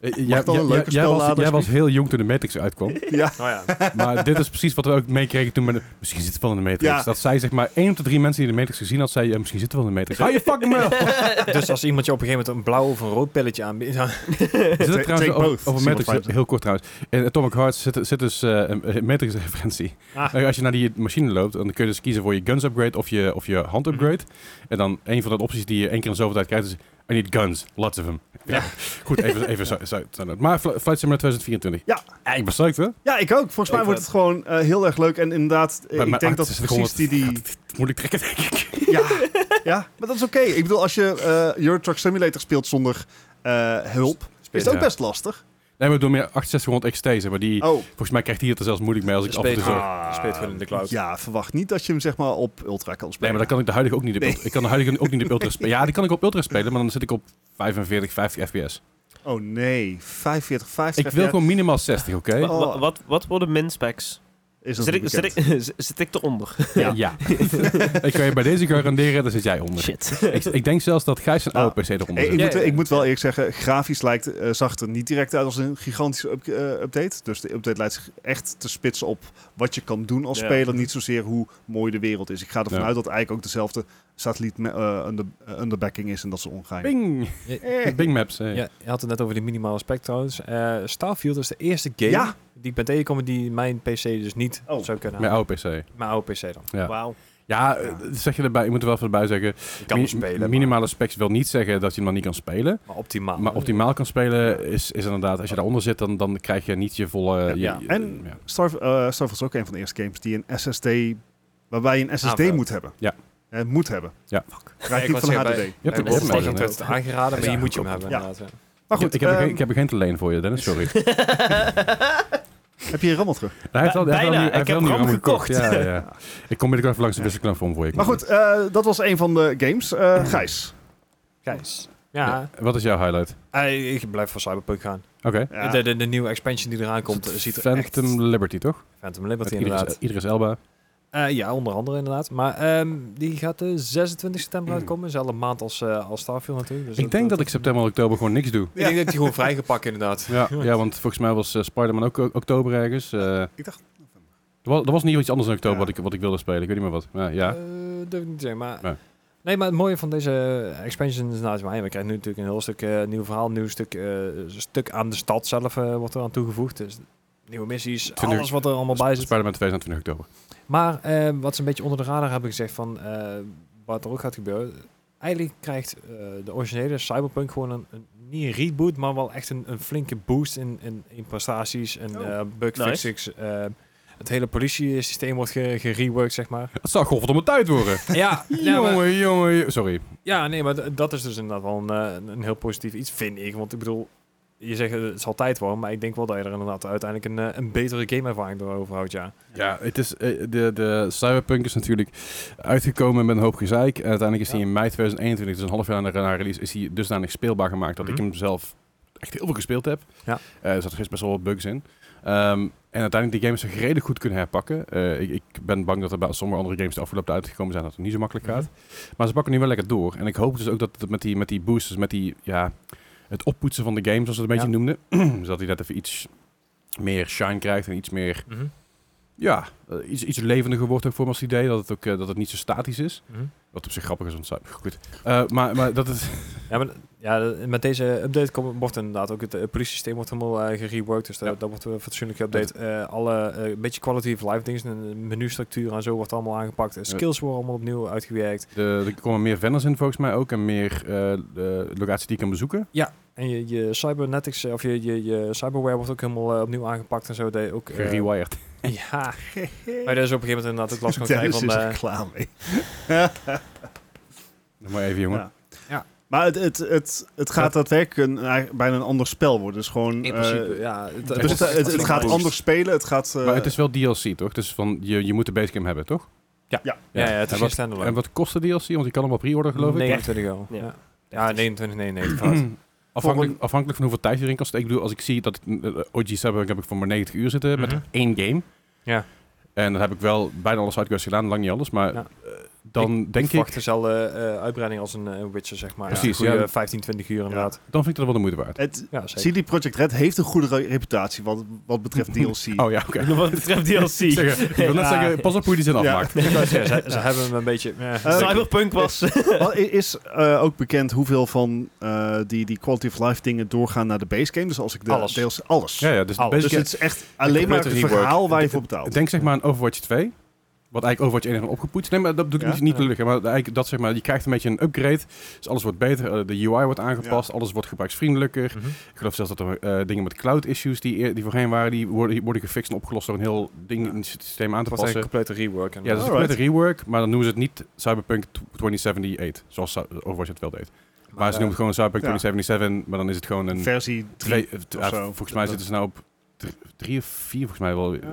A: Eh, eh, Jij,
B: dan een
A: jij-
B: leuke
A: jij was,
B: spellader
A: jij was heel jong toen de Matrix uitkwam.
B: Ja.
D: Oh, ja.
A: maar dit is precies wat we ook meekregen toen. Met de- misschien zit het wel in de Matrix.
B: Ja.
A: Dat zij zeg maar één op de drie mensen die de Matrix gezien had, zei: eh, Misschien zit het wel in de Matrix. Hou je fucking mouth!
D: [laughs] Dus als iemand je op een gegeven moment een blauw of een rood pilletje aanbiedt... dan-
A: Er zit
B: Take-
A: trouwens over,
B: take both,
A: over
B: Simon
A: Matrix,
B: Fraser.
A: heel kort trouwens. In Atomic Heart zit, zit dus eh, een een Matrix-referentie.
D: Ah.
A: Eh, Als je naar die machine loopt, dan kun je dus kiezen voor je guns upgrade of je, of je hand upgrade. En dan een van de opties die je één keer in zoveel tijd krijgt is... I need guns, lots of them. Ja. Goed, even, even zo, zo, zo- Maar Fl- Flight Simulator 2024.
B: Ja.
A: Eh, ik ben psyched, hè?
B: Ja, ik ook. Volgens mij
C: Ik
B: wordt
C: ook.
B: het gewoon eh, heel erg leuk. En inderdaad, eh,
A: Bij
B: ik
A: mijn
B: denk
A: arts
B: dat
A: is het
B: precies die... die
A: Moet ik trekken, denk ik.
B: [laughs] ja, ja, maar dat is oké. Ik bedoel, als je eh Euro Truck Simulator speelt zonder eh, hulp, is het ook
A: Ja.
B: best lastig.
A: Nee, maar ik bedoel meer 6800 XT, zeg maar. Die,
B: Oh,
A: Volgens mij krijgt hij het er zelfs moeilijk mee als ik af en toe
D: Speed.
A: zo...
B: Ah.
D: je speelt gewoon in de cloud.
B: Ja, verwacht niet dat je hem zeg maar op Ultra kan
A: Nee,
B: spelen.
A: maar dan kan ik de huidige ook niet op,
B: Nee.
A: ultra- ik kan de huidige ook niet
B: [laughs]
A: op ultra spelen. Ja, die kan ik op ultra spelen, maar dan zit ik op 45, 50 fps.
B: Oh nee, 45, 50
A: Ik wil
B: ja,
A: gewoon minimaal 60, oké?
C: Wa-
B: Oh.
C: wa- Wat, wat worden minspecs?
B: is dat
C: Zit ik,
B: niet
C: zit, ik,
B: bekend.
C: [laughs] zit ik eronder?
A: Ja. [laughs] ik kan je bij deze garanderen, daar zit jij onder.
C: [laughs] Shit.
A: Ik, ik denk zelfs dat Gijs een oude PC eronder
B: Hey,
A: zit.
B: ik,
D: Ja,
B: moet,
D: ja,
B: ik
D: ja.
B: moet wel eerlijk zeggen, grafisch lijkt, eh, zag er niet direct uit als een gigantische up- eh, update. Dus de update lijkt zich echt te spitsen op wat je kan doen als
C: Ja.
B: speler. Niet zozeer hoe mooi de wereld is. Ik ga ervan
A: Ja.
B: uit dat eigenlijk ook dezelfde satelliet me- eh, under, eh, underbacking is en dat ze ongein.
A: Bing!
B: Eh.
A: Bing Maps. eh.
D: Ja, je had het net over die minimale spec trouwens. Eh, Starfield is de eerste game
B: Ja.
D: die ik ben tegengekomen die mijn PC dus niet
B: Oh.
D: zou kunnen.
A: Mijn oude PC.
D: Mijn oude PC dan.
A: Ja.
C: Wauw.
A: Ja, eh, dat zeg je erbij, ik moet er wel even erbij zeggen.
D: Je kan
A: Mi-
D: hem spelen,
A: minimale specs wil niet zeggen dat je hem dan niet kan spelen.
D: maar, maar optimaal.
A: Maar optimaal kan spelen is, is inderdaad, als je daaronder zit, dan, dan krijg je niet je volle... je-
D: Ja.
A: je-
B: En-
A: ja.
B: Starf, eh, Starfield is ook een van de eerste games die een SSD, waarbij je een SSD
D: Aanvult.
B: moet hebben.
A: Ja.
B: Eh, moet hebben.
A: Ja.
D: Ja,
B: Krijg
D: ik
B: niet
D: wou
B: van
D: zeggen,
B: HDD.
D: bij-
A: Je hebt
D: bij
A: hem
D: Bethesda
A: opgenomen.
D: werd het aangeraden, maar
B: Ja,
D: je moet je hem
B: klopt.
D: hebben
B: Ja.
D: inderdaad. ja.
B: Maar
A: Ik heb-
B: goed,
A: ik, heb er geen,
B: ehm,
A: ik heb er geen te leen voor je, Dennis, sorry. hij
B: heb je een rammel terug?
A: heeft al, hij heeft al
C: bijna.
A: nieuw- hij
C: Ik
A: heeft
C: heb
A: al nieuw
C: RAM
A: RAM
C: gekocht.
A: Ja, ja, ja. Ik kom binnenkort even langs de wisselknop voor je.
B: Maar goed, eh, dat was een van de games. Eh, Gijs.
D: Gijs. Ja,
A: Wat is jouw highlight?
D: eh, ik blijf voor Cyberpunk gaan.
A: Oké.
B: Ja.
D: De, de, de nieuwe expansion die eraan komt, eh, ziet er
A: Phantom
D: echt...
A: Liberty, toch?
D: Phantom Liberty
A: Met Idris,
D: inderdaad.
A: Idris Elba.
D: Eh, ja, onder andere inderdaad. Maar ehm, die gaat de 26 september uitkomen. Dezelfde maand als, eh als Starfield natuurlijk. Dus
A: Ik denk dat ik september en oktober gewoon niks doe.
D: Ik denk dat ik die gewoon vrij gepakt inderdaad. [laughs]
A: Ja, ja want volgens mij was eh, Spider-Man ook o- oktober ergens. eh.
B: Ik dacht
A: er, was, er was niet iets anders in oktober
B: Ja.
A: wat, ik, wat ik wilde spelen. Ik weet niet meer wat. Maar [laughs] ja,
D: Eh, durf ik niet te zeggen, maar...
A: Nee.
D: Nee. maar het mooie van deze expansion is naast mij. We krijgen nu natuurlijk een heel stuk eh, nieuw verhaal, een nieuw stuk, eh, stuk aan de stad zelf eh, wordt er aan toegevoegd. Dus nieuwe missies,
A: Twintig-
D: alles wat er allemaal bij
A: Sp-
D: zit.
A: Spider-Man 22 oktober.
D: Maar eh, wat ze een beetje onder de radar hebben gezegd van eh, wat er ook gaat gebeuren. Eigenlijk krijgt eh, de originele Cyberpunk gewoon een, een niet een reboot, maar wel echt een, een flinke boost in, in, in prestaties en
B: Oh,
D: eh, bugfixes. eh, het hele politiesysteem wordt ge- gereworked, zeg maar.
A: Het zou golf om het tijd worden.
D: [laughs] ja, [laughs] ja, maar-
A: jongen, jongen. Sorry.
D: ja, nee, maar d- dat is dus inderdaad wel een, eh, een- een heel positief iets, vind ik. Want ik bedoel, je zegt eh, het zal tijd worden, maar ik denk wel dat je er inderdaad uiteindelijk een, eh, een betere gameervaring door overhoudt, ja.
A: Ja, het is, eh, de, de Cyberpunk is natuurlijk uitgekomen met een hoop gezeik. En uiteindelijk is hij in mei 2021, dus een half jaar na na release, is hij dusdanig speelbaar gemaakt dat
D: Mhm.
A: ik hem zelf echt heel veel gespeeld heb.
D: Ja.
A: Eh, er zaten best wel wat bugs in. Ehm, en uiteindelijk die games zich redelijk goed kunnen herpakken. Eh, ik, ik ben bang dat er bij sommige andere games de afgelopen tijd uitgekomen zijn dat het niet zo makkelijk
D: Mhm.
A: gaat. Maar ze pakken nu wel lekker door. En ik hoop dus ook dat het met die, met die boosters, met die, ja, het oppoetsen van de game, zoals we het een beetje noemden, [clears throat] dus dat hij dat even iets meer shine krijgt en iets meer,
D: Mhm.
A: ja, eh, iets, iets levendiger wordt ook voor me als idee. Dat het ook eh, dat het niet zo statisch is.
D: Mhm.
A: Wat op zich grappig is, want het zou- goed. Eh, maar, maar dat het... [laughs]
D: Ja, maar, ja, met deze update komt, wordt inderdaad ook het eh, politiesysteem wordt helemaal eh, gereworked. Dus dat- dat wordt een fatsoenlijke update. Eh, alle eh, een beetje quality of life dingen, en menustructuur en zo wordt allemaal aangepakt. Eh, Skills worden allemaal opnieuw uitgewerkt.
A: De, er komen meer vendors in volgens mij ook en meer eh, de locaties die je kan bezoeken.
D: En je, je cybernetics, eh, of je, je, je cyberware wordt ook helemaal eh, opnieuw aangepakt en zo. Dat je ook, eh,
A: Gerewired. [laughs]
D: [laughs] ja, maar dat is op een gegeven moment inderdaad ook last
B: [laughs]
D: kan krijgen
B: Dennis
D: van...
B: is
D: eh,
B: er klaar mee.
A: Nog maar even jongen.
B: Ja.
D: Ja.
B: Maar het, het, het, het gaat daadwerkelijk een, eigenlijk bijna een ander spel worden. Dus gewoon,
D: in
B: eh,
D: principe, ja. Het,
B: dus het, het, het gaat
A: boost.
B: anders spelen. Het gaat, eh,
A: maar het is wel DLC toch? Dus van, je, je moet de base game hebben toch?
D: Ja, ja, het
A: En
D: is
A: wat-
D: geen standalone.
A: En wat kost de DLC? Want je kan hem al pre-order geloof ik.
D: 29 euro.
C: Ja.
D: Ja, ja 29, 99 fout.
A: Afhankelijk, afhankelijk van hoeveel tijd je erin kan steken. Ik bedoel, als ik zie dat ik, eh, OG's heb, heb ik voor maar 90 uur zitten
D: Mhm.
A: met één game.
D: Ja.
A: En dan heb ik wel bijna alles uitgewerkt gedaan, lang niet alles. Maar
D: Ja.
A: eh, dan denk ik,
D: verwacht dezelfde eh, uitbreiding als een eh, Witcher, zeg maar.
A: Precies,
D: ja. Een goede
A: ja.
D: 15, 20 uur inderdaad.
A: dan vind ik dat wel de moeite waard.
B: het,
D: Ja, zeker.
B: CD Projekt Red heeft een goede re- reputatie wat, wat
A: [laughs]
B: betreft DLC.
A: Oh ja, oké.
C: [laughs] Wat betreft DLC.
A: Ik zeg, ik wil net
C: Ja.
A: zeggen, pas op hoe je die zin
B: Ja.
A: afmaakt.
D: [laughs] Ja, ze, ze hebben hem een beetje...
B: Eh,
C: [laughs] Cyberpunk was... [laughs]
B: Wel, i- is eh, ook bekend hoeveel van eh, die, die quality of life dingen doorgaan naar de base game? Dus als ik de
D: Alles.
B: deels alles.
A: Ja, ja, dus,
D: Oh,
A: basic-
B: Dus het is echt alleen maar het
A: complete rework.
B: verhaal waar je
A: Ik-
B: voor betaalt.
A: Denk zeg maar aan Overwatch 2. Wat eigenlijk Overwatch 1 heeft opgepoetst. Nee, maar dat bedoel ik niet,
B: Ja?
A: niet lullig. hè, Maar eigenlijk dat zeg maar, je krijgt een beetje een upgrade. Dus alles wordt beter. eh, de UI wordt aangepast. Alles wordt gebruiksvriendelijker.
D: Mhm.
A: Ik geloof zelfs dat er eh, dingen met cloud issues die, eer- die voorheen waren, die worden, die worden gefixt en opgelost door een heel ding in het systeem aan te
D: Het was eigenlijk
A: passen.
D: een complete rework.
A: eh, Ja, dat is
D: inderdaad.
A: een complete rework, maar dan noemen ze het niet Cyberpunk 2078, zoals Cy- Overwatch het wel deed. Maar,
D: Maar,
A: ze
D: eh,
A: noemen het gewoon Cyberpunk
B: ja.
A: 2077, maar dan is het gewoon een...
B: Versie 3.
A: twee, eh, t-
B: of
A: ja,
B: zo.
A: volgens mij
B: Dat-
A: zitten ze nou op dr- drie of vier, volgens mij wel.
B: Ja.
D: Ja,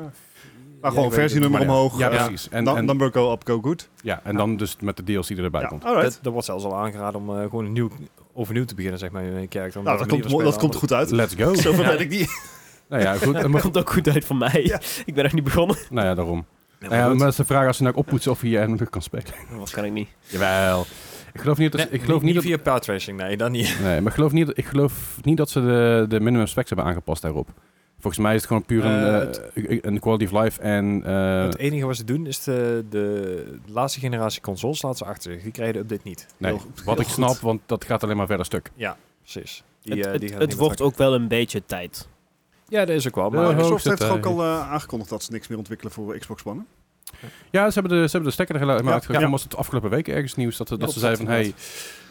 B: Maar gewoon
D: ik weet
B: versie
D: het,
B: nummer
D: maar ja.
B: omhoog.
A: Ja,
B: eh,
A: precies. En,
B: dan,
A: en,
B: dan go up, go good.
A: ja, en dan dus met de DLC die erbij
B: Ja,
A: komt.
B: alright.
D: Dat, dat wordt zelfs al aangeraden om eh, gewoon nieuw, overnieuw te beginnen, zeg maar, in een kerk.
B: nou, dat komt, mo- dat komt goed [laughs] uit.
A: Let's go.
B: Zo
C: Ja.
B: ben ik niet.
A: nou [laughs] ja, goed. eh,
C: Dat
A: maar-
C: komt ook goed uit voor mij.
B: Ja.
C: [laughs] Ik ben nog niet begonnen.
A: nou ja, daarom.
D: Ja,
A: Nou ja, maar dat is de vraag als ze nou oppoetsen of je er nog kan spelen.
C: Waarschijnlijk niet.
A: Jawel. Ik geloof niet dat,
D: Nee,
A: dus ik geloof niet dat
D: via paardracing, nee, dan niet.
A: Nee, maar ik geloof niet, ik geloof niet dat ze de, de minimum specs hebben aangepast daarop. Volgens mij is het gewoon puur een,
D: Eh,
A: eh,
D: het-
A: een quality of life en... eh,
D: het enige wat ze doen is de, de laatste generatie consoles laten ze achter zich. Die krijgen de update niet.
A: nee,
B: heel goed,
A: wat
B: heel
A: ik
B: goed.
A: snap, want dat gaat alleen maar verder stuk.
D: Precies. Die,
C: Het,
D: eh,
C: het-
D: die gaan
C: het
D: niet
C: wordt
D: meer
C: ook wel een beetje tijd.
D: terug. Ja, dat is ook wel.
A: Ja,
D: Maar
A: hoog
B: Microsoft
A: zit
B: heeft toch ook
A: daar.
B: al eh, aangekondigd dat ze niks meer ontwikkelen voor Xbox One.
A: Ja, ze hebben de, ze hebben de stekker er gelu- maar
B: Ja,
A: uitgegaan.
B: ja.
A: was het afgelopen week ergens nieuws dat, ze- dat
D: Ja,
A: ze zeiden van... Hey,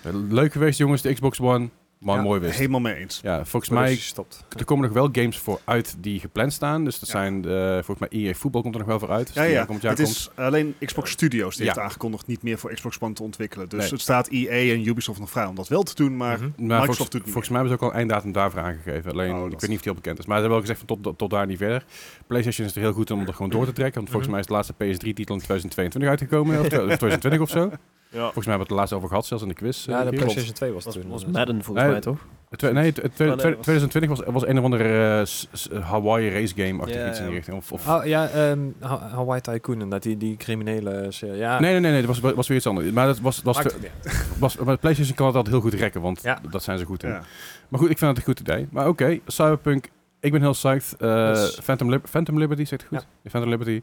A: eh, leuk geweest jongens, de Xbox One, maar
D: Ja,
A: mooi
B: hè?
A: wist.
B: Helemaal mee eens.
A: Ja, volgens
D: Maar
A: mij,
D: dus stopt.
A: er komen nog wel games voor uit die gepland staan. Dus dat
B: Ja.
A: zijn, eh, volgens mij, EA Voetbal komt er nog wel voor uit. Dus
B: Ja,
A: die
B: ja.
A: aankomend jaar
B: Het is alleen Xbox Studios die
A: Ja.
B: heeft aangekondigd niet meer voor Xbox One te ontwikkelen. Dus
A: Nee.
B: het staat EA en Ubisoft nog vrij om dat wel te doen, maar
D: Mhm.
A: Maar
B: Microsoft
A: volgens,
B: doet het niet
A: volgens mij hebben ze ook al een einddatum daarvoor aangegeven. Alleen,
B: Oh, dat
A: ik
B: is-
A: weet niet of die al bekend is. Maar ze hebben wel gezegd van tot, tot daar niet verder. PlayStation is er heel goed om er gewoon door te trekken. Want
B: Mhm.
A: volgens mij is de laatste PS3-titel in 2022 uitgekomen. Of
B: [laughs]
A: 2020 of zo. Volgens mij hebben we het er laatst over gehad, zelfs in de quiz. eh,
D: Ja, de
A: hier.
D: PlayStation 2 was het toen.
C: was eh.
D: inderdaad.
C: Madden volgens
A: Nee,
C: mij, toch?
A: Het twe- nee, het- het twe-
C: Oh, nee,
A: twe-
C: dat was-
A: 2020 was, was een of andere eh, s- s- Hawaii race game achter
C: Ja,
A: iets in
C: ja.
A: die richting. Of, of-
D: Oh, ja, ehm, Ha- Hawaii Tycoon, inderdaad, die, die criminele serie. Ja,
A: Nee, nee, nee, nee, dat was, was weer iets anders. Maar, dat was, was,
D: maakt
A: te-
D: het niet uit.
A: was, maar PlayStation kan dat altijd heel goed rekken, want
D: Ja.
A: dat zijn ze goed in.
B: ja.
A: Maar goed, ik vind het een goed idee. Maar oké, Cyberpunk. Ik ben heel psyched. Eh,
D: Yes.
A: Phantom, Lib- Phantom Liberty, zegt het goed? Phantom Liberty.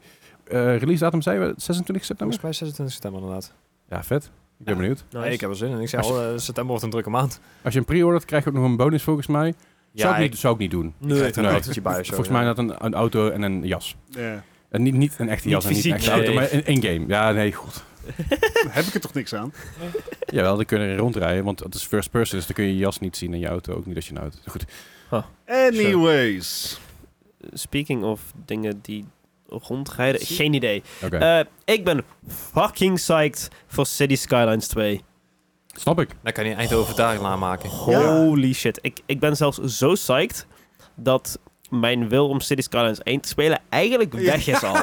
A: Eh, release datum zei we 26 september?
D: Volgens mij 26 september inderdaad.
A: Ja, vet. Ik ben
D: Ja.
A: benieuwd.
D: Nee, ik heb er zin in. Ik zei
A: Als
D: al, eh, september wordt een drukke maand.
A: Als je een pre-ordert, krijg je ook nog een bonus volgens mij. zou, ik
D: ik
A: niet, zou ik niet doen.
D: nee,
A: krijg er
D: nee.
A: een
D: autootje bij of zo,
A: volgens
D: ja.
A: mij had een, een auto en een jas.
B: Ja.
A: En niet, niet een echte
C: Niet
A: jas en
C: fysiek,
A: niet een echte
C: nee.
A: auto, maar in, in game. Ja, nee, god.
B: Daar [laughs] heb ik er toch niks aan?
A: Jawel, dan kun je erin rondrijden, want het is first person, dus dan kun je je jas niet zien en je auto ook niet als je een auto... Goed,
B: Anyways.
C: Speaking of dingen die rondrijden, geen idee.
A: oké.
C: Eh, ik ben fucking psyched voor City Skylines 2.
A: Snap ik.
D: Dan kan je Eindhoven dagen aanmaken.
C: Holy shit. Ik, ik ben zelfs zo psyched dat mijn wil om City Skylines 1 te spelen eigenlijk
B: Ja.
C: weg is al.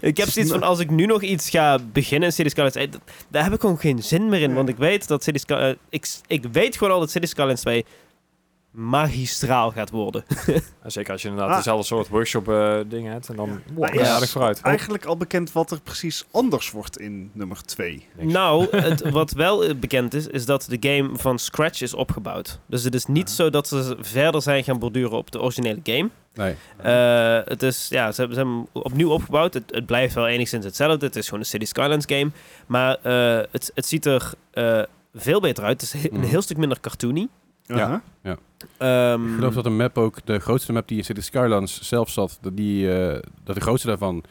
C: ik heb zoiets van, als ik nu nog iets ga beginnen in City Skylines 1, dat- eh, daar heb ik gewoon geen zin meer in. Want ik weet dat City Skylines... Ik, s- ik weet gewoon al dat City Skylines 2 magistraal gaat worden.
D: Zeker als je inderdaad
B: Ah.
D: dezelfde soort workshop eh, dingen hebt. En dan wow,
B: Maar
D: ben je
B: is
D: aardig vooruit.
B: Eigenlijk al bekend wat er precies anders wordt in nummer 2.
D: Niks.
C: Nou, het, wat wel eh, bekend is, is dat de game van scratch is opgebouwd. Dus het is niet zo dat ze verder zijn gaan borduren op de originele game.
A: Nee.
C: Eh, het is, ja, ze, hebben- ze hebben hem opnieuw opgebouwd. Het, het blijft wel enigszins hetzelfde. Het is gewoon een City Skylines game. Maar eh, het, het ziet er eh, veel beter uit. Het is he-
A: Mhm.
C: een heel stuk minder cartoony.
A: Ja.
B: Aha.
C: Ehm,
A: Ik geloof dat een map ook, de grootste map die in City Skylines zelf zat, dat, die, eh, dat de grootste daarvan,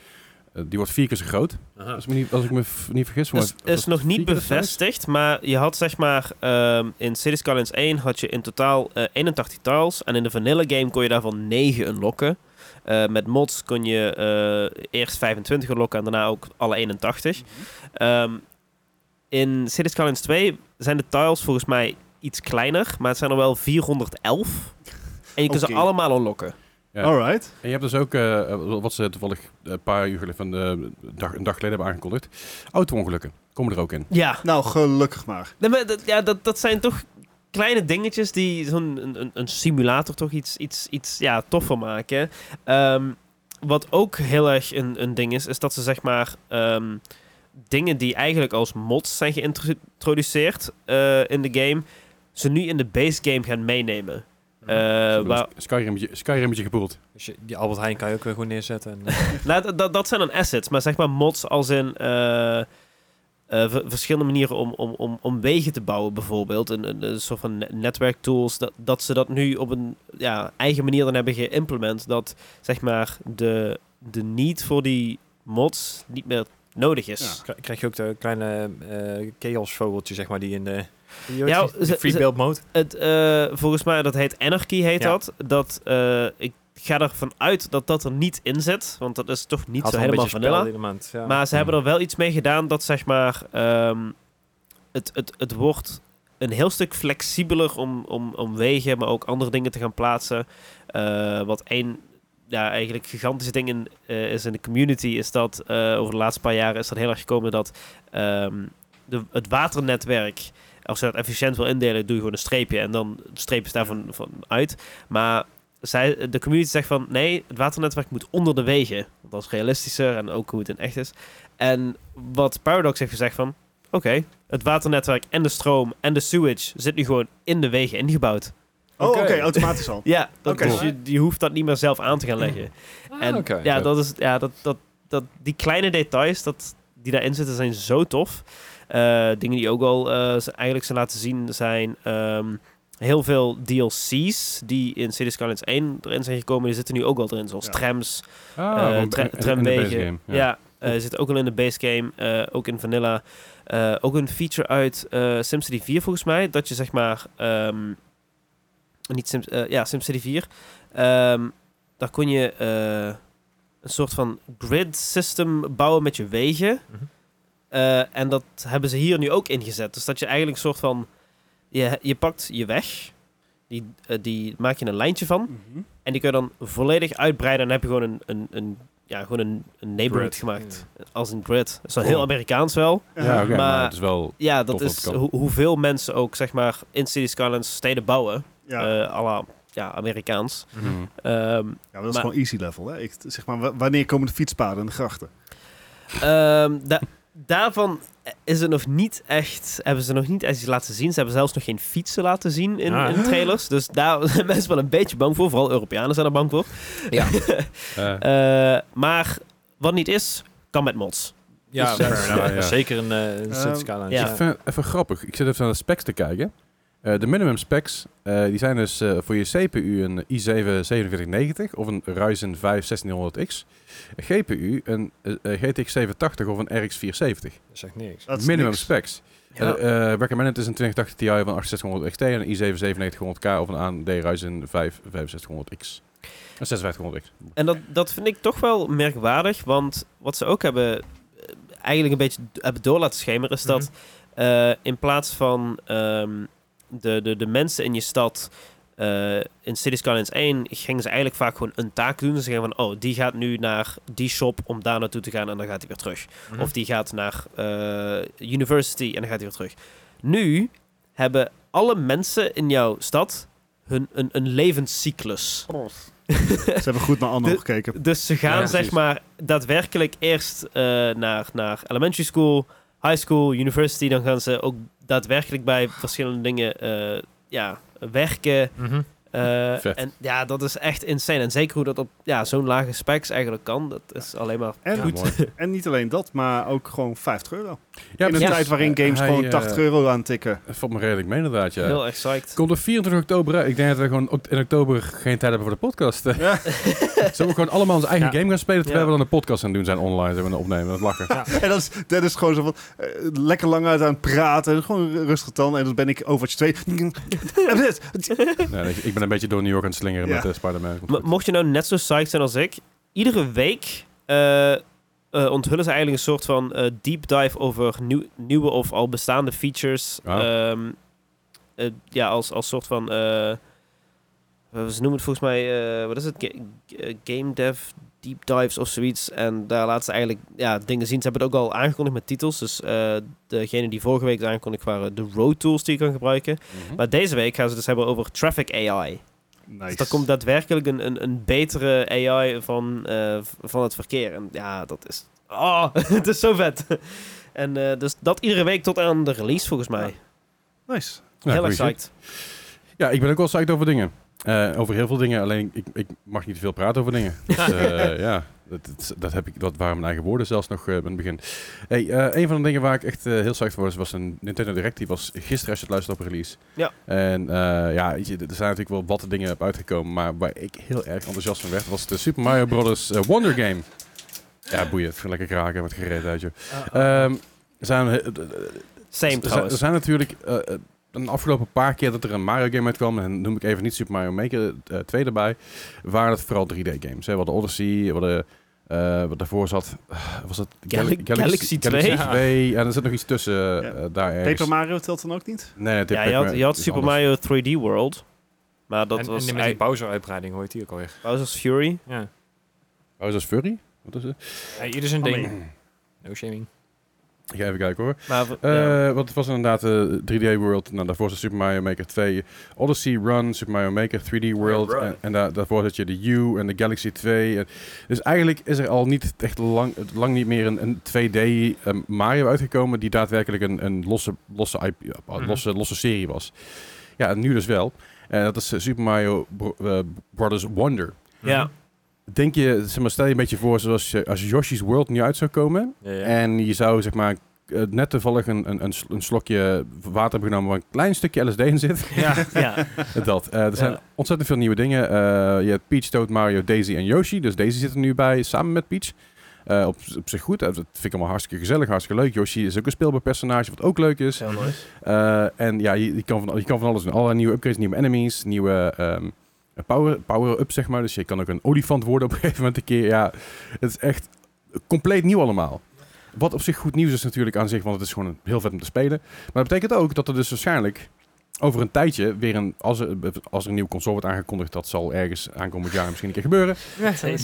A: eh, die wordt vier keer zo groot. Als ik me niet, als ik me f- niet vergis. maar
C: is,
A: het
C: Dus is
A: was
C: nog niet
A: vier keer zo groot.
C: bevestigd, maar je had zeg maar ehm, in City Skylines 1 had je in totaal eh, 81 tiles. En in de vanilla game kon je daarvan 9 unlocken. Eh, met mods kon je eh, eerst 25 unlocken en daarna ook alle 81. Ehm, in City Skylines 2 zijn de tiles volgens mij iets kleiner, maar het zijn er wel 411. En je kunt
B: Oké.
C: ze allemaal unlocken.
A: Ja.
B: Alright.
A: En je hebt dus ook, eh, wat ze toevallig een paar uur geleden, van, eh, dag, een dag geleden hebben aangekondigd, auto-ongelukken komen er ook in.
C: Ja,
B: Nou, gelukkig maar.
C: Nee, maar dat, ja, dat, dat zijn toch kleine dingetjes die zo'n een, een, een simulator toch iets, iets, iets ja, toffer maken. Ehm, wat ook heel erg een, een ding is, is dat ze zeg maar ehm, dingen die eigenlijk als mods zijn geïntroduceerd eh, in de game, ze nu in de base game gaan meenemen. Eh,
A: Ze hebben
C: waar-
A: een Skyrimmetje, Skyrimmetje gepoeld.
D: Dus je, die Albert Heijn kan je ook weer gewoon neerzetten. En, eh,
C: Nou, dat- dat, dat zijn dan assets, maar zeg maar mods als in eh, eh, ver- verschillende manieren om, om, om, om wegen te bouwen, bijvoorbeeld. Een, een, een soort van ne- netwerktools, dat, dat ze dat nu op een ja, eigen manier dan hebben geïmplement. Dat zeg maar de, de need voor die mods niet meer nodig is.
D: kri- krijg je ook de kleine eh chaos vogeltje, zeg maar, die in de,
C: Ja,
D: die- die
C: ze-
D: free
C: ze-
D: build mode.
C: Het, eh, volgens mij, dat heet Anarchy, heet
D: Ja.
C: dat. dat eh, ik ga ervan uit dat dat er niet in zit, want dat is toch niet
D: Had
C: zo
D: wel een
C: helemaal
D: beetje
C: vanilla.
D: spelelement, ja.
C: Maar ze hebben
A: Mhm.
C: er wel iets mee gedaan dat zeg maar. ehm, het, het, het wordt een heel stuk flexibeler om, om, om wegen, maar ook andere dingen te gaan plaatsen. Eh, wat één ja, eigenlijk gigantische ding in, eh, is in de community, is dat eh, over de laatste paar jaren is dat heel erg gekomen dat ehm, de, het waternetwerk. Als je dat efficiënt wil indelen, doe je gewoon een streepje en dan streep je daarvan van uit. Maar zij, de community zegt van nee, het waternetwerk moet onder de wegen. Want dat is realistischer en ook hoe het in echt is. En wat Paradox heeft gezegd van oké, het waternetwerk en de stroom en de sewage zit nu gewoon in de wegen ingebouwd.
B: Oh, oké,
D: Oké.
B: automatisch al.
C: Ja, dat,
B: Oké.
C: dus je, je hoeft dat niet meer zelf aan te gaan leggen. en
D: oké.
C: ja,
A: Oké.
C: dat is, ja dat, dat, dat, die kleine details dat, die daarin zitten zijn zo tof. Eh, dingen die ook al eh, ze- eigenlijk zijn laten zien zijn ehm, heel veel DLC's die in Cities Skylines 1 erin zijn gekomen. Die zitten nu ook al erin, zoals
B: Ja.
C: trams,
A: Ah,
C: eh,
A: want in-
C: tra-
A: in- in de base
C: tramwegen.
A: game,
C: ja, eh, zit ook al in de base game, eh, ook in vanilla. Eh, ook een feature uit eh, SimCity 4 volgens mij, dat je zeg maar, ehm, niet Sim, eh, ja, SimCity 4, ehm, daar kon je eh, een soort van grid system bouwen met je wegen.
D: Mhm.
C: Eh, en dat hebben ze hier nu ook ingezet. Dus dat je eigenlijk een soort van, je, je pakt je weg, die, eh, die maak je een lijntje van.
B: Mhm.
C: En die kun je dan volledig uitbreiden. En dan heb je gewoon een, een, een, ja, gewoon een, een neighborhood
D: Grid.
C: gemaakt. Als een grid. Dat is wel
A: Cool.
C: heel Amerikaans wel.
A: Ja,
B: Aha.
A: oké, maar,
C: Maar-
A: het is wel...
C: Ja, dat
A: Tof dat
C: is
A: kan.
C: hoe- hoeveel mensen ook, zeg maar, in City Skylines steden bouwen.
B: Ja.
C: eh à la, ja, Amerikaans.
A: Mhm.
C: Ehm,
B: Ja, maar dat is
C: Maar-
B: gewoon easy level. Hè? Ik, zeg maar, wa- wanneer komen de fietspaden en de grachten?
C: ehm, da- daarvan is het nog niet echt, hebben ze nog niet echt iets laten zien. Ze hebben zelfs nog geen fietsen laten zien in,
D: Ah.
C: in trailers. Dus daar [laughs] zijn mensen wel een beetje bang voor. Vooral Europeanen zijn er bang voor.
D: Ja.
A: Eh,
C: Eh, maar wat niet is, kan met mods.
D: Ja,
A: Dus-
D: fair enough.
A: Ja, ja.
D: [laughs] zeker een eh, een Cities
B: Ehm,
D: Skylines,
C: ja.
D: ja.
A: Even, even grappig. Ik zit even naar de specs te kijken. Eh, de minimum specs, eh, die zijn dus eh, voor je CPU een i7 4790 of een Ryzen 5 1600X. Een GPU een eh, eh, GTX 780 of een RX 470.
D: Dat zegt niks.
B: Dat is
A: minimum
B: niks.
A: specs.
C: Ja.
A: Eh, eh, recommended is een 2080 Ti van 8600 XT en een i7 9700K of een AMD Ryzen 5 6500X. Een 5600X.
C: En dat, dat vind ik toch wel merkwaardig, want wat ze ook hebben eh, eigenlijk een beetje d- hebben door laten schemeren, is dat eh, in plaats van ehm, de, de, de mensen in je stad eh, in City Skylines 1 gingen ze eigenlijk vaak gewoon een taak doen. Ze gingen van, oh, die gaat nu naar die shop om daar naartoe te gaan en dan gaat hij weer terug.
D: Mhm.
C: Of die gaat naar eh, university en dan gaat hij weer terug. Nu hebben alle mensen in jouw stad hun, een, een levenscyclus.
B: Ze hebben goed naar Anno
C: De-
B: gekeken.
C: Dus ze gaan
A: Ja,
C: zeg
A: precies.
C: maar daadwerkelijk eerst eh, naar, naar elementary school, high school, university. Dan gaan ze ook daadwerkelijk bij verschillende dingen eh, ja, werken. Eh,
A: Vet.
C: en ja, dat is echt insane. En zeker hoe dat op ja, zo'n lage specs eigenlijk kan. Dat is alleen maar
B: En,
C: goed.
A: mooi.
B: en niet alleen dat, maar ook gewoon 50 euro.
A: Ja,
B: In een
A: precies.
B: tijd waarin
A: Eh,
B: games
A: hij,
B: gewoon
A: eh,
B: 80 euro aantikken.
A: Het valt me redelijk mee inderdaad, ja.
C: Heel erg psyched.
A: Komt op 24 oktober uit. Ik denk dat we gewoon ook in oktober geen tijd hebben voor de podcast. eh.
B: Ja.
A: [laughs] Zullen we gewoon allemaal onze eigen
D: Ja.
A: game gaan spelen terwijl
C: Ja.
A: we dan een podcast aan het doen zijn online. Zullen we dan opnemen, dat lachen.
B: [laughs] En dat is, dat is gewoon zo van, eh, lekker lang uit aan het praten. Gewoon rustig dan. En dan ben ik Overwatch [laughs] 2.
A: Nee, ik, ik ben een beetje door New York aan het slingeren
B: Ja.
A: met eh, Spider-Man. Komt
C: Mo-
A: goed.
C: mocht je nou net zo psyched zijn als ik, iedere week eh, eh, onthullen ze eigenlijk een soort van eh, deep dive over nieuw- nieuwe of al bestaande features.
A: Wauw.
C: Ehm, eh, ja, als, als soort van. eh, eh, ze noemen het volgens mij. eh, wat is het? Ga- eh, game dev deep dives of zoiets. En daar laten ze eigenlijk ja, dingen zien. Ze hebben het ook al aangekondigd met titels. Dus eh, degene die vorige week is aangekondigd waren de road tools die je kan gebruiken.
A: Mhm.
C: Maar deze week gaan ze dus hebben over traffic AI.
B: Nice.
C: Dus er komt daadwerkelijk een, een, een betere AI van, eh, v- van het verkeer. En ja, dat is... Oh, [laughs] het is zo vet. En eh, dus dat iedere week tot aan de release, volgens mij.
B: Nice.
A: Ja,
C: Heel
A: goeie
C: erg
A: shit.
C: psyched.
A: Ja, ik ben ook wel psyched over dingen. Eh, over heel veel dingen, alleen ik, ik mag niet veel praten over dingen. Dus, eh, ja, dat, dat, dat heb ik, dat waren mijn eigen woorden zelfs nog eh in het begin. Hey, eh, een van de dingen waar ik echt eh, heel psyched voor was, was een Nintendo Direct. Die was gisteren als je het luistert op release.
C: Ja.
A: En eh, ja, weet je, er zijn natuurlijk wel wat dingen op uitgekomen, maar waar ik heel erg enthousiast van werd, was de Super Mario Bros. eh, Wonder Game. Ja, boeien, het ging lekker kraken met gereed uit, joh. Ehm, er zijn, eh,
C: Same
A: er zijn-
C: trouwens.
A: Er zijn natuurlijk eh, eh, een afgelopen paar keer dat er een Mario game uitkwam, en noem ik even niet Super Mario Maker eh 2 erbij, waren het vooral 3D games. Hè? We hadden Odyssey, we hadden, eh, wat daarvoor zat, eh, was dat
C: Gal- Galaxy 2?
A: Galaxy 2, en er zit nog iets tussen eh, daar ergens.
B: Paper Mario telt dan ook niet?
A: Nee, dit
C: ja, je
A: Paper-
C: had, je had
A: is
C: Super
A: anders.
C: Mario 3D World. Maar dat
D: en,
C: was
D: en met die
C: eigenlijk
D: Bowser-uitbreiding hoort die ook alweer.
C: Bowser's Fury.
D: Ja.
A: Oh, is dat Furry? Wat is het?
D: Ja, ieder zijn ding. No shaming.
A: Ik ga even kijken hoor.
C: Maar v-
A: Eh
C: ja.
A: Want het was inderdaad eh, 3D World. Nou, daarvoor zat Super Mario Maker 2. Odyssey Run, Super Mario Maker 3D World.
D: Run.
A: En, en daar- daarvoor zat je de U en de Galaxy 2. En- dus eigenlijk is er al niet echt lang, lang niet meer een, een 2D eh, Mario uitgekomen... die daadwerkelijk een, een losse, losse, IP, eh,
D: Mhm.
A: losse, losse serie was. Ja, en nu dus wel. En dat is eh, Super Mario Bro- eh, Brothers Wonder.
C: ja.
A: Denk je, zeg maar, stel je een beetje voor zoals je, als Yoshi's World nu uit zou komen...
D: Ja, ja. [laughs]
A: En je zou zeg maar eh, net toevallig een, een, een sl- een slokje water hebben genomen waar een klein stukje LSD in
B: [laughs]
A: zit.
D: ja.
A: [laughs]
C: ja.
A: Dat. Eh, er zijn
C: Ja.
A: ontzettend veel nieuwe dingen. Eh, je hebt Peach, Toad, Mario, Daisy en Yoshi. Dus Daisy zit er nu bij samen met Peach. Eh, op, op zich goed. Eh, dat vind ik allemaal hartstikke gezellig, hartstikke leuk. Yoshi is ook een speelbaar personage, wat ook leuk is.
C: Heel nice.
A: Eh, en ja, je, je kan van, je kan van alles doen. Allerlei nieuwe upgrades, nieuwe enemies, nieuwe ehm, power- power-up, zeg maar. Dus je kan ook een olifant worden op een [laughs] gegeven moment een keer. Ja, het is echt compleet nieuw allemaal. Wat op zich goed nieuws is natuurlijk aan zich, want het is gewoon heel vet om te spelen. Maar dat betekent ook dat er dus waarschijnlijk over een tijdje weer een... Als er, als er een nieuwe console wordt aangekondigd, dat zal ergens aankomend jaar misschien een keer gebeuren.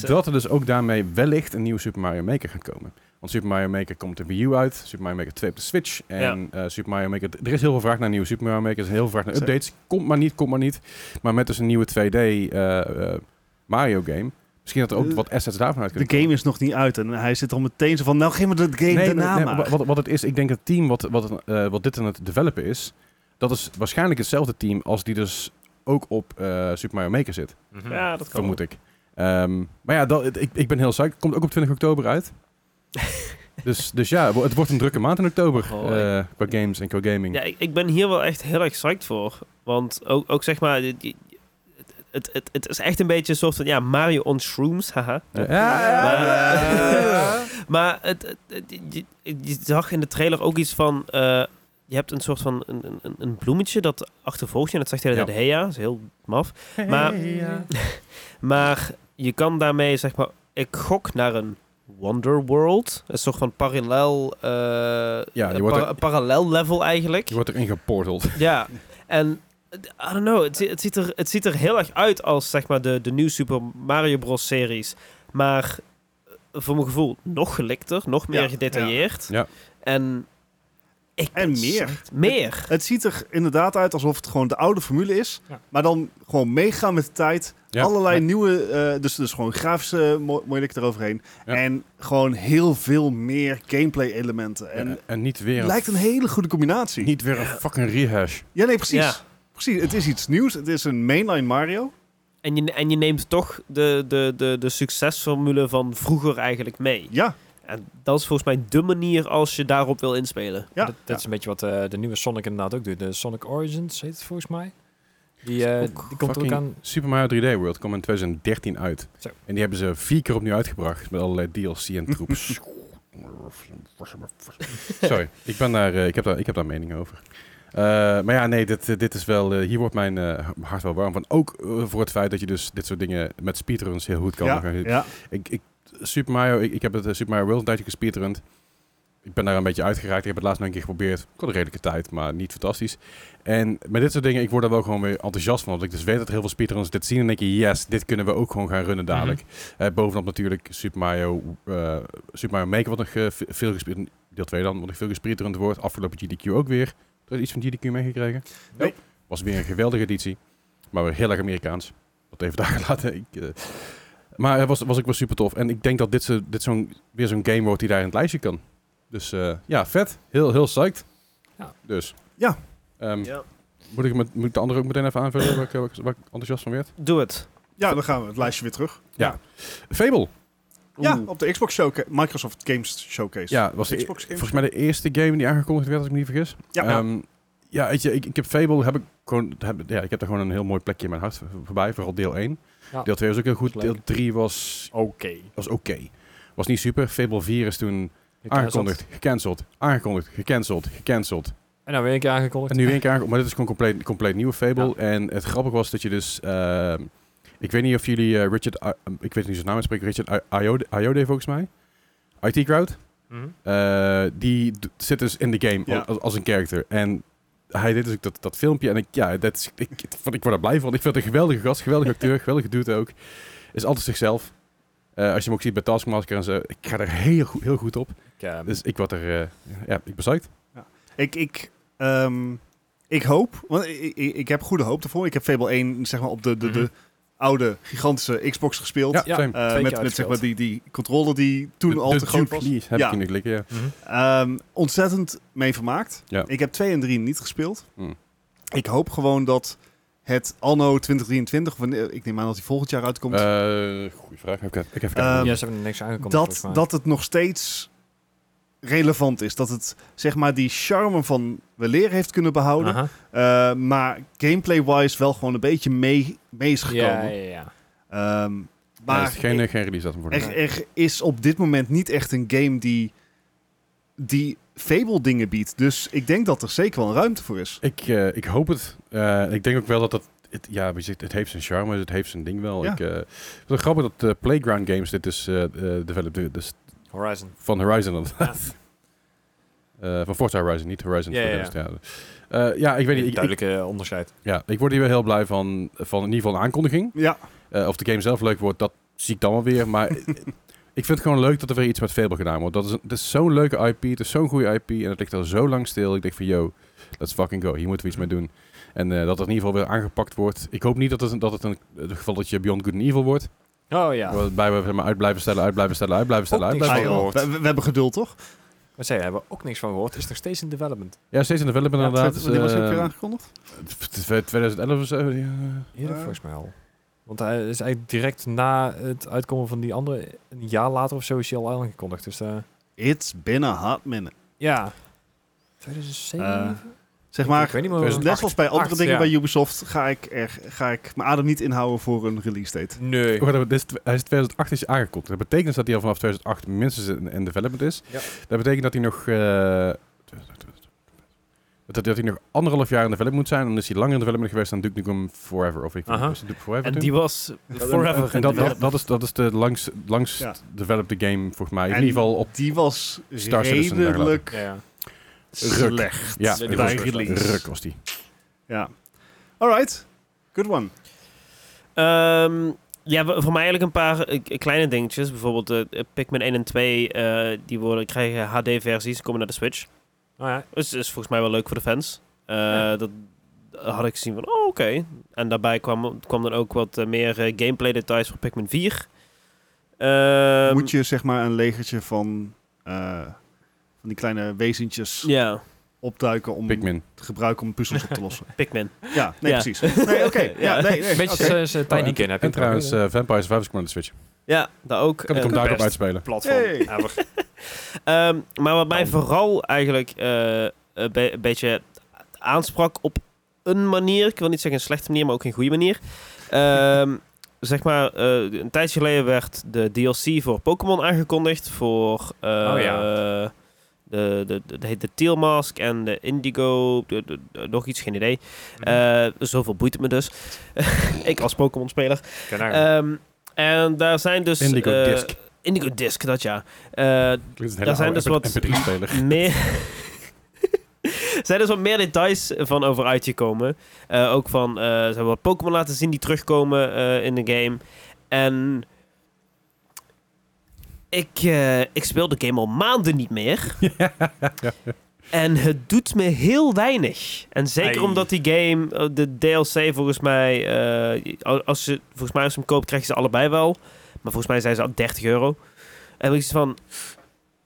A: Dat er dus ook daarmee wellicht een nieuwe Super Mario Maker gaat komen. Want Super Mario Maker komt de Wii U uit, Super Mario Maker 2 op de Switch en eh, Super Mario Maker... Er is heel veel vraag naar nieuwe Super Mario Maker, er is heel veel vraag naar
B: Zeker.
A: updates. Komt maar niet, komt maar niet. Maar met dus een nieuwe 2D eh, eh, Mario game, misschien dat er ook
B: Eh,
A: wat assets daarvan uit
B: De
A: kunnen
B: game is nog niet uit. En hij zit al meteen zo van, nou geef me dat game
A: Nee,
B: daarna
A: nee,
B: maar.
A: wa- wat, wat het is, ik denk het team wat, wat, eh, wat dit aan het developen is, dat is waarschijnlijk hetzelfde team als die dus ook op eh, Super Mario Maker zit.
D: Mhm.
C: ja, dat kan
A: vermoed ik. Ehm, maar ja, dat, ik, ik ben heel psyched. Komt ook op 20 oktober
C: [laughs]
A: uit. dus, dus ja, wo- het wordt een drukke maand in oktober.
C: Oh,
A: eh, qua games en qua gaming.
C: Ja, ik, ik ben hier wel echt heel erg psyched voor. Want ook, ook zeg maar... je- je- Het, het, het is echt een beetje een soort van... Ja, Mario on shrooms, haha.
A: Eh, ja,
C: Maar- Maar het, het- het- je, je zag in de trailer ook iets van... eh, je hebt een soort van een, een- een, een bloemetje dat achtervolgt je. En dat zegt de hele
A: Ja.
C: tijd, hey ja, dat is heel
A: [laughs]
C: maf. Maar, maar je kan daarmee, zeg maar... Ik gok naar een Wonder World. Een soort van parallel... eh,
A: je
C: een
A: wordt
C: par-
A: er-
C: een parallel level eigenlijk.
A: Je wordt erin geporteld.
C: Ja, en eh, I don't know, het, zi- het, ziet er, het ziet er heel erg uit als zeg maar de, de nieuwe Super Mario Bros. series. Maar eh, voor mijn gevoel nog gelikter, nog meer
B: Ja,
C: gedetailleerd.
A: ja. Ja.
C: En Ik
B: [laughs] En
C: ben
B: meer.
C: psyched. Meer.
B: Het ziet er inderdaad uit alsof het gewoon de oude formule is.
D: Ja.
B: Maar dan gewoon meegaan met de tijd.
A: Ja.
B: Allerlei
A: Ja.
B: nieuwe, eh, dus, dus gewoon grafische mo moeilijk eroverheen.
A: Ja.
B: En gewoon heel veel meer gameplay elementen. En
A: En, en niet weer
B: het
A: een,
B: lijkt een hele goede combinatie.
A: niet weer een fucking rehash.
B: Ja, nee, precies.
C: Ja.
B: Precies, het is iets nieuws. Het is een mainline Mario.
C: En je, en je neemt toch de, de, de, de succesformule van vroeger eigenlijk mee.
B: Ja,
C: En dat is volgens mij de manier als je daarop wil inspelen.
B: ja.
D: dat, dat is een beetje wat eh, de nieuwe Sonic inderdaad ook doet. De Sonic Origins heet het volgens mij. Die, eh,
A: Ook
D: die komt er ook
A: fucking
D: aan.
A: Super Mario 3D World kwam in 2013 uit.
D: Zo.
A: En die hebben ze vier keer opnieuw uitgebracht met allerlei DLC en
D: [laughs]
A: troeps. Sorry, ik, ben daar, eh, ik, heb daar, ik heb daar mening over. Eh, maar ja, nee, dit, eh, dit is wel, eh, hier wordt mijn eh, hart wel warm van. Ook eh, voor het feit dat je dus dit soort dingen met speedruns heel goed kan.
B: ja,
A: gaan.
B: ja.
A: Ik, ik, Super Mario, ik, ik heb het eh, Super Mario World een tijdje gespeedrund. Ik ben daar een beetje uitgeraakt. Ik heb het laatst nog een keer geprobeerd. Ik had een redelijke tijd, maar niet fantastisch. En met dit soort dingen, ik word er wel gewoon weer enthousiast van. Want ik dus weet dat heel veel speedruns dit zien. En denk je, yes, dit kunnen we ook gewoon gaan runnen dadelijk. Eh, bovenop natuurlijk Super Mario, eh, Super Mario Maker, wat nog eh, ve- veel gespeed... Deel 2 dan, wat nog veel gespeedrund wordt. Afgelopen GDQ ook weer. Heb je iets van GDQ meegekregen?
B: Nee.
A: Was weer een geweldige editie. Maar weer heel erg Amerikaans. Dat even daar [laughs] laten. Ik, eh, maar het was, was ook wel super tof. En ik denk dat dit, zo- dit zo'n, weer zo'n game wordt die daar in het lijstje kan. Dus eh, ja, vet. Heel, heel psyched.
D: Ja.
A: Dus.
B: Ja.
A: Ehm,
C: Ja.
A: Moet, ik met, moet ik de andere ook meteen even aanvullen waar ik, eh, waar ik- waar ik enthousiast van werd?
C: Doe het.
B: ja, dan gaan we het lijstje weer terug.
A: Fable.
B: Ja,
C: Oeh.
B: op de Xbox Showcase. Microsoft Games Showcase.
A: Ja, was de, e-
B: Xbox Games.
A: volgens mij de eerste game die aangekondigd werd, als ik me niet vergis.
B: Ja.
A: Ehm, ja, weet je, ik, ik heb Fable, heb ik, gewoon, heb, ja, ik heb daar gewoon een heel mooi plekje in mijn hart voor- voorbij. Vooral deel 1.
D: Ja.
A: Deel 2 was ook heel goed.
D: Was
A: Deel
D: leuk.
A: 3 was,
B: Oh.
D: Oké.
A: was oké. Was niet super. Fable 4 is toen
D: Ik ken dat.
A: aangekondigd, gecanceld, aangekondigd, gecanceld, gecanceld.
D: En nou weer een keer aangekondigd.
A: En nu weer een keer aange- Maar dit is gewoon compleet, compleet nieuwe Fable. En het grappige was dat je dus... ehm, ik weet niet of jullie eh, Richard... I- ik weet niet zijn naam uitspreken. Richard I- Iode, Iode volgens mij. IT Crowd.
D: Mhm.
A: eh, die d- zit dus in de game
B: Ja.
A: als, als een character. En hij deed dus ook dat, dat filmpje. En ik, ja, dat is, ik, ik vond- ik word er blij van. Ik vind het een geweldige gast. Geweldige acteur. geweldige dude ook. Is altijd zichzelf. Eh, als je hem ook ziet bij Taskmaster en zo. Ik ga er heel, goed- heel goed op.
D: Ik, eh,
A: Dus ik word er... eh, ja, ik ben psyched.
B: Ik, ik, ehm, ik hoop, want ik, ik, ik heb goede hoop ervoor. Ik heb Fable 1 zeg maar, op de, de, de
D: Mhm.
B: oude gigantische Xbox gespeeld.
A: Ja,
D: Ja.
A: same.
B: Eh,
D: Twee keer
B: met met zeg
D: uitgespeeld.
B: maar, die, die controller die toen
A: de,
B: al
A: de
B: te groot
A: Duke
B: was.
A: Lee heb
B: Ja.
A: ik kunnen klikken, ja.
D: mhm.
B: Ehm, ontzettend mee vermaakt.
A: Ja.
B: Ik heb 2 en 3 niet gespeeld.
A: Hmm.
B: Ik hoop gewoon dat het anno 2023, wanneer, ik neem aan dat die volgend jaar uitkomt,
A: Eh, goeie vraag. Heb ik, heb ik even
B: Ehm,
A: kijken.
D: ja, ze hebben er niks aangekondigd. volgens
B: dat,
D: mij.
B: dat het nog steeds relevant is. Dat het zeg maar die charme van weleer heeft kunnen behouden.
D: Aha.
B: Eh, maar gameplay-wise wel gewoon een beetje mee, mee is gekomen.
D: Ja, ja, ja.
B: Ehm,
A: maar
B: maar
A: is geen,
B: er,
A: eh, geen release datum voor.
B: er- er is op dit moment niet echt een game die, die Fable dingen biedt. Dus ik denk dat er zeker wel een ruimte voor is.
A: Ik, eh, ik hoop het. Eh, ik denk ook wel dat dat... Het, ja, weet je, het heeft zijn charme, dus het heeft zijn ding wel.
B: Ja.
A: Ik, eh, het is wel grappig dat eh, Playground Games dit is eh eh, developed dus
D: Horizon.
A: van Horizon inderdaad. [laughs] Eh, van Forza Horizon, niet Horizon.
D: Ja,
A: voor de
D: ja,
A: rest, Ja, Eh, ja, ik weet niet. Ik, ik,
D: Duidelijke eh, onderscheid.
A: ja, ik word hier wel heel blij van, van in ieder geval een aankondiging.
B: Ja,
A: Eh, of de game zelf leuk wordt, dat zie ik dan wel weer. Maar eh, ik vind het gewoon leuk dat er weer iets met Fable gedaan wordt. Dat is, dat is zo'n leuke IP, het is zo'n goede IP. En het ligt al zo lang stil. Ik denk van, yo, let's fucking go. Hier moeten we iets mee doen. En eh, dat het in ieder geval weer aangepakt wordt. Ik hoop niet dat het, een- dat het een het geval dat je Beyond Good and Evil wordt.
D: Oh ja.
A: Waarbij we zeg maar, uit blijven stellen, uit blijven stellen, uit blijven stellen,
D: Ook
A: uit
D: niks
A: blijven
B: Ah,
D: van
A: stellen.
B: joh.
D: gehoord.
B: we, we- we hebben geduld toch?
D: Maar zij hebben ook niks van gehoord. Het is nog steeds in development.
A: Ja, steeds in development
D: Ja,
A: inderdaad.
B: Wanneer was het ook weer
A: Eh,
B: aangekondigd?
A: tw- tw- 2011 of zo. ja.
D: Eerder
B: Eh.
D: volgens mij al. Want hij is eigenlijk direct na het uitkomen van die andere, een jaar later of zo, is hij al aangekondigd. Dus eh,
B: It's been a hot minute.
D: ja. 2007?
B: Eh,
D: Ik-
B: Zeg maar,
D: ik weet niet meer. hoe-
A: 2008.
B: net zoals bij andere
D: Acht,
B: dingen
D: ja.
B: bij Ubisoft ga ik, er, ga ik mijn adem niet inhouden voor een release date.
D: Nee.
A: Wacht even, dit is tw- Hij is 2008 is hij aangekondigd. Dat betekent dus dat hij al vanaf 2008 minstens in, in development is.
D: Ja.
A: Dat betekent dat hij nog... eh, dat, dat hij nog anderhalf jaar in development moet zijn. Dan is hij langer in development geweest dan Duke Nukem Forever. Of ik
D: Aha.
A: was het Duke Forever
C: En
A: toen?
C: die was forever.
A: en dat,
C: in
A: dat, dat is, dat is de langst, langst
B: Ja.
A: developed game, volgens mij. in
B: En
A: ieder geval op...
B: Die was
A: Star Citizen, daar
B: redelijk
D: Ja, ja.
B: slecht.
A: Ja,
B: bij
A: die was-
B: release.
A: Ruk was die.
B: Ja. Alright. Good one.
C: Ehm, ja, w- voor mij eigenlijk een paar eh, k- kleine eh, dingetjes. Bijvoorbeeld eh Pikmin 1 en 2, eh, die worden, krijgen HD-versies, komen naar de Switch.
D: Oh,
C: Nou ja. Dus is volgens mij wel leuk voor de fans. Eh, Dat had ik gezien van, oh, oké. En daarbij kwam, kwam dan ook wat eh, meer eh, gameplay details voor Pikmin 4. Ehm,
B: Moet je zeg maar een legertje van, eh, van die kleine wezentjes
C: Ja,
B: opduiken om
A: Pikmin.
B: te gebruiken om puzzels op te
A: [laughs]
B: lossen?
C: Pikmin.
B: Ja, nee,
C: Ja.
B: precies. Nee, oké. ja,
C: Ja.
B: nee, nee.
D: Beetje
B: oké.
D: zoals eh, Tiny Kin heb je
A: En trouwens, eh, Vampire Survivors komt naar de Switch.
C: Ja, daar ook.
A: Kan ik
C: Eh,
A: hem daarop
D: best.
A: uitspelen?
D: platform.
B: Hey.
D: ever.
C: Ehm, maar wat mij
D: Dan.
C: vooral eigenlijk eh, een be- beetje aansprak op een manier, ik wil niet zeggen een slechte manier, maar ook een goede manier. Ehm, [laughs] zeg maar, eh, een tijdje geleden werd de DLC voor Pokémon aangekondigd. Voor eh,
D: Oh ja.
C: de, de, de, de, de Teal Mask en de Indigo, de, de- de- nog iets, geen idee. Eh, zoveel boeit het me dus. [laughs] ik als Pokémon-speler.
D: Ken haar.
C: Ehm, en daar zijn dus...
A: Indigo
C: eh,
A: Disc.
C: Indigo Disc, dat ja. Eh, Daar zijn dus wat-
A: MP3-speler.
C: meer. er [laughs] zijn dus wat meer details van over uitgekomen. Eh, ook van, eh, ze hebben wat Pokémon laten zien die terugkomen eh, in de game. En ik, eh, ik speel de game al maanden niet meer. En het doet me heel weinig. En zeker
D: Ai.
C: omdat die game, eh, de DLC volgens mij, eh, als je, volgens mij als je hem koopt krijg je ze allebei wel. Maar volgens mij zijn ze al 30 euro. En ik zoiets van,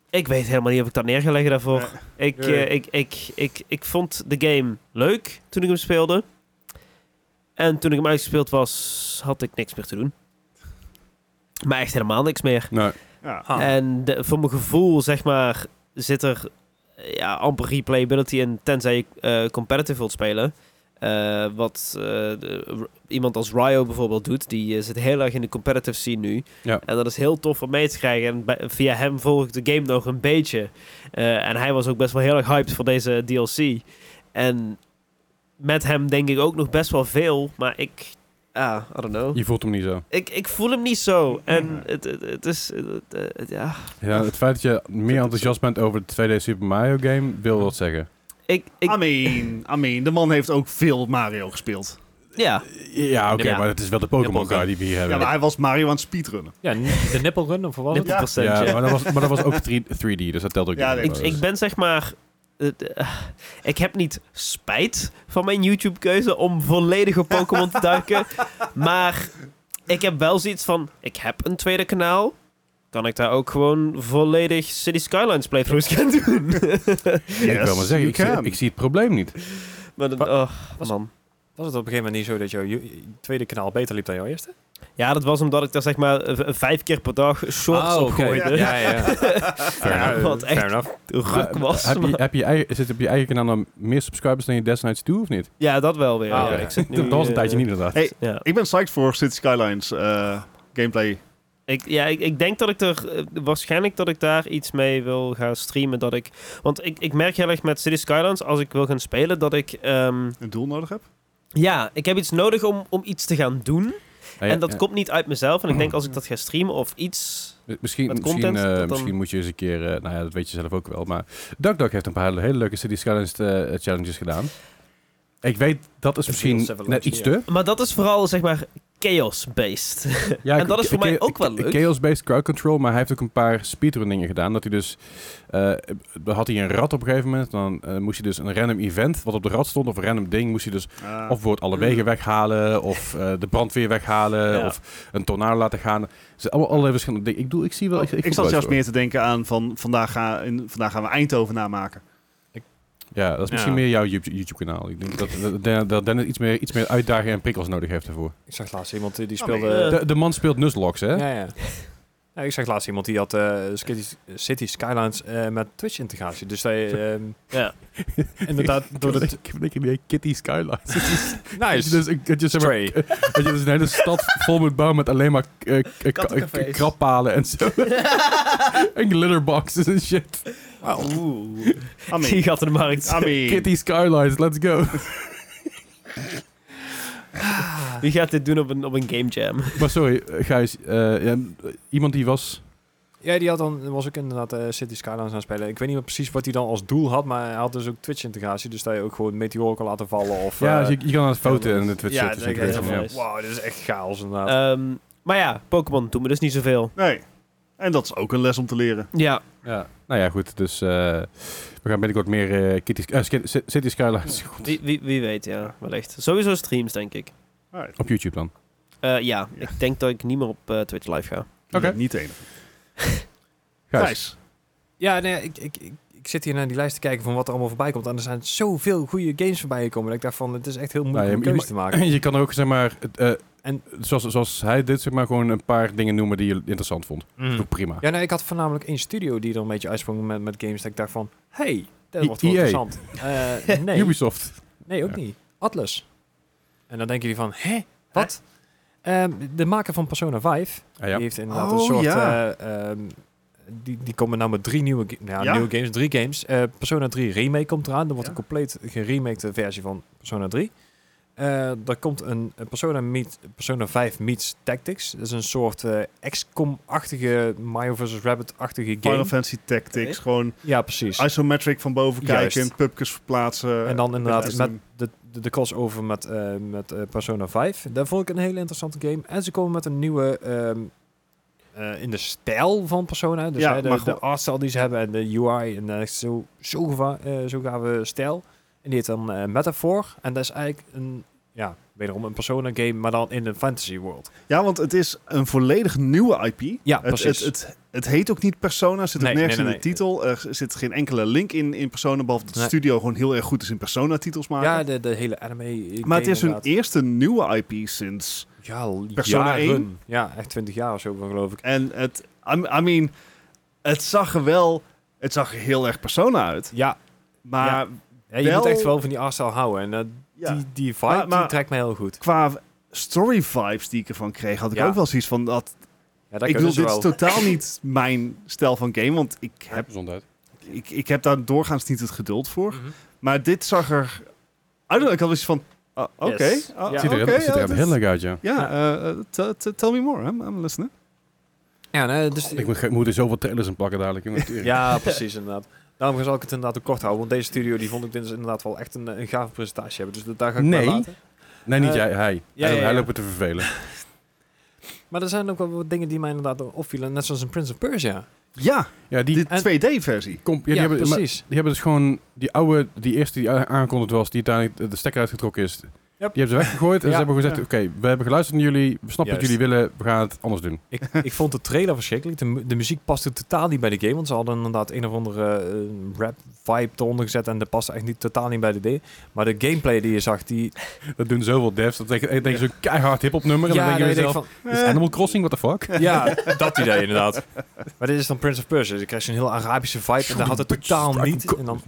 C: ik weet helemaal niet of ik dat neer ga leggen daarvoor. Ik,
D: Ja, ja.
C: eh, ik, ik, ik, ik vond de game leuk toen ik hem speelde. En toen ik hem uitgespeeld was, had ik niks meer te doen. Maar echt helemaal niks meer.
A: Nou,
B: Ja. Eh,
D: Ah.
C: En de- voor mijn gevoel, zeg maar, zit er eh, ja, amper replayability in, tenzij je eh, competitive wilt spelen. Eh, wat eh, de- r- iemand als Ryo bijvoorbeeld doet, die eh, zit heel erg in de competitive scene nu.
A: Ja.
C: En dat is heel tof om mee te krijgen. En bij- via hem volg ik de game nog een beetje. Eh, en hij was ook best wel heel erg hyped voor deze DLC. En met hem denk ik ook nog best wel veel, maar ik... Ah, I don't know.
A: je voelt hem niet zo.
C: Ik, ik voel hem niet zo. En het, het, het is... het- het- ja.
A: Ja, het feit dat je meer enthousiast bent over de 2D Super Mario game, wil dat zeggen.
C: Ik, ik,
B: I mean, I mean, de man heeft ook veel Mario gespeeld.
C: ja.
A: Ja, oké,
C: Ja.
A: maar het is wel de Pokémon
C: Pokémon.
A: guy die we hier
B: Ja,
A: hebben.
B: maar hij was Mario aan het speedrunnen.
D: Ja, n- de nipple run of wat was het?
B: Ja.
C: procent,
A: Ja,
C: ja.
A: maar, dat was, maar dat was ook 3, 3D, dus dat telt ook
B: Ja,
A: niet.
B: nee,
C: Ik,
A: Dus-
C: ik ben zeg maar... eh, eh, ik heb niet spijt van mijn YouTube-keuze om volledig op Pokémon te [laughs] duiken. Maar ik heb wel zoiets van... Ik heb een tweede kanaal. Kan ik daar ook gewoon volledig City Skylines playthroughs gaan [laughs] doen?
A: ik wil maar zeggen,
B: you
A: ik zie,
B: can.
A: ik zie het probleem niet.
C: maar dan, oh, man.
D: Was het op een gegeven moment niet zo dat jouw ju- tweede kanaal beter liep dan jouw eerste?
C: Ja, dat was omdat ik daar zeg maar eh, v- vijf keer per dag shorts
A: Oh,
C: op gooide.
D: Ah, Ja, [laughs] ja.
C: Ja,
D: Ja,
C: wat
D: fair
C: echt
D: enough.
C: ruk
A: Eh, Maar,
C: was.
A: Heb je, heb je eigen, zit op je eigen kanaal dan meer subscribers dan je destijds toe, of niet?
C: Ja, dat wel weer.
D: Ah,
C: ja.
D: oké.
C: ik zit nu,
A: [laughs] dat was een
C: eh,
A: tijdje niet, inderdaad.
B: Hey,
C: Ja.
B: Ik ben psyched voor City Skylines eh, gameplay.
C: Ik, ja, ik, ik denk dat ik er eh, waarschijnlijk dat ik daar iets mee wil gaan streamen. Dat ik, want ik, ik merk heel erg met City Skylines, als ik wil gaan spelen, dat ik. ehm,
B: Een doel nodig heb?
C: ja, ik heb iets nodig om, om iets te gaan doen.
A: Hey,
C: en dat
A: eh,
C: komt niet uit mezelf. En ik denk als ik dat ga streamen of iets.
A: Misschien,
C: met
A: misschien,
C: content,
A: eh,
C: dat dan-
A: misschien moet je eens een keer, eh, nou ja, dat weet je zelf ook wel, maar DuckDuck heeft een paar hele leuke City Skylines eh, challenges gedaan. Ik weet, dat is
D: Het is
A: misschien
D: wel
A: net iets te.
C: Maar dat is vooral zeg maar chaos-based.
A: Ja,
C: En dat
A: ik-
C: is voor
A: ik-
C: mij
A: ik-
C: ook wel
A: ik-
C: leuk.
A: Chaos-based crowd control, maar hij heeft ook een paar speedrunningen gedaan. Dat hij dus, eh, dan had hij een rat op een gegeven moment. Dan eh, moest hij dus een random event wat op de rat stond, of een random ding, moest hij dus
B: Eh,
A: of bijvoorbeeld alle wegen weghalen, of eh, de brandweer weghalen,
C: Ja.
A: of een tornado laten gaan. Het zijn allemaal allerlei verschillende dingen. Ik, doe, ik zie wel... Ik, ik,
B: ik,
A: voel
B: zat
A: wel
B: juist
A: iets
B: meer te denken aan van vandaag, ga, in, vandaag gaan we Eindhoven
A: [laughs]
B: namaken.
A: voor. Ja, dat is misschien
D: Ja.
A: meer jouw YouTube- YouTube-kanaal. ik denk dat, dat, dat, dat Dennis iets meer, iets meer uitdagingen en prikkels nodig heeft daarvoor.
D: Ik zag laatst iemand die die
B: Oh, nee.
D: speelde...
C: Eh,
A: De, de man speelt Nuzlocks, hè?
D: Ja, ja. [laughs] Ja, ik zag laatst iemand die had eh, City, City Skylines eh, met Twitch-integratie. Dus dat
A: [laughs]
D: je ehm,
C: [laughs] Ja.
D: inderdaad door
C: [laughs]
D: het...
A: Ik heb een idee, Kitty Skylines. Dat je
D: Nice.
A: dus, een- dat je [laughs] zeg maar,
D: Stray.
A: dat je dus een hele stad vol moet bouwen met alleen maar eh, k- eh, k-
C: Kattencafés.
A: eh, krappalen en zo. en glitterboxes en shit.
C: Oeh.
B: I mean,
C: Die gaat in de
B: I
C: markt.
B: mean.
A: Kitty Skylines, let's go.
C: Wie gaat dit doen op een, op een game jam?
A: maar sorry, eh, Gijs. eh, ja, iemand die was...
D: Ja, die had dan, was ook inderdaad eh, City Skylines aan het spelen. Ik weet niet meer precies wat hij dan als doel had, maar hij had dus ook Twitch-integratie. Dus dat je ook gewoon meteoren kan laten vallen of...
A: Ja,
D: eh,
A: dus je, je kan aan het fouten en het Twitch
D: ja,
A: zitten,
D: dat
A: dus ik
D: ik
A: weet
C: helemaal
A: het
C: is.
D: Wauw, dit is echt chaos inderdaad.
C: Ehm, maar ja, Pokémon doet me dus niet zoveel.
B: Nee. En dat is ook een les om te leren.
C: Ja,
A: Ja. Nou ja, goed. Dus eh, we gaan binnenkort meer eh, Kitty, eh, Sk- Ci- City Skylines
C: Wie, wie, wie weet, ja, wellicht. Sowieso streams, denk ik.
B: Alright.
A: op YouTube dan.
C: Eh, ja, ik denk dat ik niet meer op eh, Twitch live ga.
A: Oké.
B: Niet één.
A: Gijs.
B: Gijs.
D: Ja, nee, ik, ik, ik, ik zit hier naar die lijst te kijken van wat er allemaal voorbij komt. En er zijn zoveel goede games voorbij gekomen. Dat ik dacht van, het is echt heel moeilijk
A: Nou,
D: om
A: je-
D: een
A: je
D: keuze te maken.
A: [laughs] [clears throat] Je kan er ook, zeg maar, het, eh,
D: En-
A: zoals, zoals hij dit, zeg maar, gewoon een paar dingen noemen die je interessant vond.
D: Hm. Mm.
A: Dat is ook prima.
D: [laughs] Ja, nee, ik had voornamelijk één studio die er een beetje uitsprong met, met games. Dat ik dacht van, hey, dat
A: I-
D: wordt wel
A: EA.
D: interessant. Eh, nee,
A: Ubisoft.
D: nee, ook
A: Ja.
D: niet. Atlas. En dan denken jullie van, hè, wat? Ehm, de maker van Persona 5
A: Ah, ja.
D: Die heeft inderdaad
B: Oh,
D: een soort...
B: ja.
D: eh, ehm, die, die komen nou met drie nieuwe, ga- nou,
B: Ja?
D: nieuwe games, drie games. Eh, Persona 3 Remake komt eraan. Dat wordt
B: Ja.
D: een compleet geremakte versie van Persona 3. Eh er komt een, een Persona, meet, Persona 5 meets Tactics. Dat is een soort eh XCOM-achtige, Mario vs. Rabbit-achtige game.
B: Final Fantasy Ah, Tactics.
C: Oké.
B: Gewoon
D: Ja, precies.
B: isometric van boven
D: Juist.
B: kijken. Pupkes verplaatsen.
D: En dan inderdaad
B: Met-
D: met de, de, de crossover met, eh, met eh, Persona 5. Daar vond ik een hele interessante game. En ze komen met een nieuwe... ehm, eh, in de stijl van Persona. Dus
B: Ja,
D: hè, de,
B: maar
D: de
B: gewoon-
D: artstijl die ze hebben en de UI. En eh, zo, zo, gava- eh, zo gave stijl. En die heet dan eh, Metaphor. En dat is eigenlijk een... Ja, wederom een Persona game, maar dan in een fantasy world.
B: Ja, want het is een volledig nieuwe IP.
D: Ja,
B: Het, het,
D: precies.
B: het, het heet ook niet Persona, zit
D: Nee,
B: ook nergens
D: nee, nee,
B: in de
D: nee.
B: titel. Er zit geen enkele link in, in Persona, behalve dat de
D: Nee.
B: studio gewoon heel erg goed is in Persona-titels maken.
D: ja, de, de hele anime eh,
B: maar het
D: game
B: is hun
D: inderdaad.
B: eerste nieuwe IP sinds...
D: Ja, al
B: Persona
D: jaren.
B: 1.
D: Ja, echt 20 jaar of zo, geloof ik.
B: En het, I, I mean, het zag er wel... Het zag er heel erg Persona uit.
D: Ja,
B: Maar
D: ja, je
B: Wel-
D: moet echt wel van die artstijl houden. En eh,
B: ja,
D: Die, die vibe
B: Maar- maar-
D: die trekt me heel goed.
B: qua story-vibes die ik ervan kreeg, had ik
D: Ja.
B: ook wel zoiets van... Dat,
D: Ja,
B: ik bedoel, dit is totaal niet mijn stijl van game, want ik heb,
A: Gezondheid.
B: ik, ik heb daar doorgaans niet het geduld voor. Maar dit zag er... I don't know, ik had dus van... ah, Oké.
C: Yes.
B: ah,
C: Ja.
A: ziet er,
B: oké,
A: het ziet er
B: ja,
A: echt
B: dat-
A: heel leuk uit, ja.
B: Ja, eh, eh, tell- tell- tell me more. I'm, I'm listening.
D: Ja, nee, dus
A: Ik moet, ik moet er zoveel trailers in plakken dadelijk. jongen.
D: [laughs] ja, precies inderdaad. Daarom zal ik het inderdaad ook kort houden. Want deze studio die vond ik dus inderdaad wel echt een, eh, een gave presentatie hebben. Dus dat- daar ga ik
A: Nee.
D: bij laten.
A: Nee, niet
D: Eh,
A: jij, hij.
D: ja,
A: hij,
D: ja,
A: hij
D: ja.
A: loopt me te vervelen.
D: Maar er zijn ook wel wat dingen die mij inderdaad opvielen. Net zoals een Prince of Persia.
B: Ja,
A: Ja, die,
B: de
D: en-
B: 2D-versie.
A: kom, ja, die,
D: ja,
A: hebben, maar
D: precies. [laughs]
A: die hebben dus gewoon die oude, die eerste die a- aangekondigd was, die uiteindelijk de stekker uitgetrokken is. Die hebben ze weggegooid en
D: Ja.
A: ze hebben gezegd,
B: Ja.
A: oké, we hebben geluisterd naar jullie, we snappen wat
D: Juist.
A: jullie willen, we gaan het anders doen.
D: Ik, ik vond de trailer verschrikkelijk. De, mu- de muziek paste totaal niet bij de game. Want ze hadden inderdaad een of andere eh, rap vibe eronder gezet. En dat paste echt niet, totaal niet bij de idee. Maar de gameplay die je zag, die...
A: Dat doen zoveel devs, dat denk, ik denk zo'n keihard hip-hop nummer en dan denk je
D: nee,
A: zelf,
D: van, eh."
A: dit is Animal Crossing, what the fuck?
D: Ja, dat idee inderdaad. Maar dit is dan Prince of Persia. Dus ik krijg je een heel Arabische vibe en daar had het totaal niet. En dan,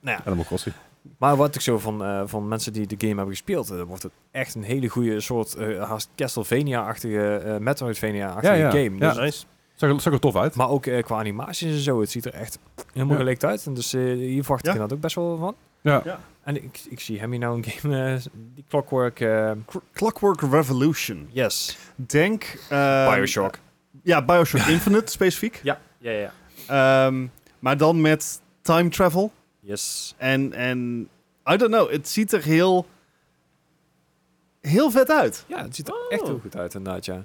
D: nou ja.
A: Animal Crossing.
D: Maar wat ik zo van, eh, van mensen die de game hebben gespeeld, eh, wordt het echt een hele goede soort eh, haast Castlevania-achtige, eh, Metroidvania-achtige
A: Ja, ja.
D: game.
A: Ja.
D: Dus-
C: Nice.
A: Zag, er- zag er tof uit.
D: Maar ook eh, qua animaties en zo, het ziet er echt helemaal
A: Ja.
D: gelikt uit. En dus eh, hier verwacht
B: Ja.
D: ik inderdaad ook best wel van.
A: Ja.
B: Ja.
D: En ik, ik zie hem hier nou een game, eh, die Clockwork, eh,
B: Clockwork Revolution.
D: yes,
B: Denk... eh,
D: Bioshock.
B: Ja,
A: [laughs]
B: Bioshock Infinite specifiek.
D: Ja, Ehm, ja, ja.
B: Ehm, maar dan met time travel.
D: Yes.
B: En, en... I don't know. Het ziet er heel... Heel vet uit.
D: Ja, het ziet er echt heel goed uit inderdaad, ja.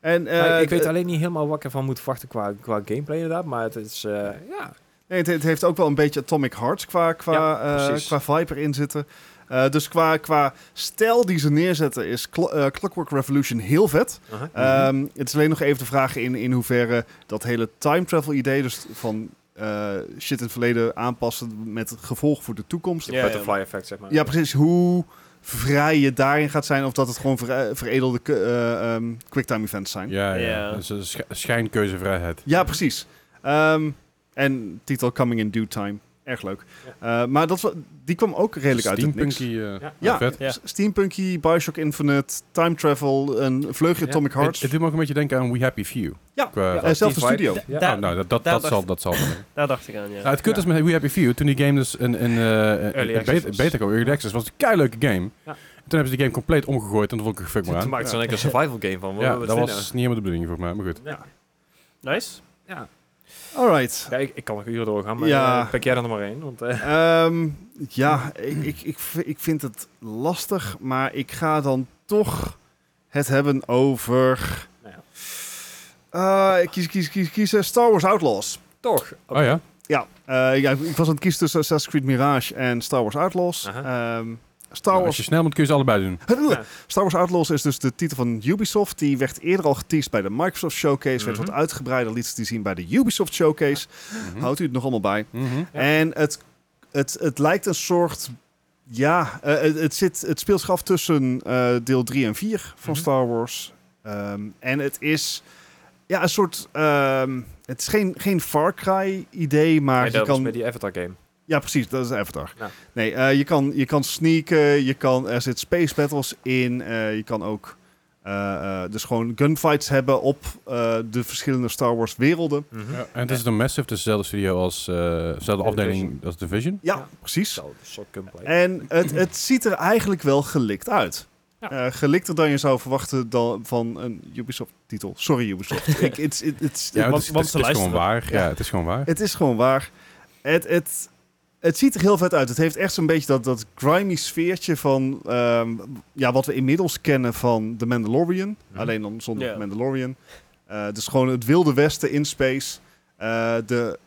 B: En, eh,
D: Maar ik weet
B: het-
D: alleen niet helemaal wat ik ervan moet verwachten qua, qua gameplay inderdaad, maar het is... eh, ja.
B: Nee, het, het heeft ook wel een beetje Atomic Hearts qua, qua,
D: Ja,
B: eh,
D: precies.
B: qua vibe erin zitten. Eh, dus qua, qua stijl die ze neerzetten is Clo- eh, Clockwork Revolution heel vet.
D: Mhm.
B: Ehm, Het is alleen nog even de vraag in, in hoeverre dat hele time travel idee, dus van eh, shit in het verleden aanpassen met gevolg voor de toekomst.
C: Ja,
D: butterfly effect, zeg maar.
B: Ja, precies. Hoe vrij je daarin gaat zijn of dat het gewoon ver- veredelde k- eh, ehm, quicktime events zijn.
A: Ja, ja.
C: Ja.
A: Dus, eh, sch- schijnkeuzevrijheid.
B: Ja, precies. Ehm, en titel Coming in Due Time. Erg leuk. Eh, maar dat, wa- die kwam ook redelijk uit het niks.
A: Steampunky, eh,
D: Ja.
B: Ja.
A: vet.
C: Ja.
B: S- Steampunky, Bioshock Infinite, Time Travel, een vleugje
D: Ja.
B: Atomic
A: Het,
B: Hearts.
A: het doet me ook een beetje denken aan We Happy Few.
B: Ja.
A: Qua-
B: Eh, zelfde
D: die vibe.
B: studio.
C: Da-
D: Ja.
C: daar,
A: Oh, nou, dat, dat,
C: daar
A: dat,
C: dacht-
A: zal, dat zal wel.
C: daar dacht ik aan, ja.
A: Nou, het kut is met We Happy Few, toen die game dus een, een, eh een, een
D: access
A: beta,
D: was.
A: beta kwam, Early Access, was het een keileuke game.
D: Ja.
A: En toen hebben ze die game compleet omgegooid en dat vond ik een fuck maar
D: Toen
A: aan.
D: maakte ze dan een survival game van.
A: Ja, dat was niet helemaal de bedoeling voor mij, maar goed.
C: Nice.
B: Alright.
D: Kijk, ik kan nog uren doorgaan, maar
B: Ja.
D: eh, pak jij er nog maar één. Want, eh, [laughs]
B: Ehm, ja, ik, ik, ik, v- ik vind het lastig, maar ik ga dan toch het hebben over...
D: Nou
B: Eh, kies, kies, kies, kies. eh, Star Wars Outlaws.
D: Toch? Oké.
A: Oh ja?
B: Ja, eh, ja, ik was aan het kiezen tussen Assassin's Creed Mirage en Star Wars Outlaws.
D: Aha.
B: Ehm, Star
A: Nou, als
B: Wars
A: je
B: [laughs]
A: snel moet, kun je ze allebei doen.
B: Star Wars Outlaws is dus de titel van Ubisoft. Die werd eerder al geteased bij de Microsoft Showcase. Werd
D: Mhm.
B: wat uitgebreider, liet ze die zien bij de Ubisoft Showcase. Houdt u het nog allemaal bij.
A: Mhm.
D: Ja.
B: En het, het, het lijkt een soort... Ja, eh, het, het, zit, het speelt zich af tussen eh, deel 3 en 4 van
D: Mhm.
B: Star Wars. Ehm, en het is ja, een soort... ehm, het is geen, geen Far Cry idee, maar
D: Maar
B: je
D: dat was
B: kan...
D: met die Avatar game.
B: Ja, precies, dat is Avatar.
D: Ja.
B: Nee, eh, je, kan, je kan sneaken, je kan, er zit space battles in, eh, je kan ook eh, eh, dus gewoon gunfights hebben op eh, de verschillende Star Wars werelden.
D: Mhm.
A: Ja, En het is dan Massive, het is dezelfde studio als, eh, dezelfde afdeling als Division.
B: Ja,
D: Ja.
B: precies.
D: Zo, een soort gunplay.
B: En het, het ziet er eigenlijk wel gelikt uit.
D: Ja.
B: Eh, gelikter dan je zou verwachten dan van een Ubisoft-titel. Sorry, Ubisoft. Ik, it's, it- it's-
A: Ja, het
C: want-
A: is, het
C: want
A: is-
C: ze
A: het is gewoon
C: luisteren.
A: waar. Ja,
B: Ja.
A: het is gewoon waar.
B: Het is gewoon waar. Het, het, het ziet er heel vet uit. Het heeft echt zo'n beetje dat, dat grimy sfeertje van... ehm, ja, wat we inmiddels kennen van The Mandalorian.
D: Mhm.
B: Alleen dan zonder
C: Ja.
B: Mandalorian. Eh, dus gewoon het wilde westen in space. Eh, de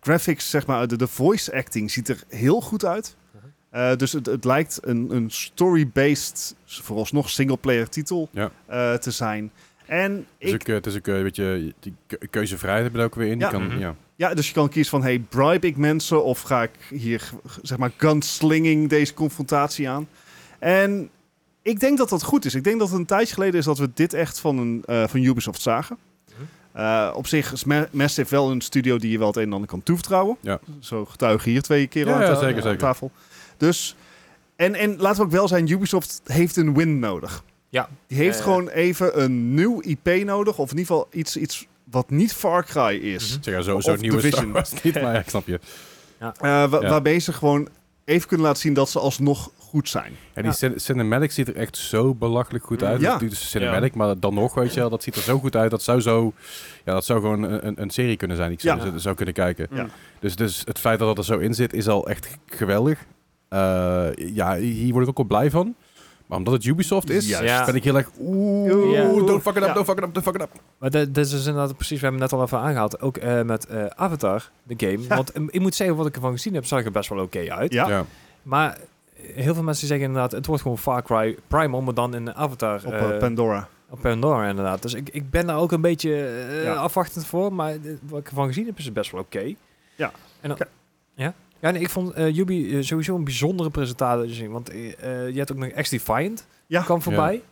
B: graphics, zeg maar, de, de voice acting ziet er heel goed uit.
D: Mhm.
B: Eh, dus het, het lijkt een, een story-based, vooralsnog single-player titel
A: Ja.
B: eh, te zijn. En
A: Het is
B: ik
A: ook, eh, het is ook eh, een beetje die keu- keuzevrijheid hebben we er ook weer in.
B: Ja.
A: Die kan,
D: Mhm.
A: ja.
B: Ja, dus je kan kiezen van, hey, bribe ik mensen of ga ik hier, g- zeg maar, gunslinging deze confrontatie aan? En ik denk dat dat goed is. Ik denk dat het een tijdje geleden is dat we dit echt van, een, eh, van Ubisoft zagen.
D: Mhm.
B: Eh, op zich is Ma- Massive wel een studio die je wel het een en ander kan toevertrouwen.
A: Ja.
B: Zo getuigen hier twee keer
A: Ja,
B: aan,
A: ja,
B: ta-
A: zeker,
B: aan
A: zeker.
B: tafel. Dus, en, en laten we ook wel zijn, Ubisoft heeft een win nodig.
D: Ja.
B: Die heeft
D: Eh.
B: gewoon even een nieuw IP nodig. Of in ieder geval iets, iets wat niet Far Cry is.
D: Mhm.
A: Zeg, ja, zo,
B: Of
A: zo nieuw is Star
B: Division.
A: Wars niet, maar ja, ik snap je.
B: Eh, wa-
A: Ja.
B: Waarbij ze gewoon even kunnen laten zien dat ze alsnog goed zijn.
A: Ja, die
D: Ja.
A: cin- cinematic ziet er echt zo belachelijk goed uit.
B: Ja.
A: Dat doet de cinematic, maar dan nog, weet je wel, dat ziet er zo goed uit. Dat zou zo, ja, dat zou gewoon een, een- een serie kunnen zijn die ik zou,
D: Ja.
A: zou kunnen kijken.
B: Ja.
A: Dus, dus het feit dat dat er zo in zit, is al echt geweldig. Eh, ja, hier word ik ook wel blij van. Maar omdat het Ubisoft is,
B: Juist.
D: Ja.
A: ben ik heel erg, oeh,
D: Ja.
A: don't fuck it up,
B: Ja.
A: don't fuck it up, don't fuck it up.
D: Maar dat dat is dus inderdaad precies, we hebben het net al even aangehaald. Ook eh, met eh, Avatar, de game.
B: Ja.
D: Want eh, ik moet zeggen, wat ik ervan gezien heb, zag er best wel oké uit.
B: Ja.
D: Maar eh, heel veel mensen zeggen inderdaad, het wordt gewoon Far Cry Primal, maar dan in een Avatar
B: Op
D: eh,
B: eh, Pandora.
D: op Pandora inderdaad. Dus ik, ik ben daar ook een beetje eh,
B: Ja.
D: afwachtend voor, maar eh, wat ik ervan gezien heb, is het best wel oké.
B: Ja.
D: En dan-
B: Ja.
D: ja? Ja, nee, ik vond eh Yubi eh, sowieso een bijzondere presentatie te zien. Want eh, eh, je hebt ook nog X-Defiant,
B: Ja.
D: kwam voorbij.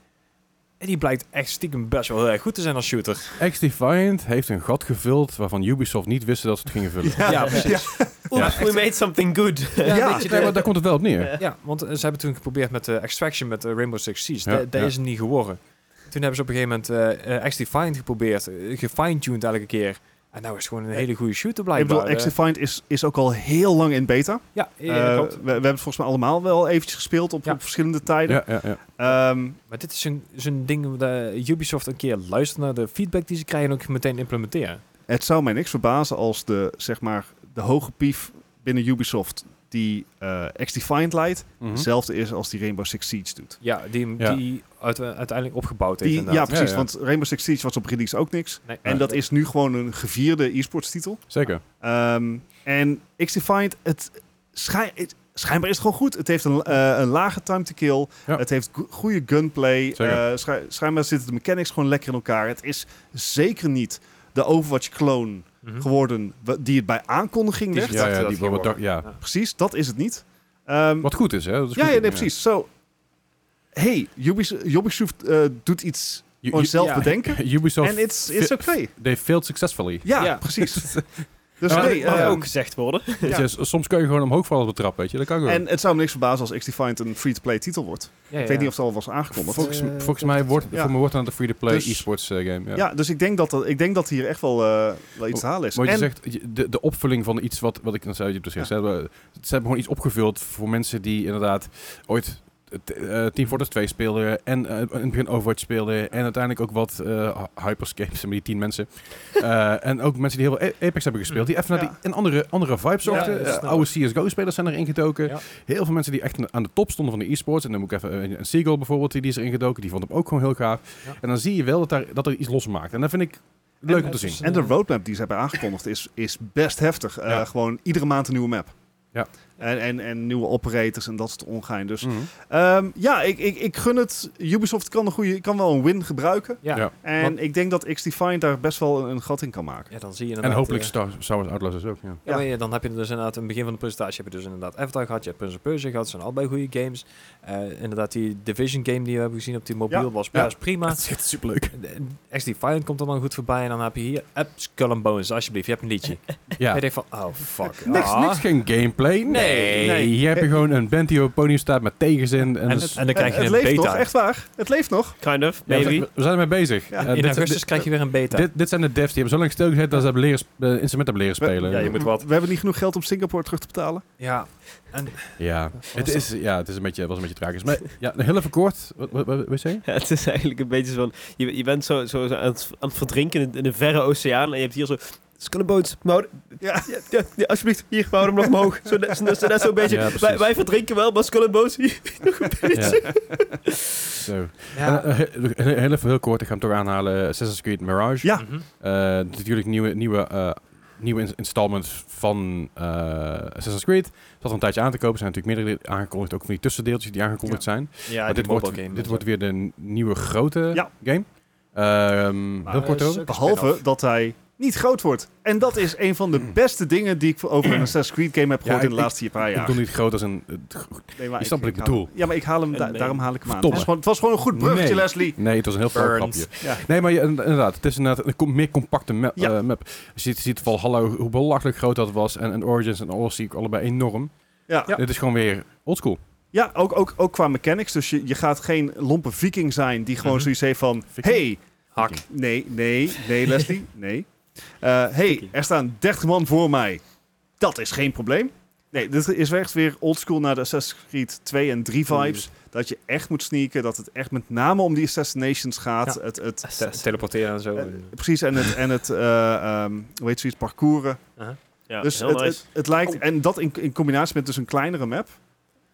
D: En die blijkt echt stiekem best wel heel erg goed te zijn als shooter.
A: X-Defiant heeft een gat gevuld waarvan Ubisoft niet wist dat ze het gingen vullen.
B: [laughs]
D: Ja, precies.
C: Oeh,
A: Ja.
C: we made something [laughs] good.
D: Ja,
B: Ja.
D: een beetje
A: Nee,
D: de-
A: maar daar komt het wel op neer.
D: Ja, want eh, ze hebben toen geprobeerd met eh, Extraction, met eh, Rainbow Six Siege.
A: Ja,
D: Dat dat
A: ja.
D: is hem niet geworden. Toen hebben ze op een gegeven moment eh eh, X-Defiant geprobeerd, eh, gefine-tuned elke keer. En nou is het gewoon een hele goede shooter
B: Eh, Ik
D: blijkbaar. Eh,
B: bedoel, X-Defiant is, is ook al heel lang in beta.
D: ja, ja,
B: Eh,
D: klopt.
B: we, we hebben het volgens mij allemaal wel eventjes gespeeld op,
D: Ja.
B: op verschillende tijden.
A: Ja, ja, ja.
B: Ehm,
D: Maar dit is een- zo'n ding dat Ubisoft een keer luistert naar de feedback die ze krijgen en ook meteen implementeren.
B: het zou mij niks verbazen als de, zeg maar, de hoge pief binnen Ubisoft die eh X-Defiant leidt,
A: Mhm.
B: hetzelfde is als die Rainbow Six Siege doet.
D: Ja, die,
A: Ja.
D: die uit- eh, uiteindelijk opgebouwd heeft
B: Die, ja,
D: inderdaad.
B: precies,
A: ja.
B: want Rainbow Six Siege was op release ook niks.
D: Nee.
B: En dat is nu gewoon een gevierde e-sports titel.
A: Zeker.
B: Ehm, en X-Defiant, het, schijn, het- schijnbaar is het gewoon goed. Het heeft een, eh, een lage time to kill.
A: Ja.
B: Het heeft go- goede gunplay.
A: Zeker.
B: Eh, schij- schijnbaar zitten de mechanics gewoon lekker in elkaar. Het is zeker niet de Overwatch-kloon
D: Mhm.
B: geworden wa- die het bij aankondiging
D: Die
B: werd.
D: is-
A: Ja,
D: dachten
A: ja,
D: dat
A: die
D: het ging
A: wat- ja.
B: Precies, dat is het niet. Ehm,
A: Wat goed is, hè? Dat is
B: ja,
A: goed.
B: ja, nee, precies. Zo, hey, Ubis- Ubisoft eh, doet iets
A: U-
B: gewoon
A: U-
B: zelf
D: ja.
A: [laughs]
B: bedenken.
A: Ubisoft,
B: En it's, it's okay.
A: they failed successfully.
B: Ja,
C: Ja.
B: precies. Dus
A: Maar-
B: nee,
C: Mag
B: eh,
C: ook gezegd worden.
A: Weet je, s- soms kun je gewoon omhoog vallen op de trap, weet je. Dat kan gewoon.
B: En het zou me niks verbazen als X-Defiant een free-to-play titel wordt.
D: Ja, ja,
B: Ik weet
D: ja.
B: niet of het al was aangekondigd.
A: volgens,
D: eh,
A: volgens mij wordt
B: ja.
A: voor me wordt aan de free-to-play
B: Dus-
A: e-sports eh, game. Ja.
B: ja. dus ik denk dat, dat, ik denk dat hier echt wel, eh, wel iets te halen is.
A: Maar je
B: En-
A: zegt, je- de, de opvulling van iets wat, wat ik dan zei, je hebt het gezegd, ze, hebben, ze hebben gewoon iets opgevuld voor mensen die inderdaad ooit t- eh, Team Fortress 2 speelden en eh, in het begin Overwatch speelden en uiteindelijk ook wat eh, hy- Hyperscapes, maar die tien
D: [laughs]
A: mensen. Eh, en ook mensen die heel veel A- Apex hebben gespeeld, die even naar
B: Ja.
A: die, een andere, andere vibe zochten.
D: ja,
A: Eh,
D: snap
A: oude CSGO-spelers zijn erin gedoken.
D: Ja.
A: Heel veel mensen die echt aan- aan de top stonden van de e-sports. En dan moet ik even een, een Seagull bijvoorbeeld, die, die is erin gedoken. Die vond hem ook gewoon heel gaaf.
D: Ja.
A: En dan zie je wel dat, daar, dat er iets losmaakt. En dat vind ik Leuk om te
D: dus
A: zien.
B: En de roadmap die ze hebben aangekondigd is, is best heftig. Eh,
A: Ja.
B: Gewoon iedere maand een nieuwe map.
A: Ja.
B: En, en, en nieuwe operators en dat soort ongein. Dus
D: Mm.
A: Mhm.
B: ehm, ja, ik, ik, ik gun het. Ubisoft kan, een goede, kan wel een win gebruiken.
A: Ja.
D: Ja.
B: En
D: Want-
B: ik denk dat X-Defiant daar best wel een, een gat in kan maken.
D: Ja, dan zie je
A: En
D: inderdaad,
A: hopelijk
D: eh,
A: Star Star Wars Outlaws is ook, ja.
D: ja, maar ja, dan heb je dus inderdaad, in het begin van de presentatie heb je dus inderdaad Avatar gehad, je hebt Prince of Persia gehad, zijn allebei goede games. Eh, inderdaad, die Division game die we hebben gezien op die mobiel
B: Ja.
D: was
A: Ja.
D: best prima. eh,
A: Dat is echt superleuk.
D: XD Defiant komt er dan goed voorbij en dan heb je hier App Skull and Bones, alsjeblieft, je hebt een liedje.
A: Ja.
D: En ik denk van, oh fuck.
A: Niks,
D: ah.
A: niks geen gameplay. Nee.
D: Nee.
A: Hier heb je gewoon een band die op het podium staat met tegenzin. En,
D: En,
A: dus-
D: en dan krijg je
B: Eh, het
D: een
B: leeft
D: beta.
B: nog, echt waar. Het leeft nog.
C: Kind of,
A: Ja, we
C: maybe.
A: zijn- we zijn ermee bezig.
B: Ja.
A: Eh,
D: In
A: dit-
D: augustus
A: dit-
D: krijg je weer een beta.
A: Dit, dit zijn de devs die hebben zo lang stilgezet dat ze hebben leren, sp- eh, instrumenten hebben leren spelen.
D: Ja, je moet wat.
B: We hebben niet genoeg geld om Singapore terug te betalen.
D: Ja,
A: Ja, het, is, ja, het is een beetje, was een beetje tragisch. Maar ja, heel even kort. Wat, wat, wat, wat je?
C: Ja, het is eigenlijk een beetje zo'n... Je, je bent zo, zo, zo aan, het, aan het verdrinken in, in de verre oceaan. En je hebt hier zo... Scunneboot, mouw...
B: Ja.
C: Ja, ja, ja, alsjeblieft, hier, we houden hem nog omhoog. Zo, net- zo, net- zo net zo'n beetje.
A: Ja, precies.
C: wij, wij verdrinken wel, maar Scunneboot hier nog een beetje.
A: Zo.
D: ja.
A: En, eh, he- he- heel even heel kort, ik ga hem toch aanhalen. Assassin's Creed Mirage.
B: Ja.
D: Mhm.
A: Eh, natuurlijk nieuwe, nieuwe, eh, nieuwe ins- installments van eh, Assassin's Creed. Dat had een tijdje aan te kopen. Er zijn natuurlijk meerdere aangekondigd. Ook van die tussendeeltjes die aangekondigd zijn.
D: ja
A: maar
D: die
A: dit wordt,
D: mobile game
A: dit
D: dus en
A: wordt
D: zo.
A: weer de n- nieuwe grote
B: Ja.
A: game. Ehm, heel kort
D: eh,
A: over.
D: Een
B: Behalve
D: spin-off.
B: dat hij niet groot wordt. En dat is een van de beste dingen die ik over een Assassin's Creed game heb gehoord
A: Hmm. ik-
B: in de laatste paar
A: Ik
B: jaar.
A: bedoel niet groot als een...
B: Nee, maar
A: Je snapt wat ik
B: haal-
A: bedoel.
B: Ja, maar ik haal hem, da-
C: En nee.
B: daarom haal ik hem aan. Het
A: Verdomme.
B: was, gewoon, het was gewoon een goed bruggetje,
A: Nee.
B: Leslie.
A: Nee, het was een heel flauw grapje.
D: Burns.
B: Ja.
A: Nee, maar je- inderdaad, het is inderdaad een com- meer compacte ma-
B: Ja.
A: eh, map. Je ziet, je ziet Valhalla hoe- hoe belachelijk groot dat was. En, en Origins en Odyssey allebei enorm.
B: Ja, ja.
A: Dit is gewoon weer oldschool.
B: ook, ook, ook qua mechanics. Dus je, je gaat geen lompe viking zijn die gewoon
D: Mhm.
B: zoiets heeft van...
A: Viking?
B: Hey,
D: Hak.
B: nee, nee, nee, Leslie, nee. Eh hey, er staan 30 man voor mij. Dat is geen probleem. Nee, dit is echt weer oldschool naar de Assassin's Creed 2 en 3 vibes. Dat je echt moet sneaken. Dat het echt met name om die assassinations gaat. Het, het,
D: Te- teleporteren en zo.
B: Eh, precies, en het, en het eh, ehm, hoe heet zoiets, parcouren.
C: Ja,
B: dus
C: heel
B: het,
C: nice.
B: het, het lijkt, en dat in, in combinatie met dus een kleinere map,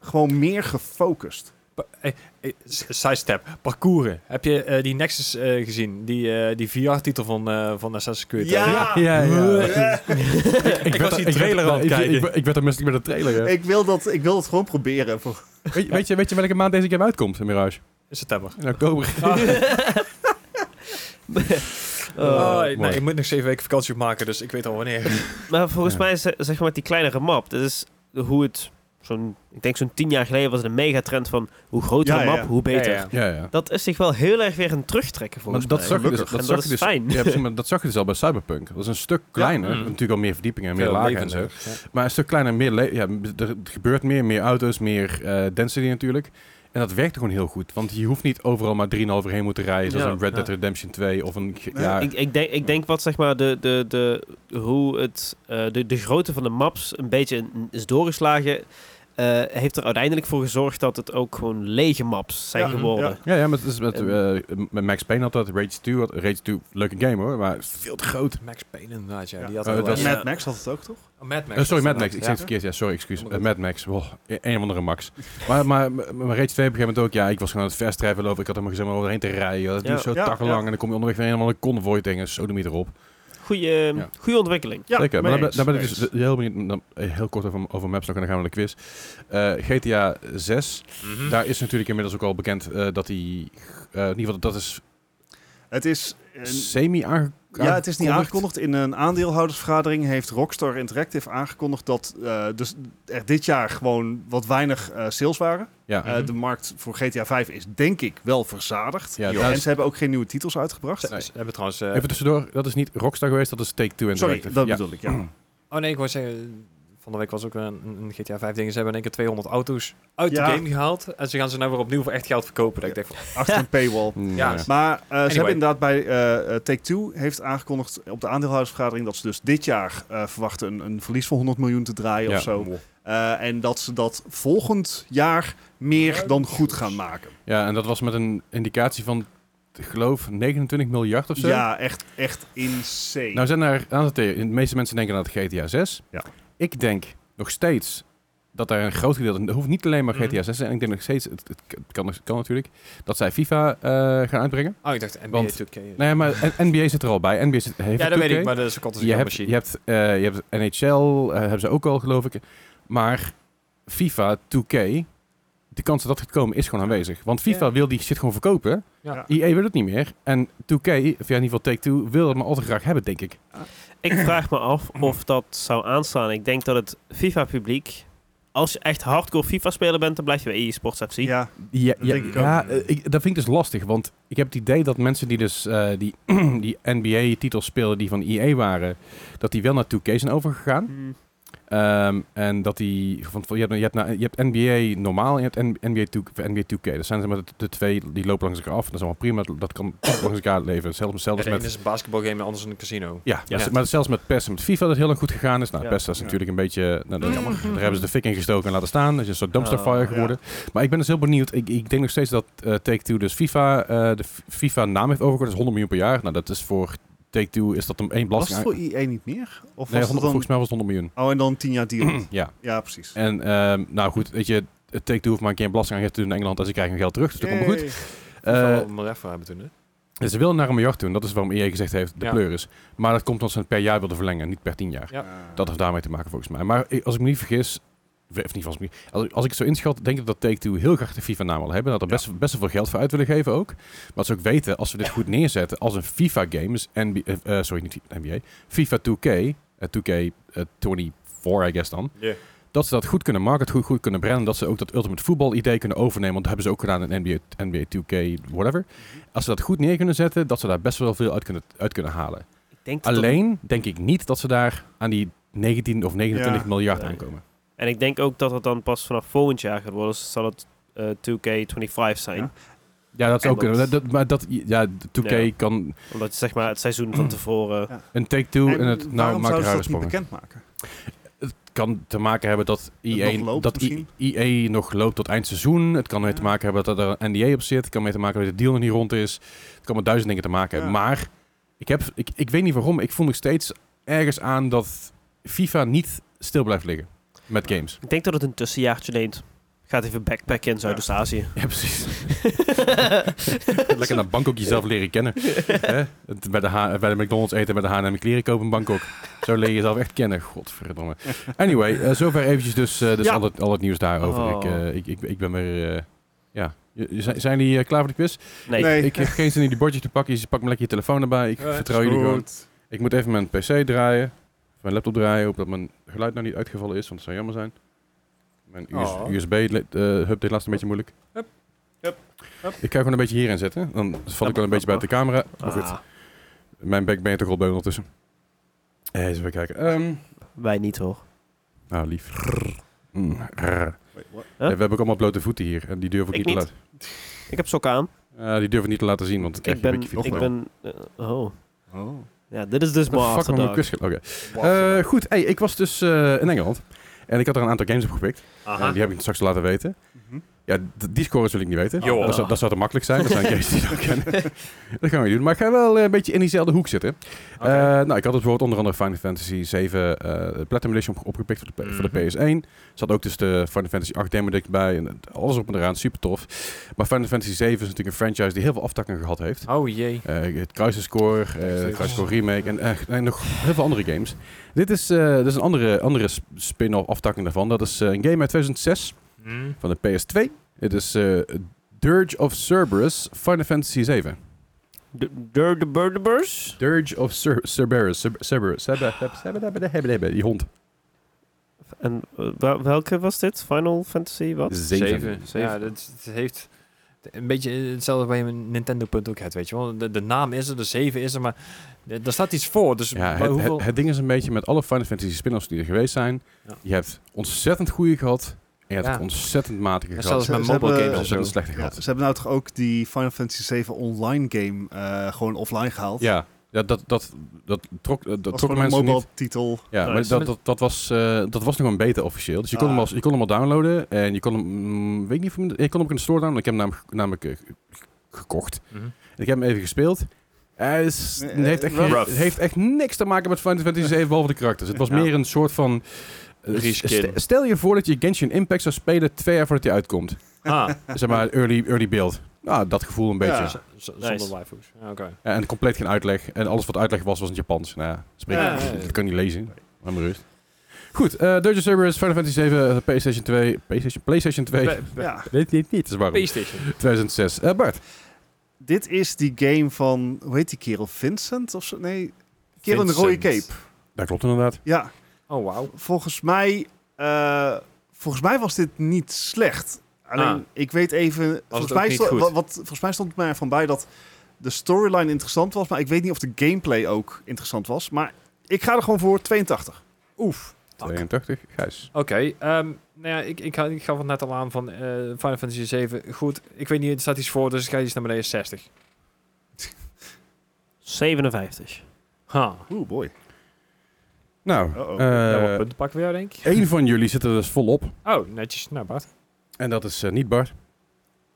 B: gewoon meer gefocust.
D: Pa- hey, hey, s- sidestep. Parcouren. Heb je eh, die Nexus eh, gezien? Die, eh, die VR-titel van, eh, van Assassin's Creed.
A: Ja,
D: [laughs]
A: ja. [laughs]
D: ik was die
A: Ik werd-
D: trailer aan het
A: ik- ik-
D: kijken.
A: Ik, ik werd er misselijk met de trailer. ja.
B: Ik, wil dat, ik wil dat gewoon proberen. Voor,
A: Weet, je- weet je, weet je welke maand deze game uitkomt, Mirage?
D: In september.
A: In oktober.
D: Ah. [laughs] Oh,
A: mooi.
D: nee, ik moet nog zeven weken vakantie opmaken, dus ik weet al wanneer.
C: Maar volgens
A: Ja.
C: mij, ze- zeg maar, die kleinere map, dat is hoe het zo'n, ik denk zo'n tien jaar geleden was het een megatrend van hoe groter
B: Ja,
C: een
B: ja,
C: map,
B: ja.
C: hoe beter.
D: Ja, ja.
A: Ja, ja.
C: Dat is zich wel heel erg weer een terugtrekken volgens
A: Maar dat
C: mij.
A: zag je dus,
B: Gelukkig.
A: dat
C: En
A: zag
C: dat
A: je
C: is
A: dus,
C: fijn.
A: ja,
C: [laughs]
A: precies, maar dat zag je dus al bij Cyberpunk. Dat is een stuk kleiner,
D: Mm.
A: natuurlijk al meer verdiepingen en meer
D: Veel
A: lagen en zo.
D: levendiger. Ja.
A: Maar een stuk kleiner, meer le- ja, m- er gebeurt meer, meer auto's, meer eh, density natuurlijk. En dat werkt gewoon heel goed, want je hoeft niet overal maar 3,5 uur heen moeten rijden, zoals
C: Ja.
A: een Red Dead
D: Ja.
A: Redemption 2 of een... ge-
B: Ja,
A: Ja,
C: Ik, ik, denk, ik denk wat zeg maar de, de, de, hoe het, eh, de, de grootte van de maps een beetje in- is doorgeslagen, eh, heeft er uiteindelijk voor gezorgd dat het ook gewoon lege maps zijn
B: Ja,
C: geworden.
A: ja, ja, maar het is met,
C: En-
A: eh, met Max Payne had dat, Rage 2, had, Rage 2, leuke game hoor, maar veel te groot.
D: Max Payne inderdaad, ja.
B: Ja.
D: Die had
A: Eh,
D: heel
A: dat
D: erg-
A: is-
B: Mad Max had het ook, toch?
D: Oh, Mad Max
A: Eh, sorry,
D: was
A: Mad Max. Ik
D: inderdaad,
A: zeg het verkeerd. Ja, sorry, excuus.
D: Helemaal
A: Eh, Mad Max. Wow, e- een of andere Max. maar, maar, maar, maar Rage 2 op een gegeven moment ook. Ja, ik was gewoon aan het fast travelen over. Ik had helemaal gezegd om overheen te rijden. Dat
C: Ja.
A: duurt zo
B: Ja,
A: takkenlang.
B: ja.
A: En dan kom je onderweg weer helemaal een convoy tegen. Zo de erop.
C: Goeie,
A: Ja.
C: goeie ontwikkeling.
B: Ja,
A: Zeker. Maar dan,
B: mee
A: ben-
B: eens,
A: dan ben ik
B: mee
A: dus
B: eens.
A: heel benieuwd. Dan, eh, heel kort over, over maps nog. En dan gaan we naar de quiz. Eh, GTA 6.
B: Hm.
D: Mhm.
A: Daar is natuurlijk inmiddels ook al bekend eh, dat die... eh, in ieder geval, dat is
B: Het is... een-
A: semi aange- aangekondigd.
B: ja, het is niet aangekondigd. In een aandeelhoudersvergadering heeft Rockstar Interactive aangekondigd dat eh, dus er dit jaar gewoon wat weinig eh, sales waren.
A: Ja.
B: Eh, de markt voor GTA 5 is denk ik wel verzadigd.
A: Ja,
B: en
A: daar is-
B: ze hebben ook geen nieuwe titels uitgebracht.
D: Ze, ze hebben trouwens... eh,
A: Even tussendoor. Dat is niet Rockstar geweest. Dat is Take-Two en
B: Sorry, dat bedoel ik, ja.
D: Oh nee, ik wou zeggen... Van de week was ook een, een GTA 5 ding. Ze hebben in één keer 200 auto's uit
B: Ja.
D: de game gehaald. En ze gaan ze nou weer opnieuw voor echt geld verkopen. Dat ik denk van...
B: Achter een paywall.
D: Ja,
A: Mm, Ja.
B: Maar eh, ze
D: Anyway.
B: hebben inderdaad bij eh Take-Two heeft aangekondigd op de aandeelhoudersvergadering dat ze dus dit jaar eh, verwachten een, een verlies van 100 miljoen te draaien
A: Ja.
B: of zo. Eh, en dat ze dat volgend jaar meer dan goed gaan maken.
A: Ja, en dat was met een indicatie van, ik geloof, 29 miljard of zo.
B: Ja, echt, echt insane.
A: Nou zijn er, aan het de meeste mensen denken aan het GTA 6.
B: Ja.
A: Ik denk nog steeds dat daar een groot gedeelte, dat hoeft niet alleen maar
D: Mhm.
A: GTA 6 te zijn, ik denk nog steeds, het, het kan, het kan natuurlijk, dat zij FIFA eh, gaan uitbrengen.
D: Oh, ik dacht NBA
A: Want-
D: 2K.
A: Nee, maar N- NBA zit er al bij. NBA zit, heeft
D: ja, dat weet
A: 2K.
D: ik, maar dat is een kant
A: je hebt, je, hebt, eh, je hebt NHL, eh, hebben ze ook al geloof ik. Maar FIFA 2K, de kans dat dat gaat komen is gewoon aanwezig. Want FIFA
D: Ja.
A: wil die shit gewoon verkopen.
B: Ja.
A: EA wil het niet meer. En 2K, of ja, in ieder geval Take-Two, wil het maar altijd graag hebben, denk ik.
C: Ik
B: [clears throat]
C: vraag me af
B: Mhm.
C: of dat zou aanslaan. Ik denk dat het FIFA-publiek... Als je echt hardcore FIFA-speler bent, dan blijf je bij EA Sports FC.
B: Ja,
A: Ja,
B: Dat
A: ja,
B: denk ik
A: ja
B: ook.
A: eh, ik- dat vind ik dus lastig. Want ik heb het idee dat mensen die dus eh, die, [clears throat] die NBA-titels speelden die van EA waren, dat die wel naar 2K zijn overgegaan.
C: Hm.
A: Ehm, en dat die. Van, van- je, hebt, je, hebt, na- je hebt NBA normaal en je hebt N- NBA 2K. of NBA 2K. Dat zijn zeg maar de, de twee die lopen langs elkaar af. Dat is allemaal prima. Dat, dat
B: [coughs]
A: kan langs elkaar leven. Zelfs, zelfs met. Eh,
D: is een basketbalgame en anders een casino.
A: Ja,
C: Ja.
A: dat is- maar zelfs met PES en met FIFA dat heel lang goed gegaan is. Nou,
C: Ja.
A: PES dat is
B: Ja.
A: natuurlijk een beetje... Nou, dat, jammer. Daar hebben ze de fik in gestoken en laten staan. Dat is een soort dumpster
C: Oh,
A: fire
B: Ah, ja.
A: geworden. Maar ik ben dus heel benieuwd. Ik, ik denk nog steeds dat eh, Take-Two dus FIFA... eh, de F- FIFA naam heeft overgekocht. Dat is 100 miljoen per jaar. Nou, dat is voor Take-Two... Is dat om één
B: was het
A: belasting...
B: voor IE niet meer?
A: nou-
B: Of
A: nee,
B: was het
A: 100, volgens mij
B: dan...
A: was het 100 miljoen.
B: Oh, en dan 10 jaar
A: [clears throat]
B: deal.
A: Ja.
B: ja, precies.
A: En ehm, nou goed, weet je... Take-Two hoeft maar een keer een belastingaangifte te doen in Engeland... en ze krijgen hun geld terug. Dus dat komt wel goed.
B: Yay.
A: Eh,
D: een miljard voor hebben toen, hè?
A: Dus ze willen naar een miljard doen. Dat is waarom EA gezegd heeft, de
D: Ja.
A: pleur is. Maar dat komt omdat ze het per jaar wilden verlengen, niet per tien jaar.
D: Ja.
B: Eh,
A: Dat heeft daarmee te maken volgens mij. Maar i- als ik me niet vergis, of niet volgens mij, als, als ik het zo inschat, denk ik dat Take-Two heel graag de FIFA-naam wil hebben. Dat er best, best wel veel geld voor uit willen geven ook. Maar dat ze ook weten, als we dit goed neerzetten als een FIFA-game, dus NBA, eh, eh, sorry, niet fi- NBA, FIFA 2K, eh, 2K eh, 24 I guess dan,
D: Ja.
A: dat ze dat goed kunnen marketen, goed, goed kunnen branden, dat ze ook dat Ultimate Football idee kunnen overnemen, want dat hebben ze ook gedaan in NBA, NBA 2K, whatever. Als ze dat goed neer kunnen zetten, dat ze daar best wel veel uit kunnen, uit kunnen halen.
C: Ik denk dat dat-
A: Alleen denk ik niet dat ze daar aan die 19 of 29
B: Ja.
A: miljard
C: Nee.
A: aankomen.
C: En ik denk ook dat het dan pas vanaf volgend jaar gaat worden. Dus zal het eh, 2K25 zijn.
B: Ja.
A: Ja, dat is
C: En
A: ook.
C: dat-
A: Dat, dat- maar dat, ja, 2K
C: Ja.
A: kan
C: Omdat je zeg maar het
A: [clears throat]
C: seizoen van tevoren...
A: een take-two en
B: en
A: het nou
B: waarom
A: maakt
B: zouden ze
A: eruit
B: dat niet
A: sprongen.
B: bekendmaken?
A: kan te maken hebben dat EA
B: nog
A: nog
B: loopt
A: dat I-
B: misschien?
A: EA nog loopt tot eind seizoen. Het kan mee te
B: Ja.
A: maken hebben dat er een NDA op zit. Het kan mee te maken hebben dat de deal nog niet rond is. Het kan met duizend dingen te maken hebben.
B: Ja.
A: Maar ik, heb, ik, ik weet niet waarom. Ik voel nog steeds ergens aan dat FIFA niet stil blijft liggen met games.
C: Ik denk dat het een tussenjaartje neemt. Gaat even backpacken dus in Zuidoost-Azië.
A: Ja, precies. [laughs] Lekker naar Bangkok jezelf leren kennen. Hè? Het- bij, de H- bij de McDonald's eten, bij de H&M kleren kopen in Bangkok. Zo leer je jezelf echt kennen. Godverdomme. Anyway, eh, zover eventjes dus, eh, dus
B: Ja.
A: al, het, al het nieuws daarover.
C: Oh.
A: Ik, eh, ik, ik, ik ben weer... eh, ja. Je- je- zijn- Zijn jullie eh, klaar voor de quiz?
C: Nee.
B: Nee.
A: Ik heb geen zin in die bordjes te pakken. Je pakt me lekker je telefoon erbij. Ik
D: Eh, is
A: vertrouw jullie gewoon. Ik moet even mijn pc draaien. Of mijn laptop draaien. Hoop dat mijn geluid nou niet uitgevallen is, want dat zou jammer zijn. Mijn
D: Oh.
A: USB-hub deed eh, laatst een beetje moeilijk.
D: Hup, hup, hup.
A: Ik ga gewoon een beetje hierin zetten. Dan val ik wel een beetje buiten de camera. Maar goed,
C: Ah,
A: mijn back ben je toch al bij ondertussen. Eh, eens even kijken. Ehm,
C: wij niet hoor.
A: nou, lief. Mm, rrr.
B: Wait, what?
A: Ja, we hebben ook allemaal blote voeten hier. En die durf ik,
C: Ik
A: niet te
C: niet. Ik heb sokken aan.
A: laten... Eh, die durf ik niet te laten zien, want dan krijg
C: Ik
A: je een
C: ben...
A: beetje
C: Ik
A: veel.
C: ben eh, oh.
B: Oh.
C: Ja, dit is dus
A: What the
C: maar
A: fuck,
C: after
A: mijn
C: dark.
A: quiz ge- Oké. Eh, goed, hey, ik was dus eh, in Engeland. En ik had er een aantal games op gepikt. Eh, die heb ik straks laten weten.
B: Mhm.
A: Ja, d- die scores wil ik niet weten.
D: Joh.
A: Dat, zou, dat zou te makkelijk zijn. Dat
D: [laughs]
A: zijn games die ik ook kennen. dat gaan we niet doen. Maar ik ga wel eh, een beetje in diezelfde hoek zitten.
D: Oké.
A: Eh, nou, ik had het bijvoorbeeld onder andere Final Fantasy 7 eh Platinum Edition op- opgepikt voor de, P- voor
D: Mhm.
A: de PS1. Zat ook dus de Final Fantasy 8 demo dik bij. En alles op en eraan. Super tof. Maar Final Fantasy 7 is natuurlijk een franchise die heel veel aftakken gehad heeft.
D: Oh jee.
A: Eh, het Kruisenscore, eh het Kruisenscore Remake en, eh, en nog heel veel andere games. Dit is, eh, dit is een andere, andere sp- spin-off aftakking daarvan. Dat is eh, een game uit 2006 van de PS2. Het is eh, Dirge of Cerberus Final Fantasy 7.
C: De de- de Birdebers?
A: Dirge of Cer- Cerberus. Cer- Cerberus. Cerbe- Cerbe- Cerbe- Cerbe- Cerbe- Cerbe- Die hond.
C: En eh, wel- welke was dit? Final Fantasy wat?
A: Zeven.
D: Ja, dat, dat heeft een beetje hetzelfde bij een Nintendo punt ook het, weet je wel. De, de naam is er, de 7 is er, maar d- daar staat iets voor. Dus
A: Ja,
D: bij
A: het,
D: hoeveel...
A: het, het ding is een beetje met alle Final Fantasy spin-offs die er geweest zijn.
D: Ja.
A: Je hebt ontzettend goede gehad. En je hebt
D: Ja.
A: ontzettend matige
D: Ja,
A: gehad.
D: zelfs
B: Ze-
D: met
B: ze
D: mobile
B: hebben-
D: games of
A: ontzettend
D: zo.
A: slechte gehad.
B: ze hebben nou toch ook die Final Fantasy 7 online game eh, gewoon offline gehaald?
A: Ja, ja dat, dat, dat trok, dat
B: dat
A: trok
B: was gewoon een
A: mensen
B: mobile
A: niet.
B: titel.
A: Ja, maar
C: Nice.
A: dat, dat, dat, was, eh, dat was nog een beta officieel. Dus je kon,
B: Ah.
A: hem al, je kon hem al downloaden. En je kon hem, mm, weet ik niet of je hem- je kon hem ook in de store downloaden. Ik heb hem namelijk, namelijk eh, ge- gekocht.
D: Mhm.
A: En ik heb hem even gespeeld. Hij is,
B: Eh,
A: het heeft echt
B: rough. [laughs]
A: geen- het heeft echt niks te maken met Final Fantasy 7 behalve de karakters. Het was
C: Ja.
A: meer een soort van Stel, stel je voor dat je Genshin Impact zou spelen twee jaar voordat hij
B: [laughs]
A: uitkomt.
C: Ah,
D: [laughs]
A: Zeg maar early, early build. Nou, dat gevoel een beetje.
B: Ja.
A: Ja,
D: Z-
C: Nice.
D: Zonder waifus. Ja, Oké.
A: En compleet geen uitleg. En alles wat uitleg was, was in het Japans. Nou ja, spreek
B: Ja,
D: ja, ja.
A: Dat kan je niet lezen. Maar maar rust. Goed, eh Dungeon Cerberus, Final Fantasy 7, PlayStation 2, PlayStation, PlayStation 2.
D: Pe- pe-
B: Ja.
A: Weet je het niet? Dat is waarom.
D: PlayStation.
A: 2006. Eh, Bart.
B: Dit is die game van, hoe heet die kerel? Vincent of zo? Nee, kerel in de rode
C: Vincent.
B: cape.
A: Dat klopt inderdaad.
B: Ja,
D: Oh, wauw.
B: volgens mij, eh, volgens mij was dit niet slecht. Alleen,
C: Ah.
B: ik weet even, volgens
C: ook
B: mij,
C: niet
B: sto-
C: goed?
B: wat, wat- volgens mij stond het mij ervan bij dat de storyline interessant was, maar ik weet niet of de gameplay ook interessant was. Maar ik ga er gewoon voor 82.
D: Oef. Fuck.
A: 82. Gijs.
D: Oké, ehm, nou ja, ik, ik, ga- ik gaf het net al aan van eh, Final Fantasy 7. Goed, ik weet niet, het staat iets voor, dus ik ga iets naar beneden 60.
C: 57.
D: Ha.
B: Oeh, boy.
A: Nou,
B: Uh-oh.
A: eh,
D: Ja, wat punten pakken we jou, denk ik.
A: één van jullie zit er dus volop.
D: Oh, netjes. Nou, Bart.
A: En dat is eh, niet Bart.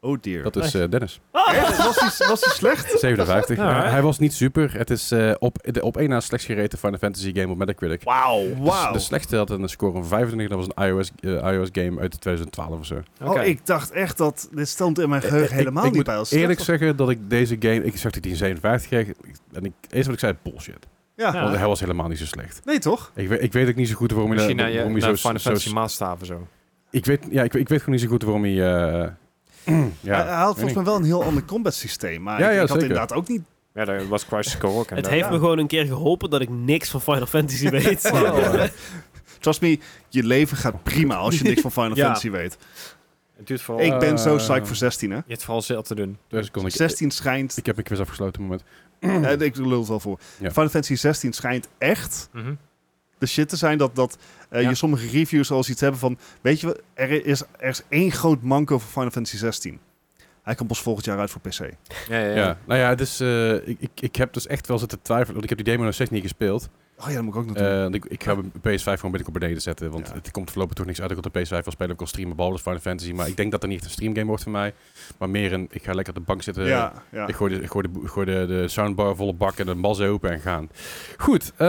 B: Oh dear.
A: Dat is
D: Nee.
A: eh, Dennis.
B: Echt? Was, die, was die slecht?
A: 57.
D: Ja,
A: Eh,
D: hè?
A: hij was niet super. Het is eh, op, de, op één na slechts gereten Final Fantasy game op Metacritic.
B: Wauw. Wauw.
A: De, de slechtste had een score van 25. Dat was een iOS, eh, iOS game uit 2012 of zo.
D: Oké.
B: Oh, ik dacht echt dat dit stond in mijn
A: dus- Eh,
B: geheugen
A: eh,
B: helemaal
A: ik,
B: niet
A: ik
B: bij.
A: moet
B: Als
A: eerlijk
B: slecht
A: zeggen dat ik deze game... Ik zag dat hij een 57 kreeg. En ik, eerst wat ik zei, bullshit.
B: was. Ja.
D: Ja.
A: Want hij was helemaal niet zo slecht.
B: Nee, toch?
A: Ik, weet- ik weet ook niet zo goed waarom hij,
D: Misschien
A: daar-
D: naar je
A: waarom hij
D: naar
A: zo...
D: Final
A: zo-
D: Fantasy maatstaven zo.
A: ik, weet, ja, ik, ik weet gewoon niet zo goed waarom hij... eh, [clears throat]
B: hij, hij
A: ja,
B: had
A: weet
B: volgens mij wel een heel ander combat systeem. Maar
A: Ja, ja,
B: ik, ik had
A: zeker.
B: inderdaad ook niet...
D: Ja, dat was Crisis Core [laughs] ook.
C: Het heeft me gewoon een keer geholpen dat ik niks van Final Fantasy weet.
A: Ja.
B: Trust me, je leven gaat prima
A: [laughs]
B: als je niks van Final
D: Ja.
B: Fantasy weet.
D: Het duurt vooral...
B: Ik ben zo
A: Eh.
B: psyched voor 16, hè?
D: Je hebt vooral zelf te doen.
A: dus kon ik,
B: 16
A: [clears throat]
B: schijnt...
A: ik heb een quiz afgesloten moment.
B: eh, ik lul het wel voor.
A: Ja.
B: Final Fantasy 16 schijnt echt
D: Mhm.
B: de shit te zijn dat, dat eh,
D: Ja.
B: je sommige reviews al iets hebben van... Weet je, wat, er is, er is één groot manco voor Final Fantasy 16. Hij komt pas volgend jaar uit voor PC.
D: Ja, ja,
A: Ja.
D: ja.
A: nou ja, dus, eh ik, ik, ik heb dus echt wel zitten twijfelen. Want ik heb die demo nog steeds niet gespeeld.
B: Oh ja, dat moet ik ook nog doen.
A: Eh, want ik, ik ga mijn PS5 gewoon binnenkort beneden zetten. Want
B: Ja.
A: het komt voorlopig toch niks uit. Ik wil de PS5 wel spelen. Ik wil streamen, behalve Final Fantasy. Maar ik denk dat er niet echt een streamgame wordt voor mij. Maar meer een, ik ga lekker op de bank zitten.
B: ja, ja.
A: eh, Ik gooi, de, ik gooi, de, ik gooi de, de soundbar volle bak en de bas open en gaan. Goed, eh,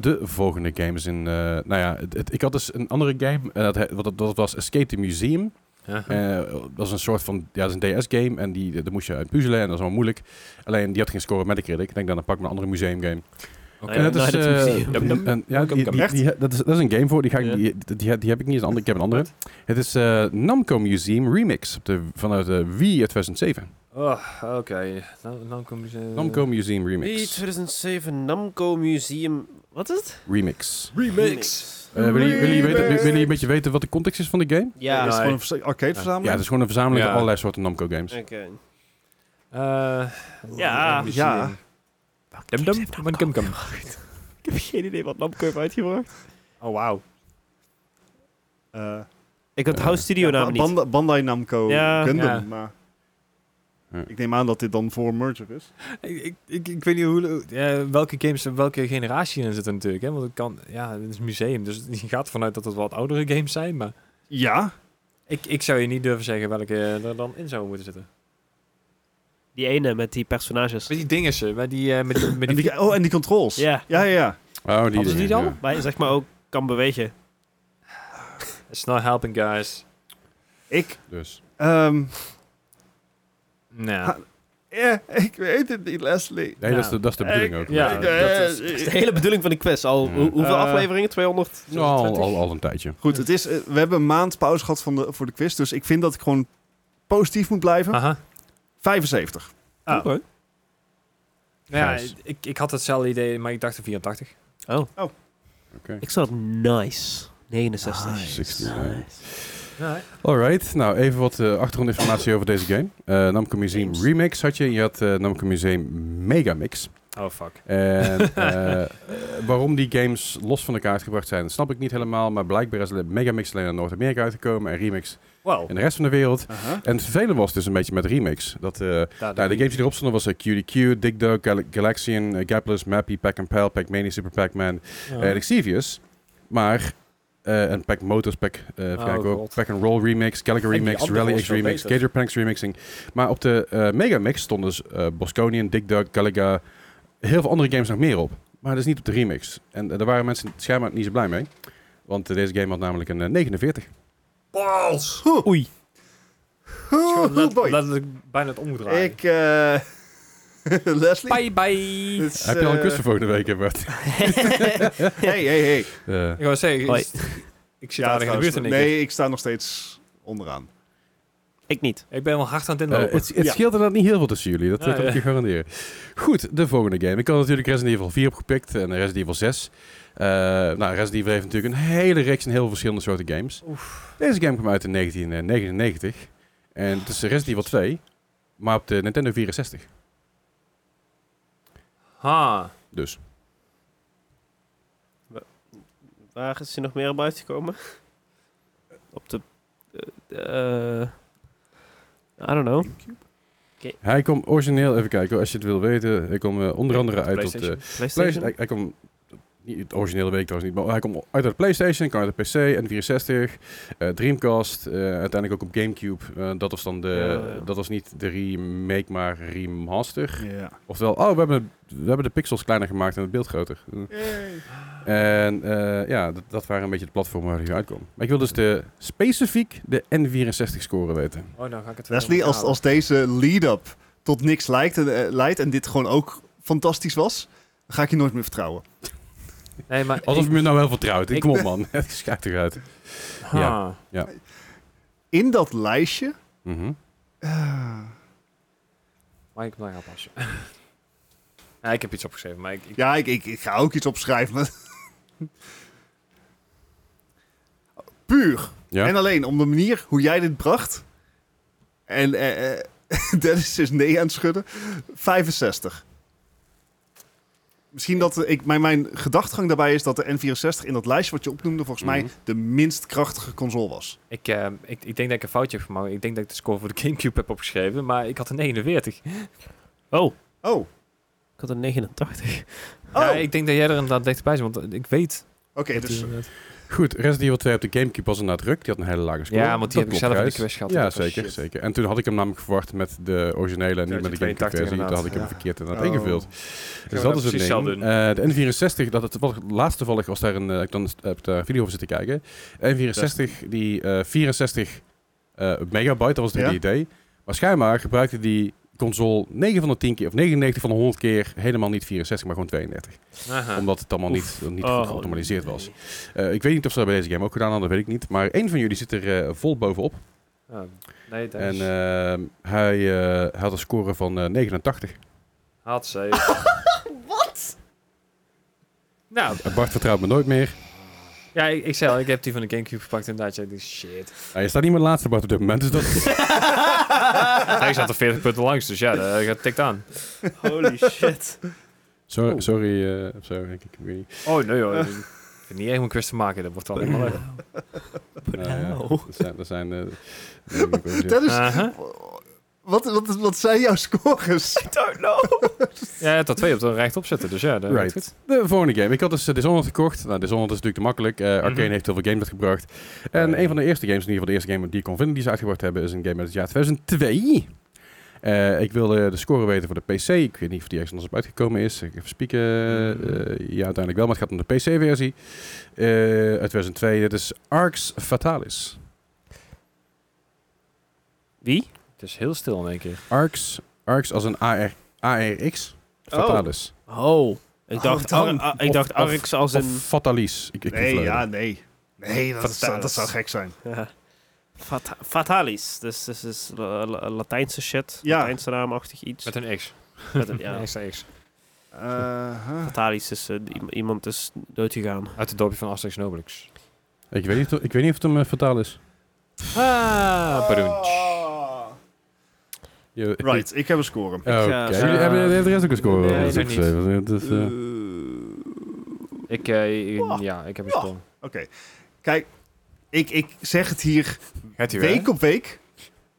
A: de volgende game is in... eh, nou ja, het- het- ik had dus een andere game. en dat, he- wat dat, dat was Escape the Museum.
B: Hm.
A: Eh, dat was een soort van, ja, dat is een DS-game en die, daar moest je uit puzzelen en dat is allemaal moeilijk. Alleen die had geen score met de critic. Ik denk dan, dan pak ik maar een andere museumgame.
C: Oké.
A: En dat is,
C: Night at the
A: eh,
C: Museum.
A: en-
D: Dum,
A: en- ja, die- die-
B: Echt?
A: die- dat is dat is een game voor, die, ga ik,
C: Ja.
A: die, die, die- die heb ik niet, is een ander- ik heb een andere. Het is eh, Namco Museum Remix op de, vanuit de Wii uit 2007.
D: Oh, oké. Nou, dan kom je... ze-
A: Namco Museum
C: Wii
A: Remix.
C: 2007 Namco Museum. Wat is het?
A: Remix.
C: Remix.
A: Eh, willen jullie- willen jullie weten- willen jullie een beetje weten wat de context is van de game?
C: Ja.
B: is het
C: Oké.
B: gewoon een vers- arcade-verzameling?
A: Ja, dus- het is gewoon een verzameling
D: Ja.
A: van allerlei soorten Namco games.
D: Eh,
C: Ja.
B: Ja.
D: Dum dum, dum dum dum.
C: Ik heb geen idee wat Namco heeft uitgebracht.
D: Oh, wauw.
B: Eh,
C: Ik onthoud studio
B: Ja,
C: namen
B: Ba-
C: niet.
B: Banda- Bandai Namco
C: Ja.
B: Gundam,
D: Ja.
B: maar...
A: Ja.
B: Ik neem aan dat dit dan voor merger is.
D: Ik, ik, ik, ik weet niet hoe, eh, welke games en welke generatie in zitten natuurlijk. Hè? Want het kan, ja, het is een museum, dus [laughs] je gaat ervan uit dat het wat oudere games zijn. Maar
B: Ja.
D: ik, ik zou je niet durven zeggen welke er dan in zou moeten zitten.
C: Die ene met die personages.
D: Met die dingen, ze, met die... eh, met die, met
A: [coughs]
B: En
D: die,
B: die, oh, en die controls.
C: Ja.
B: Ja, ja, ja.
A: Oh, die,
D: Hadden ze die dan?
A: ja.
C: Waar je zeg maar ook kan bewegen.
D: It's not helping, guys.
B: Ik,
A: Dus.
B: ehm,
D: Nou.
B: Ha- eh, ik weet het niet, Leslie.
A: Nee, dat, is de, dat is de bedoeling ook.
D: Ja,
B: Ik,
D: dat
B: eh,
D: is-
C: Dat is de hele bedoeling van de quest. Al hoe- hoeveel
B: Eh.
C: afleveringen? 200?
A: Nou, al, al, al een tijdje.
B: Goed, het is, eh, we hebben een maand pauze gehad van de, voor de quiz, dus ik vind dat ik gewoon positief moet blijven.
D: Aha.
B: 75.
D: Oh.
C: Oké.
D: Ja,
A: Gijs.
D: ik, ik had hetzelfde idee, maar ik dacht een 84.
C: Ik zat nice. 69.
B: Nice.
A: 69.
D: Ja,
A: Alright, nou even wat eh, achtergrondinformatie over deze game. Eh, Namco Museum
C: Games.
A: Remix had je. Je had eh, Namco Museum Megamix.
D: oh, fuck.
A: En eh, waarom die games los van elkaar uitgebracht zijn, snap ik niet helemaal. Maar blijkbaar is de Megamix alleen in Noord-Amerika uitgekomen en Remix
D: Wow.
A: in de rest van de wereld.
B: Aha.
A: En het vervelende was dus een beetje met Remix. Dat, eh,
D: Daar-
A: nou, de games die erop stonden was eh, QDQ, Dig Dug, Gal- Galaxian, eh, Gapless, Mappy, Pac-Pal, Pac-Mania, Super Pac-Man
D: Ja.
A: en Xevious. Eh, Maar, eh, en Pac Motors, Pac, eh even
D: Oh,
A: kijken hoor.
D: God.
A: Pac and Roll Remix, Gallagher
D: En die
A: Remix,
D: andere
A: Rally
D: was
A: X
D: veel
A: Remix,
D: beter.
A: Gator Pranks Remixing. Maar op de eh Mega Mix stonden dus eh, Bosconian, Dig Dug, Galaga, heel veel andere games nog meer op. Maar dat is niet op de remix. En eh, daar waren mensen schijnbaar niet zo blij mee. Want eh, deze game had namelijk een eh, 49.
B: Pals!
C: Oei.
B: Good boy.
D: Dat ik bijna het omgedraaid.
B: Ik, eh [laughs] Leslie.
D: Bye bye.
B: dit is,
A: Heb je al een
B: eh,
A: kus voor volgende week, hè, Bart?
B: [laughs] Hey, hey, hey.
A: Eh,
D: Ik wou zeggen,
C: Hoi.
D: ik, ik zit aardig in de buurt en ik.
B: nee, ik sta nog steeds onderaan.
C: Ik niet.
D: Ik ben wel hard aan het
A: Eh,
D: inlopen.
A: het het
B: Ja.
A: scheelt inderdaad niet heel veel tussen jullie, dat eh,
D: Nee,
A: kan ik je garanderen. Goed, de volgende game. Ik had natuurlijk Resident Evil 4 opgepikt en Resident Evil 6. Eh, nou, Resident Evil heeft natuurlijk een hele reeks en heel verschillende soorten games. Deze game kwam uit in 1999. En het is Resident Evil 2, maar op de Nintendo 64.
D: Ha.
A: Dus.
C: Waar is er nog meer op uitgekomen? Op de... eh eh, I don't know.
A: Hij komt origineel, even kijken hoor, als je het wil weten. Hij komt eh, onder andere uit op de
D: PlayStation.
A: PlayStation.
C: PlayStation?
A: Hij, hij komt niet het originele week trouwens niet, maar hij komt uit de PlayStation, kan uit de PC, N64, eh, Dreamcast, eh, uiteindelijk ook op GameCube. Eh, dat was dan de,
C: Ja, ja.
A: dat was niet de remake, maar remaster.
B: Ja.
A: Oftewel, oh, we hebben, we hebben de pixels kleiner gemaakt en het beeld groter. En eh, ja, dat, dat waren een beetje de platformen waar hij uitkwam. Maar ik wil dus de, specifiek de N64 score weten.
D: Oh, nou ga ik het weer
B: Leslie, als,
D: herhalen.
B: als deze lead-up tot niks lijkt, en, eh, leidt en dit gewoon ook fantastisch was, dan ga ik je nooit meer vertrouwen.
D: Nee, maar...
A: Alsof je me nou wel vertrouwt.
D: ik-
A: Kom op man, [laughs] het schijnt eruit.
D: Ha.
A: ja.
B: In dat lijstje...
A: Mhm.
B: eh,
D: Maar ik moet daar gaan passen. [laughs] ja, ik heb iets opgeschreven, maar ik... ik-
B: ja, ik, ik, ik ga ook iets opschrijven. maar- [laughs] Puur
A: Ja?
B: en alleen om de manier hoe jij dit bracht... En eh, [laughs] eh, Dennis is nee aan het schudden. 65. Misschien dat eh, ik, mijn, mijn gedachtgang daarbij is dat de N64 in dat lijstje wat je opnoemde... volgens mij
A: Mhm.
B: de minst krachtige console was.
D: Ik, eh, ik, ik denk dat ik een foutje heb gemaakt. Ik denk dat ik de score voor de [laughs] Gamecube heb opgeschreven, maar ik had een 49.
C: Oh,
B: Oh,
C: ik had een 89.
B: oh.
D: Ja, ik denk dat jij er inderdaad dichterbij zit, want eh, ik weet...
B: Oké,
D: dat
B: dus
D: die
A: eh,
D: inderdaad-
A: Goed, Resident Evil 2 op de Gamecube was inderdaad druk. Die had een hele lage score.
D: Ja, want die
A: Dat
D: heb ik
A: klopt,
D: zelf in de
A: Gijs.
D: quest gehad.
A: Ja,
D: Dat was
A: zeker,
D: shit.
A: zeker. En toen had ik hem namelijk verwacht met de originele en niet met de
D: 282
A: Gamecube versie. Daar had ik hem
B: inderdaad.
A: verkeerd inderdaad
B: Oh. [laughs]
A: ingevuld. Dus
D: we
A: dat
D: dat
A: is het
D: precies
A: ding.
D: zelf
A: Eh, de N64, dat het wat laatst toevallig was daar een, eh, ik dan heb daar een video over zitten kijken. N64, die eh, 64 eh, megabyte, dat was
B: Ja.
A: het idee. Maar schijnbaar gebruikte die console 9 van de 10 keer, of 99 van de 100 keer, helemaal niet 64, maar gewoon 32.
D: Aha.
A: Omdat het allemaal
C: Oef.
A: niet, niet
C: Oh,
A: goed geoptimaliseerd was. Eh, ik weet niet of ze dat bij deze game ook gedaan hadden, weet ik niet. Maar één van jullie zit er eh, vol bovenop.
D: Ah, nee, dat
A: En
D: is...
A: ehm, hij eh, had een score van eh, 89.
D: Haat ze. Wat? Nou,
A: Eh, Bart vertrouwt me nooit meer.
D: ja, ik, ik zei al, ik heb die van de Gamecube gepakt inderdaad. Ja, ik dacht, shit.
A: Hij staat niet meer de laatste Bart op dit moment. Dus
C: [laughs]
A: dat...
B: Ah.
D: Hij zat er 40 punten langs, dus ja, dat gaat tikt aan.
C: [laughs] Holy shit.
A: sorry, sorry, eh, of zo, denk ik. ik weet niet.
D: Oh, nee hoor. Ik vind niet echt mijn quest te maken, dat
C: [laughs]
D: wordt wel helemaal leuk.
A: Nou ja,
C: Wow.
A: dat zijn... Dat zijn eh, dingen die ik ook zeg.
B: Dennis,
D: Aha.
B: wat, wat, wat zijn jouw scores?
C: I don't know.
D: Ja, tot twee op de rechtop zetten, dus ja, dat gaat
A: Right.
D: goed.
A: de volgende game. Eh, Ik had dus eh, Dishonored gekocht. Nou, Dishonored is natuurlijk te makkelijk. Eh, Arcane
D: Mhm.
A: heeft heel veel games uitgebracht. En een van de eerste games, in ieder geval de eerste game die ik kon vinden die ze uitgebracht hebben, is een game uit het jaar 2002. Eh, ik wilde de score weten voor de PC. Ik weet niet of die ergens anders op uitgekomen is. Ik even spieken. Eh, ja, uiteindelijk wel, maar het gaat om de PC-versie. uit 2002. Dit is Arx Fatalis.
C: Wie?
D: Het is heel stil in één keer.
A: Arx, Arx als een AR, ARX. Fatalis.
C: Oh. Ik
B: Oh,
C: dacht,
B: dan.
C: Ar- ik
A: Of-
C: dacht
A: of-
C: Arx als
A: Of
C: een...
A: Fatalis. Ik, ik
B: Nee,
A: ik-
B: ja, nee. Nee, dat, zou, dat zou gek zijn.
C: Ja. Fata- fatalis. Dus dat is la- la- Latijnse shit.
B: Ja.
C: Latijnse naamachtig iets.
D: Met een X.
C: Met een- [laughs] ja.
D: Ja. X, X.
B: Eh, huh.
C: Fatalis is eh, i- iemand is doodgegaan.
D: Uit het dorpje van Asterix Nobelix.
A: Ik weet, niet, of- ik weet niet of het hem eh, Fatalis.
D: Ah,
B: Ah.
A: Je-
B: Right, ik heb een score.
A: Oh,
C: Ja,
A: oké.
C: zo-
A: Jullie hebben de rest ook een score.
D: Nee,
A: eh,
D: nog
A: dat
D: niet.
A: zei, want het is, eh,
D: Ik, eh, ik- ja, ik heb een
B: Ja.
D: sprong.
B: Oké, kijk, ik, ik zeg het hier
D: Gaat
B: week op week.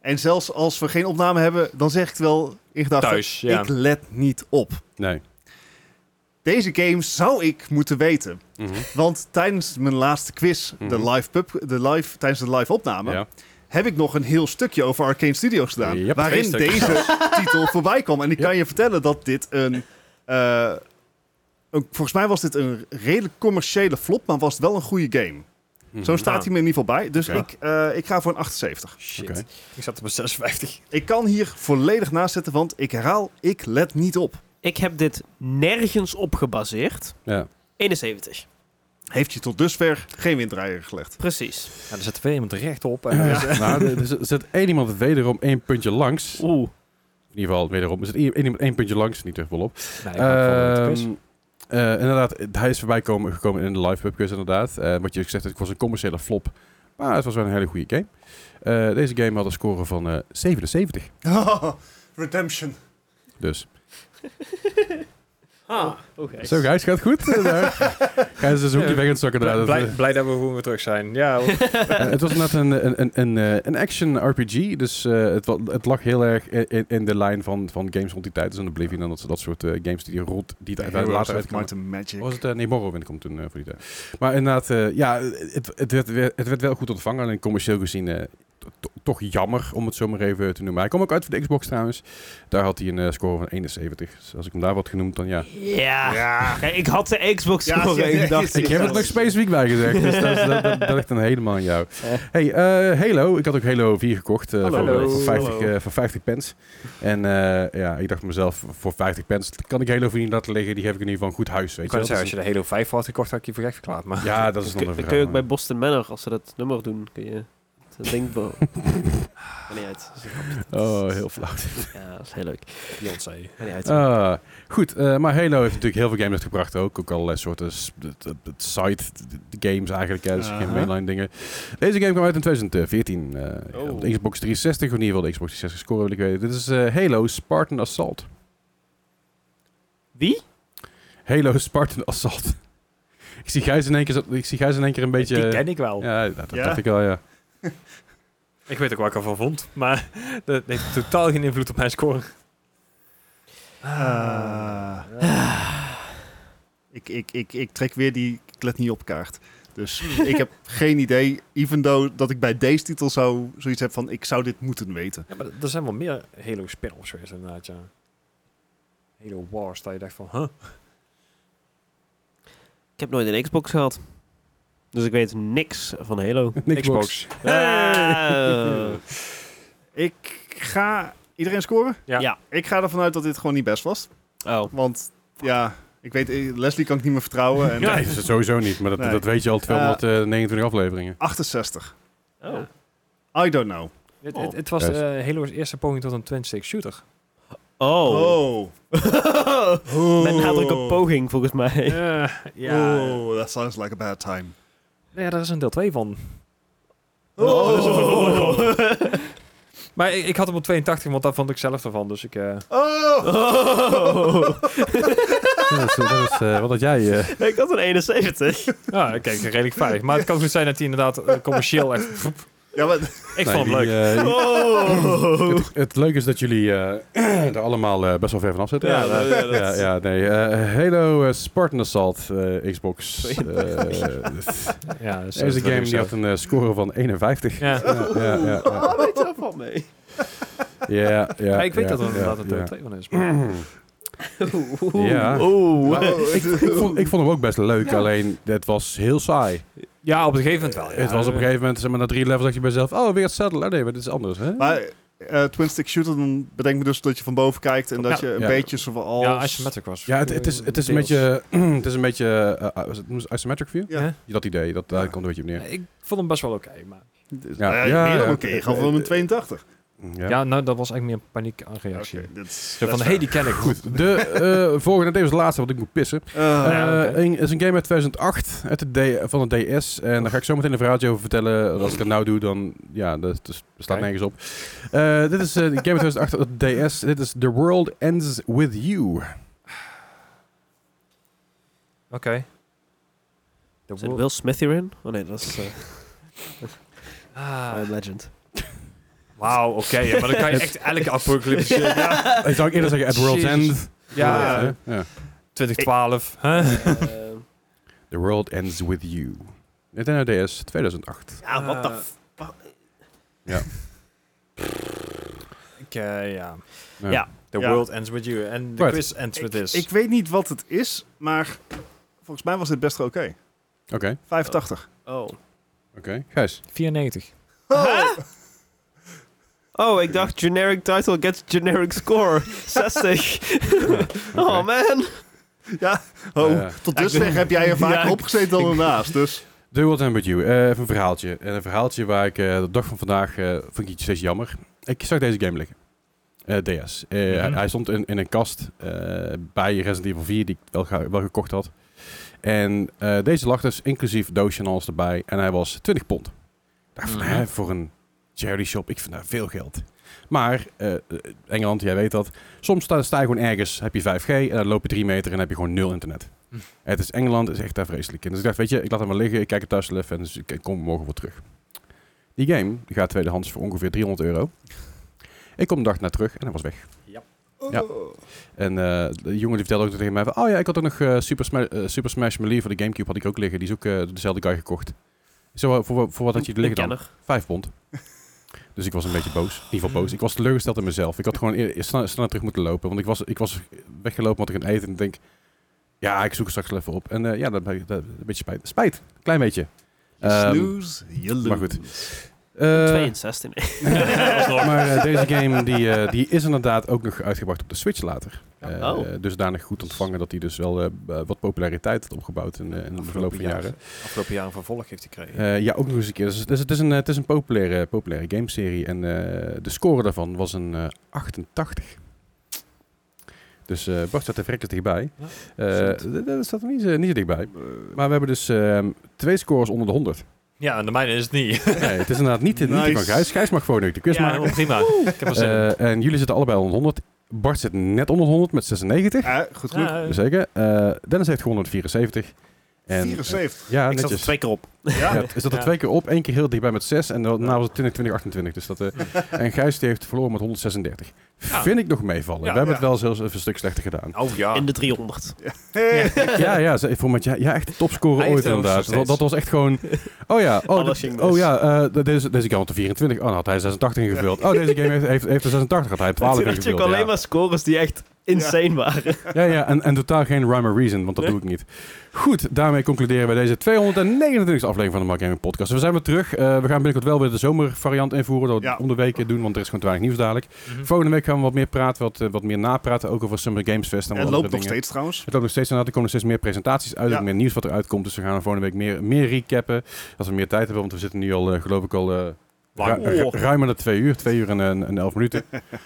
B: En zelfs als we geen opname hebben, dan zeg ik het wel in gedachten.
D: Thuis, ja.
B: Ik let niet op.
A: nee.
B: Deze game zou ik moeten weten. Want tijdens mijn laatste quiz,
A: Mhm.
B: de live pub, de live, tijdens de live opname,
A: Ja.
B: heb ik nog een heel stukje over Arcane Studios gedaan.
A: Yep.
B: waarin
A: Twee
B: deze
A: [laughs]
B: titel voorbij kwam. En ik
A: Yep.
B: kan je vertellen dat dit een, eh, een- Volgens mij was dit een redelijk commerciële flop, maar was het wel een goede game.
A: Mhm.
B: Zo staat hij me in ieder geval bij. Dus
A: Oké.
B: ik, eh, ik ga voor een 78.
D: Shit.
A: Oké.
D: Ik zat op een 56.
B: Ik kan hier volledig naast zitten, want ik herhaal, ik let niet op.
C: Ik heb dit nergens op gebaseerd.
A: Ja.
C: 71.
B: Heeft je tot dusver geen winddraaier gelegd.
C: Precies.
D: Ja, er zit weer iemand recht op. [clears throat]
A: [laughs] Nou, er- er zit- er zit één iemand wederom één puntje langs.
C: Oeh.
A: In ieder geval wederom. Er zit één één iemand één puntje langs. Niet echt volop.
D: Nee,
A: Ehm, eh, inderdaad, hij is voorbij komen, gekomen in de live webquiz inderdaad. Eh, wat je gezegd hebt, het was een commerciële flop. Maar het was wel een hele goede game. Eh, deze game had een score van eh, 77.
B: [laughs] redemption.
A: Dus.
C: Ah, oké.
A: Zo, Gijs, gaat goed. [laughs] Eh, Gijs is een hoekje weg aan het zakken. inderdaad.
D: blij, blij dat we gewoon weer terug zijn. Ja, hoor.
A: Eh, het was inderdaad een, een, een, een, eh, een action RPG. Dus eh, het, wa- het lag heel erg i- in, in de lijn van, van games rond die tijd. Dus dan Oblivion en dat, dat soort eh, games die rond die tijd later uitkwamen.
B: Magic.
A: Was het? eh, nee, Morrowind komt toen eh, voor die tijd. Maar inderdaad, eh, ja, het, het, werd, weer- het werd wel goed ontvangen. Alleen commercieel gezien eh, to- to- toch jammer, om het zo maar even te noemen. Hij kwam ook uit voor de Xbox trouwens. Daar had hij een eh, score van 71. Dus als ik hem daar wat genoemd, dan ja.
C: Ja.
B: Ja.
C: Kijk, ik had de Xbox
B: Ja,
C: score
B: ja, ja,
C: ik dacht.
B: ja,
A: Ik heb het nog specifiek bij gezegd, dus dat, is- dat, dat, dat ligt dan helemaal aan jou. Hey, eh, Halo. Ik had ook Halo 4 gekocht eh,
B: Hallo.
A: voor, voor, 50,
B: Hallo.
A: eh, voor 50 pence. En eh, ja, ik dacht voor mezelf, voor 50 pence kan ik Halo 4 niet laten liggen. Die heb ik in ieder geval een goed huis, weet
D: Ik
A: je
D: kan
A: wel.
D: zeggen,
A: Dat is
D: als je de Halo 5 voor had gekocht, had ik je voor gek verklaard. Maar
A: een- Ja, dat is nog een
C: Dan kun
A: verhaal.
C: je ook bij Boston Manor, als ze dat nummer doen, kun je dat
A: [laughs]
C: ding wel. Maar niet uit. Dat is een grapje.
A: Oh, heel flauw.
C: Ja, dat is heel leuk.
D: [laughs] Beyoncé.
C: Maar niet uit.
A: Ah, goed, eh, maar Halo heeft natuurlijk heel veel games uitgebracht ook. Ook allerlei soorten s- d- d- d- side d- games eigenlijk, hè, dus geen
B: Aha.
A: mainline dingen. Deze game kwam uit in 2014. eh,
B: Oh.
A: Op de Xbox 360, of in ieder geval de Xbox 360 score wil ik weten. Dit is eh, Halo Spartan Assault.
C: Wie?
A: Halo Spartan Assault. [laughs] ik, zie Gijs in één keer, zo- ik zie Gijs in één keer een beetje...
D: Die ken ik wel.
A: Ja, dat, dat
B: Ja?
A: dacht ik wel, ja.
D: Ik weet ook waar ik ervan vond, maar [laughs] dat heeft totaal geen invloed op mijn score.
B: Ah. Ik, ik, ik, ik trek weer die ik let niet op kaart. Dus ik
C: [laughs]
B: heb geen idee, even though dat ik bij deze titel zou, zoiets heb van ik zou dit moeten weten.
D: Ja, maar er zijn wel meer Halo spin-offs geweest inderdaad, ja. Halo Wars, dat je dacht van, huh?
C: Ik heb nooit een Xbox gehad. Dus ik weet niks van
A: [laughs]
C: Halo.
D: Xbox.
C: Ah.
B: Ik ga iedereen scoren.
D: Ja.
C: Ja.
B: Ik ga ervan uit dat dit gewoon niet best was.
C: Oh.
B: Want ja, ik weet, eh, Leslie kan ik niet meer vertrouwen. En [laughs]
A: Nee, dat is het sowieso niet, maar dat,
B: Nee.
A: dat weet je al 229 afleveringen.
B: 68.
C: Oh.
B: I don't know.
D: Het,
C: Oh.
D: het, het was
A: Juist.
D: eh, Halo's eerste poging tot een twin-stick shooter.
C: Oh. Met nadruk op poging, volgens mij.
D: Eh, ja.
B: Oh, that sounds like a bad time.
D: Nou ja, daar is een deel 2 van.
B: Oh.
D: dat is
C: [laughs]
D: een Maar ik, ik had hem op 82, want daar vond ik zelf ervan, dus ik... eh,
B: Oh!
C: Oh.
A: Ja, dat is, dat is, eh, wat had jij... eh,
C: [laughs] Ik had een 71.
D: ja, kijk, redelijk veilig. Maar het kan goed zijn dat hij inderdaad eh, commercieel echt...
B: Ja, maar
D: Ik
A: nee,
D: vond
A: die,
D: hem leuk.
A: eh,
C: [laughs] Oh.
A: Het, het leuke is dat jullie eh, [clears throat] er allemaal eh, best wel ver vanaf zitten.
C: Ja,
A: ja,
C: nou, ja, dat-
A: ja, ja, nee. eh, Halo eh, Spartan Assault eh,
D: [laughs]
A: Xbox. eh,
D: ja, dat
A: Deze game die had een eh, score van 51.
D: Ja.
A: ja, ja, ja, ja.
C: Waar weet je dat van mee?
A: Ja, ja,
D: Ja, ik weet
A: ja,
D: dat er
A: ja,
D: inderdaad een deel
A: ja.
D: 2 van is. maar-
A: Ja.
C: Oeh.
A: Ik, ik, vond, ik vond hem ook best leuk, alleen het was heel saai.
D: [clears throat] Ja, op een gegeven moment wel. Oh, ja.
A: het was op een gegeven moment, zeg maar, na drie levels dacht je bij jezelf... Oh, weer hetzelfde. Oh, nee, maar dit is anders, hè?
B: Maar eh, Twin Stick Shooter, dan bedenk me dus dat je van boven kijkt en dat
D: Ja.
B: je een
A: Ja.
B: beetje zoals...
D: Ja, Isometric was.
A: ja, het, het, is, het is een beetje... [clears throat] het is een beetje... eh, was het isometric view?
B: Ja.
D: Ja.
A: Dat idee, dat, daar komt er een beetje op neer.
D: Ik vond hem best wel oké, maar...
B: Dus-
A: Ja.
B: nou ja,
A: Ja,
B: meer dan
A: ja.
B: oké. Ik ga voor een 82.
D: Ja. nou, dat was eigenlijk meer een paniek aan reactie.
B: Oké, dit is-
D: Zo van, hé, hey, die ken ik. Goed.
A: De eh, volgende, deze is de laatste, want ik moet pissen.
B: Eh,
A: Eh,
D: oké.
A: een- is een game uit 2008 uit de D- van de DS. En daar ga ik zo meteen een verhaaltje over vertellen. Als ik het nou doe, dan... Ja, dat, dat staat
D: Oké.
A: nergens op. Eh, dit is eh, de game uit 2008 uit de DS. Dit is The World Ends With You.
D: Oké. De
C: Zit
D: wo-
C: Will Smith hierin? Oh nee, dat is eh,
D: Ah,
C: Iron Legend.
D: Wauw, oké. ja, maar dan [laughs] kan je echt elke apocalypse shit. Ja.
A: Ik Eh, zou ook eerder zeggen At World's
D: Jezus. Ah.
A: End.
D: Ja,
A: Ja, hè? Ja.
D: 2012.
C: [laughs]
D: hè?
C: Eh,
A: The World Ends With You. Nintendo DS 2008.
C: ja, wat
D: Eh,
C: de f...
D: Ik, eh, ja.
A: Ja.
C: Ja.
D: The
B: Ja.
D: world ends with you. En the
A: Right.
D: quiz ends with
B: ik,
D: this.
B: ik weet niet wat het is, maar volgens mij was dit best wel oké.
A: Oké.
B: 85.
C: Oh.
A: Oké, Gijs.
E: 94.
C: Huh? Oh, ik dacht generic title gets generic [laughs] score. 60. Oh man.
B: Oh,
A: Ja.
B: tot dusver heb jij er vaker
C: Ja, ik-
B: opgezeten dan ernaast. Dus.
A: The World End With You. Eh, even een verhaaltje. En een verhaaltje waar ik eh, de dag van vandaag eh vond ik iets steeds jammer. Ik zag deze game liggen. Eh, DS. Eh, hij, hij stond in, in een kast eh, bij Resident Evil 4 die ik wel, ga- wel gekocht had. En eh, deze lag dus inclusief doosje en alles erbij. En hij was 20 pond. Ik dacht van,
C: Mhm.
A: hè, voor een charity shop, ik vind daar veel geld. Maar, eh, eh, Engeland, jij weet dat. Soms sta, sta je gewoon ergens, heb je 5G en dan loop je 3 meter en heb je gewoon nul internet.
E: Hm.
A: Het is Engeland, het is echt daar vreselijk in. Dus ik dacht, weet je, ik laat hem maar liggen, ik kijk het thuis wel even en dus ik kom morgen weer terug. Die game die gaat tweedehands voor ongeveer 300 euro. Ik kom een dag naar terug en hij was weg. Ja. En eh, de jongen die vertelde ook tegen mij van, oh ja, ik had ook nog eh, Super, Sma- eh, Super Smash Melee voor de Gamecube had ik ook liggen. Die is ook eh, door dezelfde guy gekocht. Zo, eh, voor, voor wat had je er liggen dan?
C: Kenner.
A: Vijf pond. [laughs] Dus ik was een beetje boos. In ieder geval boos. Ik was teleurgesteld in mezelf. Ik had gewoon eer- eer- sneller, sneller terug moeten lopen. Want ik was, ik was weggelopen, had ik een eten. En ik denk, ja, ik zoek het straks wel even op. En eh, ja, dat, dat, dat- een beetje spijt. Spijt. Klein beetje. Ehm,
B: Snooze, je
A: maar
B: lose.
A: goed. eh,
C: 62.
A: [laughs] maar eh, deze game die, eh, die is inderdaad ook nog uitgebracht op de Switch later. Eh
C: Oh.
A: Dusdanig goed ontvangen dat hij dus wel eh, b- wat populariteit had opgebouwd in, eh, in de verloop van jaren.
D: Afgelopen jaar een vervolg heeft gekregen.
A: Eh, ja, ook nog eens een keer. Dus, dus het is een, eh, het is een populaire, populaire gameserie. En eh, de score daarvan was een eh, 88. Dus eh Bart staat er vrekkers dichtbij.
D: Ja,
A: Eh,
D: goed.
A: d- d- dat staat er niet, zo- niet zo dichtbij. Maar we hebben dus ehm, twee scores onder de 100.
D: Ja, en de mijne is het niet.
A: nee, het is inderdaad niet, niet die van
B: Nice.
A: Gijs. Gijs mag gewoon nu de quiz
D: ja,
A: maken.
D: helemaal prima. Ik heb er zin in.
A: Eh, en jullie zitten allebei onder 100. Bart zit net onder 100 met 96.
B: Eh, goed, goed.
D: Ja,
A: Zeker. Eh, Dennis heeft gewonnen met 74. En,
B: 74.
A: eh, ja,
C: Ik zat er
A: netjes.
C: twee keer op.
A: Ja,
B: Ja.
A: het is dat er
D: Ja.
A: twee keer op, één keer heel dichtbij met 6 en daarna was het 20, 20, 28. Dus dat, eh, en Gijs die heeft verloren met 136.
D: Ja.
A: Vind ik nog meevallen.
D: Ja.
A: We hebben
B: Ja.
A: het wel zelfs even een stuk slechter gedaan.
D: Oh ja.
C: In de 300.
B: Hey.
A: ja, ja, ze- voor met, ja, ja, echt de topscorer
D: Hij
A: ooit
D: heeft het
A: inderdaad.
D: nog steeds.
A: Dat, dat was echt gewoon, oh ja, oh,
C: Alles
A: dit-
C: ging mis.
A: oh ja eh, de- deze, deze game had er 24. Oh, dan had hij 86 ingevuld. Oh, deze game heeft, heeft, heeft er 86, had hij 12
C: Toen had je ook
A: ingevuld.
C: alleen
A: Ja,
C: maar scores die echt insane waren.
A: ja, ja en, en totaal geen rhyme or reason, want dat
C: Nee.
A: doe ik niet. Goed, daarmee concluderen we deze 229e aflevering van de Mark Gaming Podcast. We zijn weer terug. Eh, we gaan binnenkort wel weer de zomervariant invoeren. Dat we
B: Ja.
A: om de week doen, want er is gewoon te weinig nieuws dadelijk.
E: Mhm.
A: Volgende week gaan we wat meer praten, wat, eh, wat meer napraten. Ook over Summer Games Fest en wat
B: Het
A: andere
B: loopt nog
A: dingen.
B: steeds trouwens.
A: Het loopt nog steeds aan. Er komen nog steeds meer presentaties uit.
B: Ja.
A: Ook meer nieuws wat eruit komt. Dus we gaan volgende week meer, meer recappen. Als we meer tijd hebben. Want we zitten nu al, eh, geloof ik, al eh, ru-
D: Lang.
A: ru- ruim aan de twee uur. Twee uur en, eh, en, en elf
B: [laughs]
A: minuten.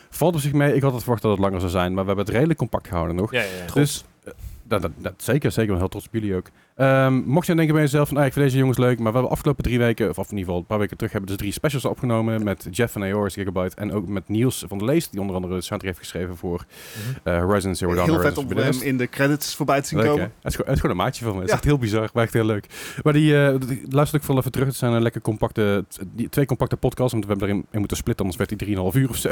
A: Valt op zich mee. Ik had het verwacht dat het langer zou zijn. Maar we hebben het redelijk compact gehouden nog.
D: Ja, ja, ja.
A: Dus, eh, dat, dat, dat- zeker, zeker. Ik ben heel trots op jullie ook. Ehm, mocht je denken bij jezelf van, ah, ik vind deze jongens leuk, maar we hebben afgelopen drie weken, of in ieder geval een paar weken terug, hebben dus drie specials opgenomen met Jeff van Aor's Gigabyte en ook met Niels van der Lees, die onder andere de soundtrack heeft geschreven voor eh, Horizon Zero Dawn.
B: Mhm. Heel
A: Horizon
B: vet om
A: Forbidden
B: hem
A: West.
B: in de credits voorbij te zien
A: Leuk, hè?
B: komen.
A: het, is gewoon, het is gewoon een maatje van me. Het is
B: Ja.
A: echt heel bizar, maar echt heel leuk. Maar die, eh, die- luister ik vooral even terug. Het zijn eh, lekker compacte, t- die, twee compacte podcasts, want we hebben erin in moeten splitten, anders werd die 3,5 uur
B: [laughs]
A: of zo.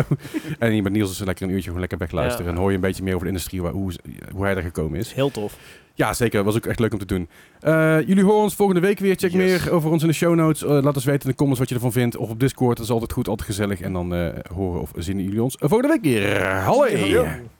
A: en hier met Niels is lekker een uurtje gewoon lekker wegluisteren.
C: Ja.
A: En hoor je een beetje meer over de industrie, waar, hoe, ze- hoe hij daar gekomen is.
C: Is heel tof.
A: Ja, zeker. Was ook echt leuk om te doen. Eh, jullie horen ons volgende week weer. Check
B: Yes.
A: meer over ons in de show notes. Eh, laat ons weten in de comments wat je ervan vindt. Of op Discord. Dat is altijd goed, altijd gezellig. En dan eh, horen of zien jullie ons volgende week weer. Hallo!
B: Ja.